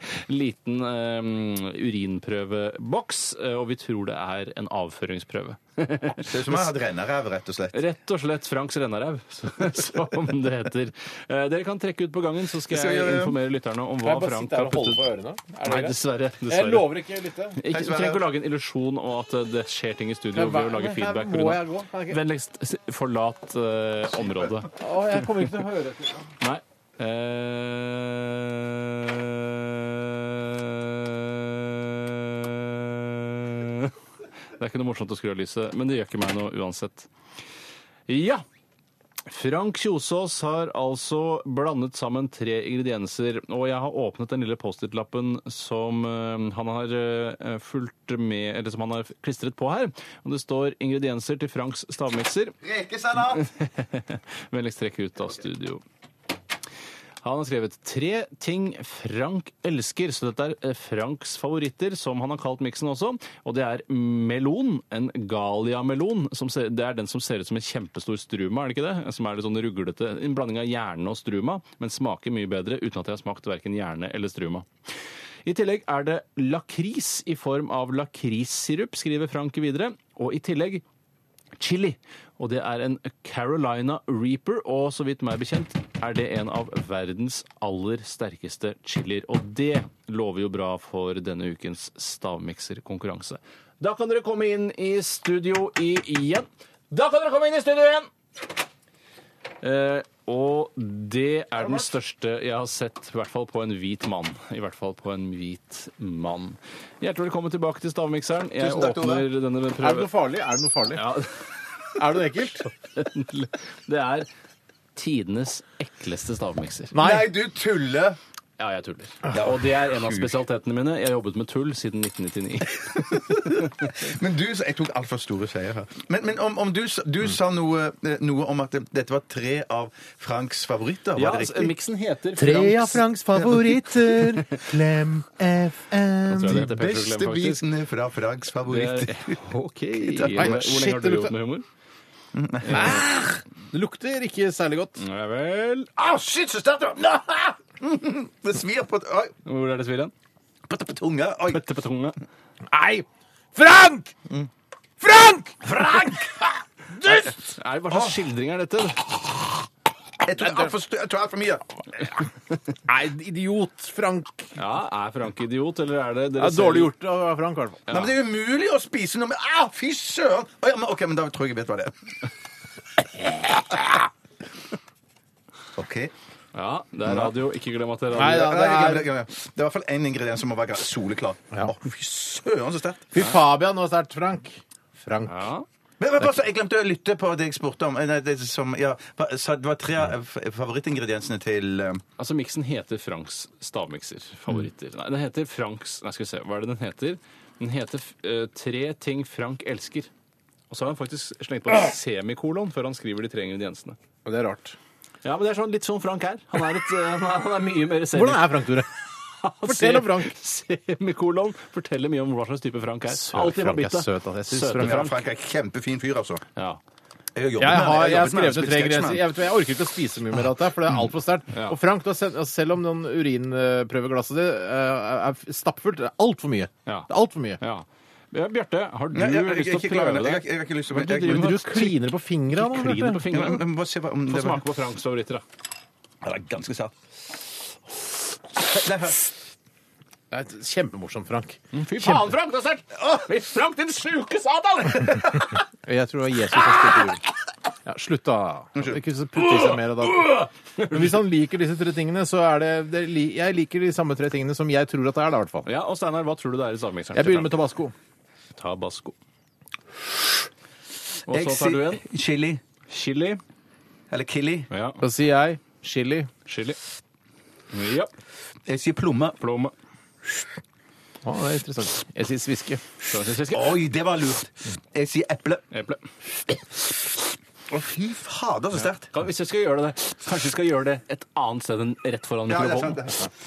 D: (laughs) liten eh, urinprøveboks, eh, og vi tror det er en avføringsprøve.
C: Det er som om jeg hadde renneræv, rett og slett.
D: Rett og slett Franks Rennarev, (laughs) som det heter. Eh, Dere kan trekke ut på gangen, så skal
C: skal vi
D: jeg
C: gjøre, ja.
D: informere lytterne om hva
B: Jeg bare
D: Frank
B: sitter her
D: har
B: og holder
D: puttet.
B: for ørene. Er
D: Nei,
B: det greit?
D: dessverre.
B: Jeg
D: dessverre.
B: lover ikke å lytte.
D: Ikke,
C: Sverre.
D: trenger ikke å lage en illusjon om at eh, det skjer ting i studio
B: Men hva-
D: ved å lage
B: men her
D: feedback.
B: må
D: Bruna.
B: jeg gå, kan jeg ikke?
D: Vennligst s- forlat eh, området.
B: Å, jeg kommer ikke til å høre etter.
D: Nei. Eh, Det er ikke noe morsomt å skru av lyset, men det gjør ikke meg noe uansett. Ja. Frank Kjosås har altså blandet sammen tre ingredienser, og jeg har åpnet den lille Post-It-lappen som eh, han har eh, fulgt med, eller som han har klistret på her. Og det står ingredienser til Franks stavmikser. (laughs) Vennligst trekk ut av studio. Han har skrevet tre ting Frank elsker, så dette er eh, Franks favoritter, som han har kalt miksen også. Og det er melon, en galliamelon. som ser- Det er den som ser ut som en kjempestor struma, er det ikke det? Som er litt sånn ruglete. En blanding av hjerne og struma, men smaker mye bedre uten at jeg har smakt verken hjerne eller struma. I tillegg er det lakris i form av lakrissirup, skriver Frank videre. Og i tillegg chili. Og det er en Carolina Reaper, og så vidt meg bekjent er det en av verdens aller sterkeste chilier. Og det lover jo bra for denne ukens stavmikserkonkurranse. Da kan dere komme inn i studio i- igjen. Da kan dere komme inn i studio igjen! Eh, og det er den største jeg har sett, i hvert fall på en hvit mann. I hvert fall på en hvit mann. Hjertelig velkommen tilbake til Stavmikseren. Jeg
C: Tusen takk, Tore.
D: åpner denne
B: Er det
D: prøven.
B: noe farlig? Er det noe farlig?
D: Ja,
B: Er det noe ekkelt?
D: (laughs) Det er tidenes ekleste stavmikser.
C: Nei, du tuller!
D: Ja, jeg tuller. og det er en av spesialitetene mine. Jeg har jobbet med tull siden 1999.
C: Men du, jeg tok altfor store seier her. Men, men om, om du, s- du sa noe, eh, noe om at det- dette var tre av Franks favoritter, var
D: Ja,
C: det
D: altså,
C: riktig?
D: miksen heter
B: Tre av Franks (laughs) favoritter. Klem FM.
D: tror jeg
C: De
D: det heter Petter Klem,
C: beste
D: faktisk.
C: bitene fra Franks favoritter.
D: Det er- OK.
B: Nei,
D: Hvor lenge
B: shit,
D: har
B: det
D: du
B: lukter-
D: jobbet med humor?
B: Det lukter ikke særlig godt.
D: Ja vel.
C: Å, shit, så sterkt! det var. (laughs) Det svir på, oi,
D: Hvor er det svir hen?
C: på, på tunga. Oi.
D: Bøtte på tunga.
B: Nei! Frank! Frank!
D: Nei, Hva slags skildring er dette?
C: Jeg tok altfor stu- jeg tok altfor mye.
B: Nei, idiot Frank.
D: Ja, Er Frank idiot, eller er det dere
B: Det er dårlig
D: selv-
B: gjort av Frank, i hvert fall.
C: Nei, men Det er umulig å spise noe med Au, fy søren! Å, ja, men, OK, men da tror jeg jeg vet hva det er. (laughs) OK.
D: Ja, det er radio. Ikke glem at det er
B: Nei,
D: radio.
B: ja, det er-
C: det, er i hvert fall én ingrediens som må være soleklar. Å, fy søren, så sterkt.
B: Fy Fabian og sterkt Frank. Frank.
D: Ja.
C: Men, men, pass, jeg glemte å lytte på det jeg spurte om. Eh, Nei, det, som, ja, hva- sa- det var tre av f- favorittingrediensene til eh,
D: Altså, miksen heter Franks stavmikser. Favoritter. Nei, den heter Franks Nei, skal vi se. Hva er det den heter? Den heter eh, Tre ting Frank elsker. Og så har han faktisk slengt på en semikolon før han skriver de tre ingrediensene.
B: Det er rart.
D: Ja, men det er sånn, litt sånn Frank er. Han er, et, eh, han er, han er mye mer
B: Hvordan
D: semikolon.
B: er Frank, Tore? Fortell om Frank.
D: Semikolon forteller mye om hva slags type Frank er.
B: Søt
D: Alltid
B: Frank er
D: favoritt, da.
B: søt, altså. Jeg synes
D: Søte
B: Frank
C: ja,
D: Frank.
C: Frank er en kjempefin fyr, altså.
D: Ja.
C: Jeg har jobbet
B: Jeg
C: med
B: har, jeg
C: han, jeg har
B: har
C: jobbet med han,
B: skrevet
C: spilt
B: tre
C: sketsj med
B: grenser.
C: han.
B: Jeg, vet, hva, jeg orker ikke å spise mye mer av dette, her, for det er altfor sterkt.
D: Ja.
B: Og Frank, du har sett, altså, selv om den urin, eh, prøveglasset ditt eh, er f- stappfullt, det er altfor mye. Det
D: Ja.
B: er altfor mye.
D: ja. ja. Bjarte, har du
C: Nei, jeg- jeg-
D: lyst
C: jeg-
D: til å
C: ikke klar over
D: prøve
C: det. Jeg
D: deg?
C: har- jeg har ikke lyst til å
D: Men du
C: jeg-
D: driver
B: Men
D: med
B: du kliner på fingra nå.
D: Kliner på
B: Bjarte.
C: Ja, men-
D: fingrene.
C: men Bare se hva- om
D: Få
C: det var
D: smake på Franks favoritter, da.
C: Ja, det er ganske sterkt. Nei, hør.
B: Det er kjempemorsomt, Frank.
D: Fy faen, Frank! Det er sterkt! Åh, Frank, din sjuke satan!
B: Jeg tror det var Jesus som spilte jul. Ja, slutt, da. Ikke så putte i seg mer av det. Men hvis han liker disse tre tingene, så er det, det li- Jeg liker de samme tre tingene som jeg tror at det er, da, i hvert fall.
D: (laughs) Ja, og Steinar, hva tror du det er i stavmikseren?
B: Jeg begynner med tabasco.
D: tabasco. Og
C: Jeg
D: så tar du en
C: sier Chili.
D: chili.
C: Eller Killi.
D: Ja,
B: Da sier jeg chili.
D: chili. Ja,
C: Jeg sier plomme.
D: plomme.
B: Ah, det er interessant. Jeg sier sviske.
C: Oi, det var lurt. Jeg sier eple.
D: Eple.
C: Å, fy fader, så sterkt.
D: Kan, hvis jeg skal gjøre det, kanskje jeg skal gjøre det et annet sted enn rett foran
C: Ja, det er
D: mikrofonen.
C: sant. det er sant.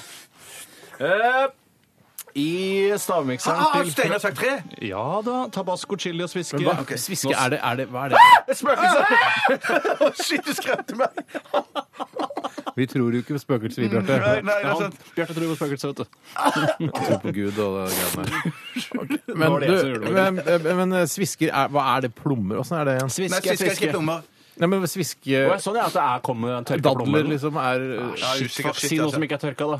D: Eh, I stavmikseren
C: Ah,
D: til
C: Steinar sagt tre!
D: Ja da. Tabasco, chili og sviske.
B: Hva?
D: Ok.
B: Sviske, er det, er det, hva er det?
D: Et spøkelse!
C: Å, Shit, du skremte meg!
B: Vi tror jo ikke på spøkelser, vi,
C: Nei,
B: Bjarte.
C: nei, det er
D: Han-
C: sant.
D: Bjarte tror på spøkelser, vet du.
B: Vi tror på Gud og det greiene der. Men,
D: var det jeg som
B: du,
D: gjorde
B: men, men eh, svisker, er, hva er det? Plommer? Åssen er det igjen?
C: Nei,
D: Sviske,
C: sist skal jeg skrive nummer.
B: Nei, men sviske
D: Å, ja, sånn ja, at det er kommet tørka plommer.
B: Dadler, liksom, er
C: Ja,
D: Shit,
C: usikker,
D: fuck,
C: shit,
D: si noe
C: altså.
D: som ikke er tørka, da.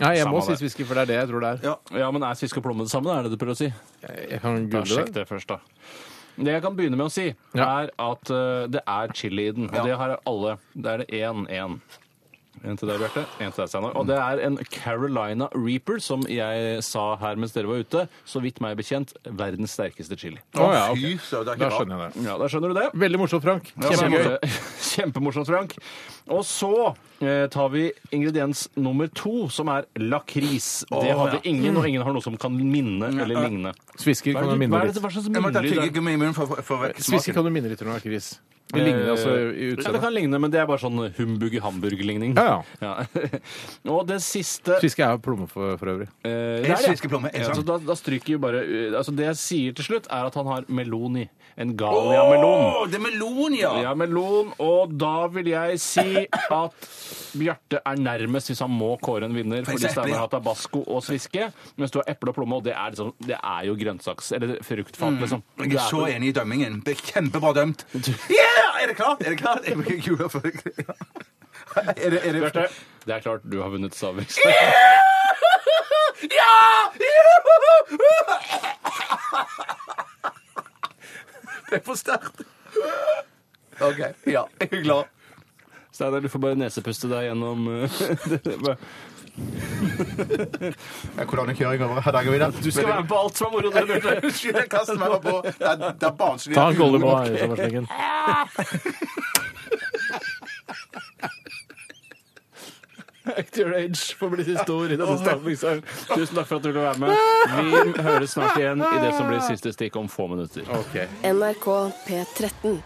B: Nei, jeg må si
D: Samme det.
B: sviske, for det er det jeg tror det er.
D: Ja, men Er sviske og plomme det samme? da, Er det det du prøver å si?
B: Jeg, jeg kan
D: Da,
B: google det.
D: sjekk det først, da. Det jeg kan begynne med å si,
B: Ja.
D: er at eh, det er chili i den. Og det har alle. Det er det én, én. En til deg, Bjarte. En til deg, Steinar. Og det er en Carolina Reaper, som jeg sa her mens dere var ute. Så vidt meg bekjent, verdens sterkeste chili.
B: Å ja, ok.
C: Fy søren, det
B: Da
C: er ikke bra.
B: skjønner jeg det.
D: Ja, Da skjønner du det.
B: Veldig morsomt, Frank.
D: Ja, det er
B: Kjempegøy.
D: morsomt. (laughs) Kjempemorsomt, Frank. Og så eh, tar vi ingrediens nummer to, som er lakris. Det
C: Å,
D: hadde ingen, og ingen har noe som kan minne eller ligne.
B: Svisker
D: Hva
B: kan
D: er
B: du
D: det-
B: minne
D: hva er det-
B: litt.
D: hva slags
C: Jeg må
D: munnlyd
C: ta
D: er det?
C: tyggegummi i munnen for for- for å vekke
B: Svisker
C: smaken.
B: kan du minne litt når du har kris. Det ligner altså i
D: Eh, Ja, det
B: utseendet.
D: kan ligne, men det er bare sånn humbug-hamburg-ligning.
B: Ja,
D: (laughs) og det siste
B: Sviske er jo plomme for, for øvrig.
D: eh, det
C: Jeg
D: er det.
C: svisker plomme. Jeg
D: Ja,
C: sa-
D: så da, da stryker jo bare eh, altså Det jeg sier til slutt, er at han har melon i. En Gallia-melon.
C: Å, det er melon, ja!
D: Ja, melon. Og da vil jeg si at Bjarte er nærmest hvis han må kåre en vinner.
C: For jeg
D: Fordi
C: sier eple,
D: Steinar
C: ja.
D: har tabasco og sviske. Mens du har eple og plomme, og det er, liksom, det er jo grønnsaks... Eller fruktfat, liksom.
C: Mm. Jeg er så enig i dømmingen. Det er kjempebra dømt. Ja! Er det klart? Er det klart? Jeg bruker kula for (laughs) Er det, er det...
D: Bjarte, det er klart du har vunnet Stavmiks.
C: Ja! Det er for sterkt. OK. Ja, jeg er glad.
D: Steinar, du får bare nesepuste deg gjennom eh, (laughs)
A: Kolonnekjøring over Hardangervidda.
D: Du skal være med på alt som er moro. dere lurte.
C: Unnskyld, (laughs) jeg kaster meg bare på. Det er, det er barnslig.
B: Ta en gollum nå,
D: liksom.
B: Thomas Lengen.
D: Act your age for å bli så stor i denne stavmikseren. Tusen takk for at du ville være med. Vi høres snart igjen i det som blir siste stikk om få minutter.
E: NRK P13.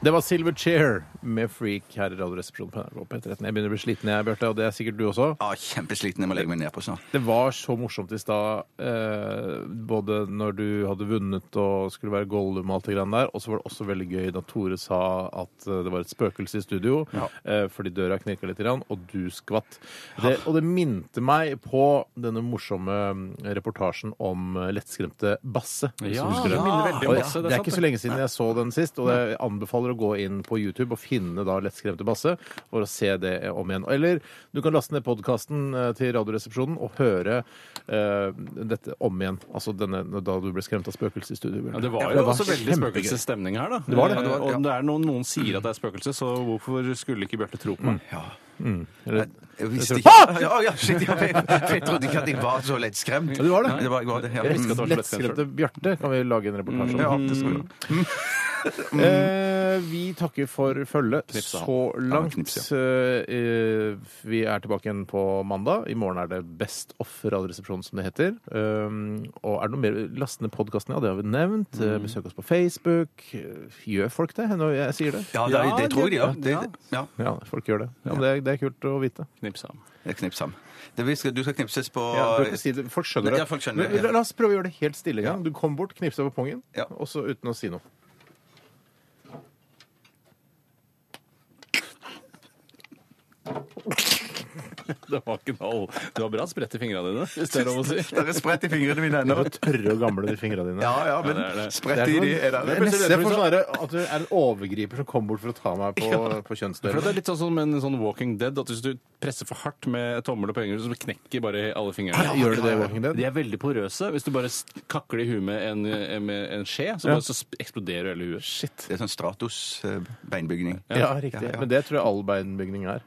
B: Det var Silver Chair med Freak her i Radioresepsjonen på NRK P13. Jeg begynner å bli sliten, jeg, Bjarte, og det er sikkert du også.
C: Ja, kjempesliten. Jeg må legge meg ned på snart.
B: Det var så morsomt i stad, eh, både når du hadde vunnet og skulle være Gollum og alt det greiene der, og så var det også veldig gøy da Tore sa at eh, det var et spøkelse i studio, eh, fordi døra knirka litt, grann, og du skvatt. Det, og det minte meg på denne morsomme mm, reportasjen om eh, lettskremte Basse. som
D: Ja,
B: du skulle-
D: det minner veldig om
B: Og
D: Basse, det er
B: Det er
D: sant,
B: ikke så lenge siden jeg så den sist, og jeg anbefaler å gå inn på YouTube og finne da lettskremte Basse for å se det om igjen. Eller du kan laste ned podkasten til Radioresepsjonen og høre eh, dette om igjen. Altså denne, da du ble skremt av spøkelset i studio. Bjørn.
D: Ja, det var jo også veldig
B: kjempegøy.
D: spøkelsesstemning her, da.
B: Det var det.
D: Eh,
B: Ja, det var-
D: Og om det er noen, noen sier at det er spøkelse, så hvorfor skulle ikke Bjarte tro på meg?
B: Eller-
C: Jeg visste ikke ah! ja, ja, shit, ja, jeg, jeg trodde ikke at jeg var så lettskremt.
B: Ja, du var det.
C: Men det var, jeg var det. Ja.
B: Jeg
C: Mm.
B: husker at det var Lettskremte Bjarte kan vi lage en reportasje om.
C: Ja, det skal vi gjøre.
B: Eh, vi takker for følget
D: Knips, da.
B: så langt.
C: knips,
B: Eh, vi er tilbake igjen på mandag. I morgen er det Best of Radioresepsjonen, som det heter. Um, og er det noe mer last ned podkasten? Ja, det har vi nevnt. Eh, Besøk oss på Facebook. Eh, Gjør folk det når jeg sier det?
C: Ja, det, det tror jeg de gjør. Det, ja.
B: Ja, folk gjør det. Ja, men det, er, det er kult å vite.
D: Knips ham.
C: Jeg knipser ham. Det vi skal, du skal knipses på
B: Ja, du kan ikke si det. Folk skjønner det.
C: Ja, folk skjønner det,
B: Men
C: ja.
B: La oss prøve å gjøre det helt stille en gang. Du kom bort, knipsa på pungen,
C: Ja.
B: og så uten å si noe.
D: Det var ikke noe. Du har bra spredt i fingrene dine, hvis det er lov å si.
C: (laughs) Det er spredt i fingrene mine ennå.
B: Det er tørre og gamle de fingra dine.
C: Ja, ja, men spredt i de er
B: Det
C: det.
B: er nesten jeg får sånn derre at du er en overgriper som kommer bort for å ta meg på, på
D: For
B: kjønnsdøren.
D: det er litt sånn som en sånn Walking Dead, at hvis du presser for hardt med tommel og penger, så knekker bare alle fingrene.
B: Gjør det det, Walking Dead?
D: De er veldig porøse. Hvis du bare s- kakler i huet med en, eh, med en skje, så,
B: Ja.
D: bare, så sp- eksploderer hele huet.
B: Shit.
C: Det er sånn Stratos-beinbygning.
B: Ja, riktig.
C: Ja, ja.
B: Men det tror jeg all beinbygning er.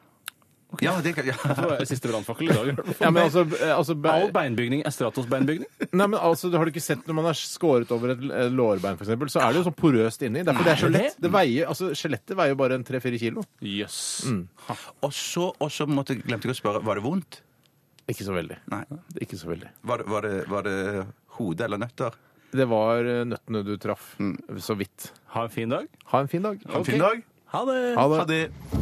C: Ja, det kan ja. (laughs)
D: Det var siste brannfakkel i dag. i hvert fall.
B: Ja, men altså, eh, altså, be-
D: All beinbygning er Stratos-beinbygning.
B: nei, men altså, Har du ikke sett når man har skåret over et l- eh, lårbein, for eksempel, så er det jo sånn porøst inni. Derfor det er så
D: Nei,
B: lett. Det veier, altså, Skjelettet veier jo bare en 3-4 kilo.
D: Jøss.
B: Mm.
C: Og så og så måtte- glemte jeg å spørre var det vondt.
B: Ikke så veldig.
C: Nei.
B: Ikke så veldig.
C: Var, det- var, det, var det hode eller nøtter?
B: Det var eh, nøttene du traff. Så vidt.
D: Ha en fin dag.
B: Mm. Ha en fin dag.
C: En fin dag.
D: Ha det!
B: Ha det.
C: det.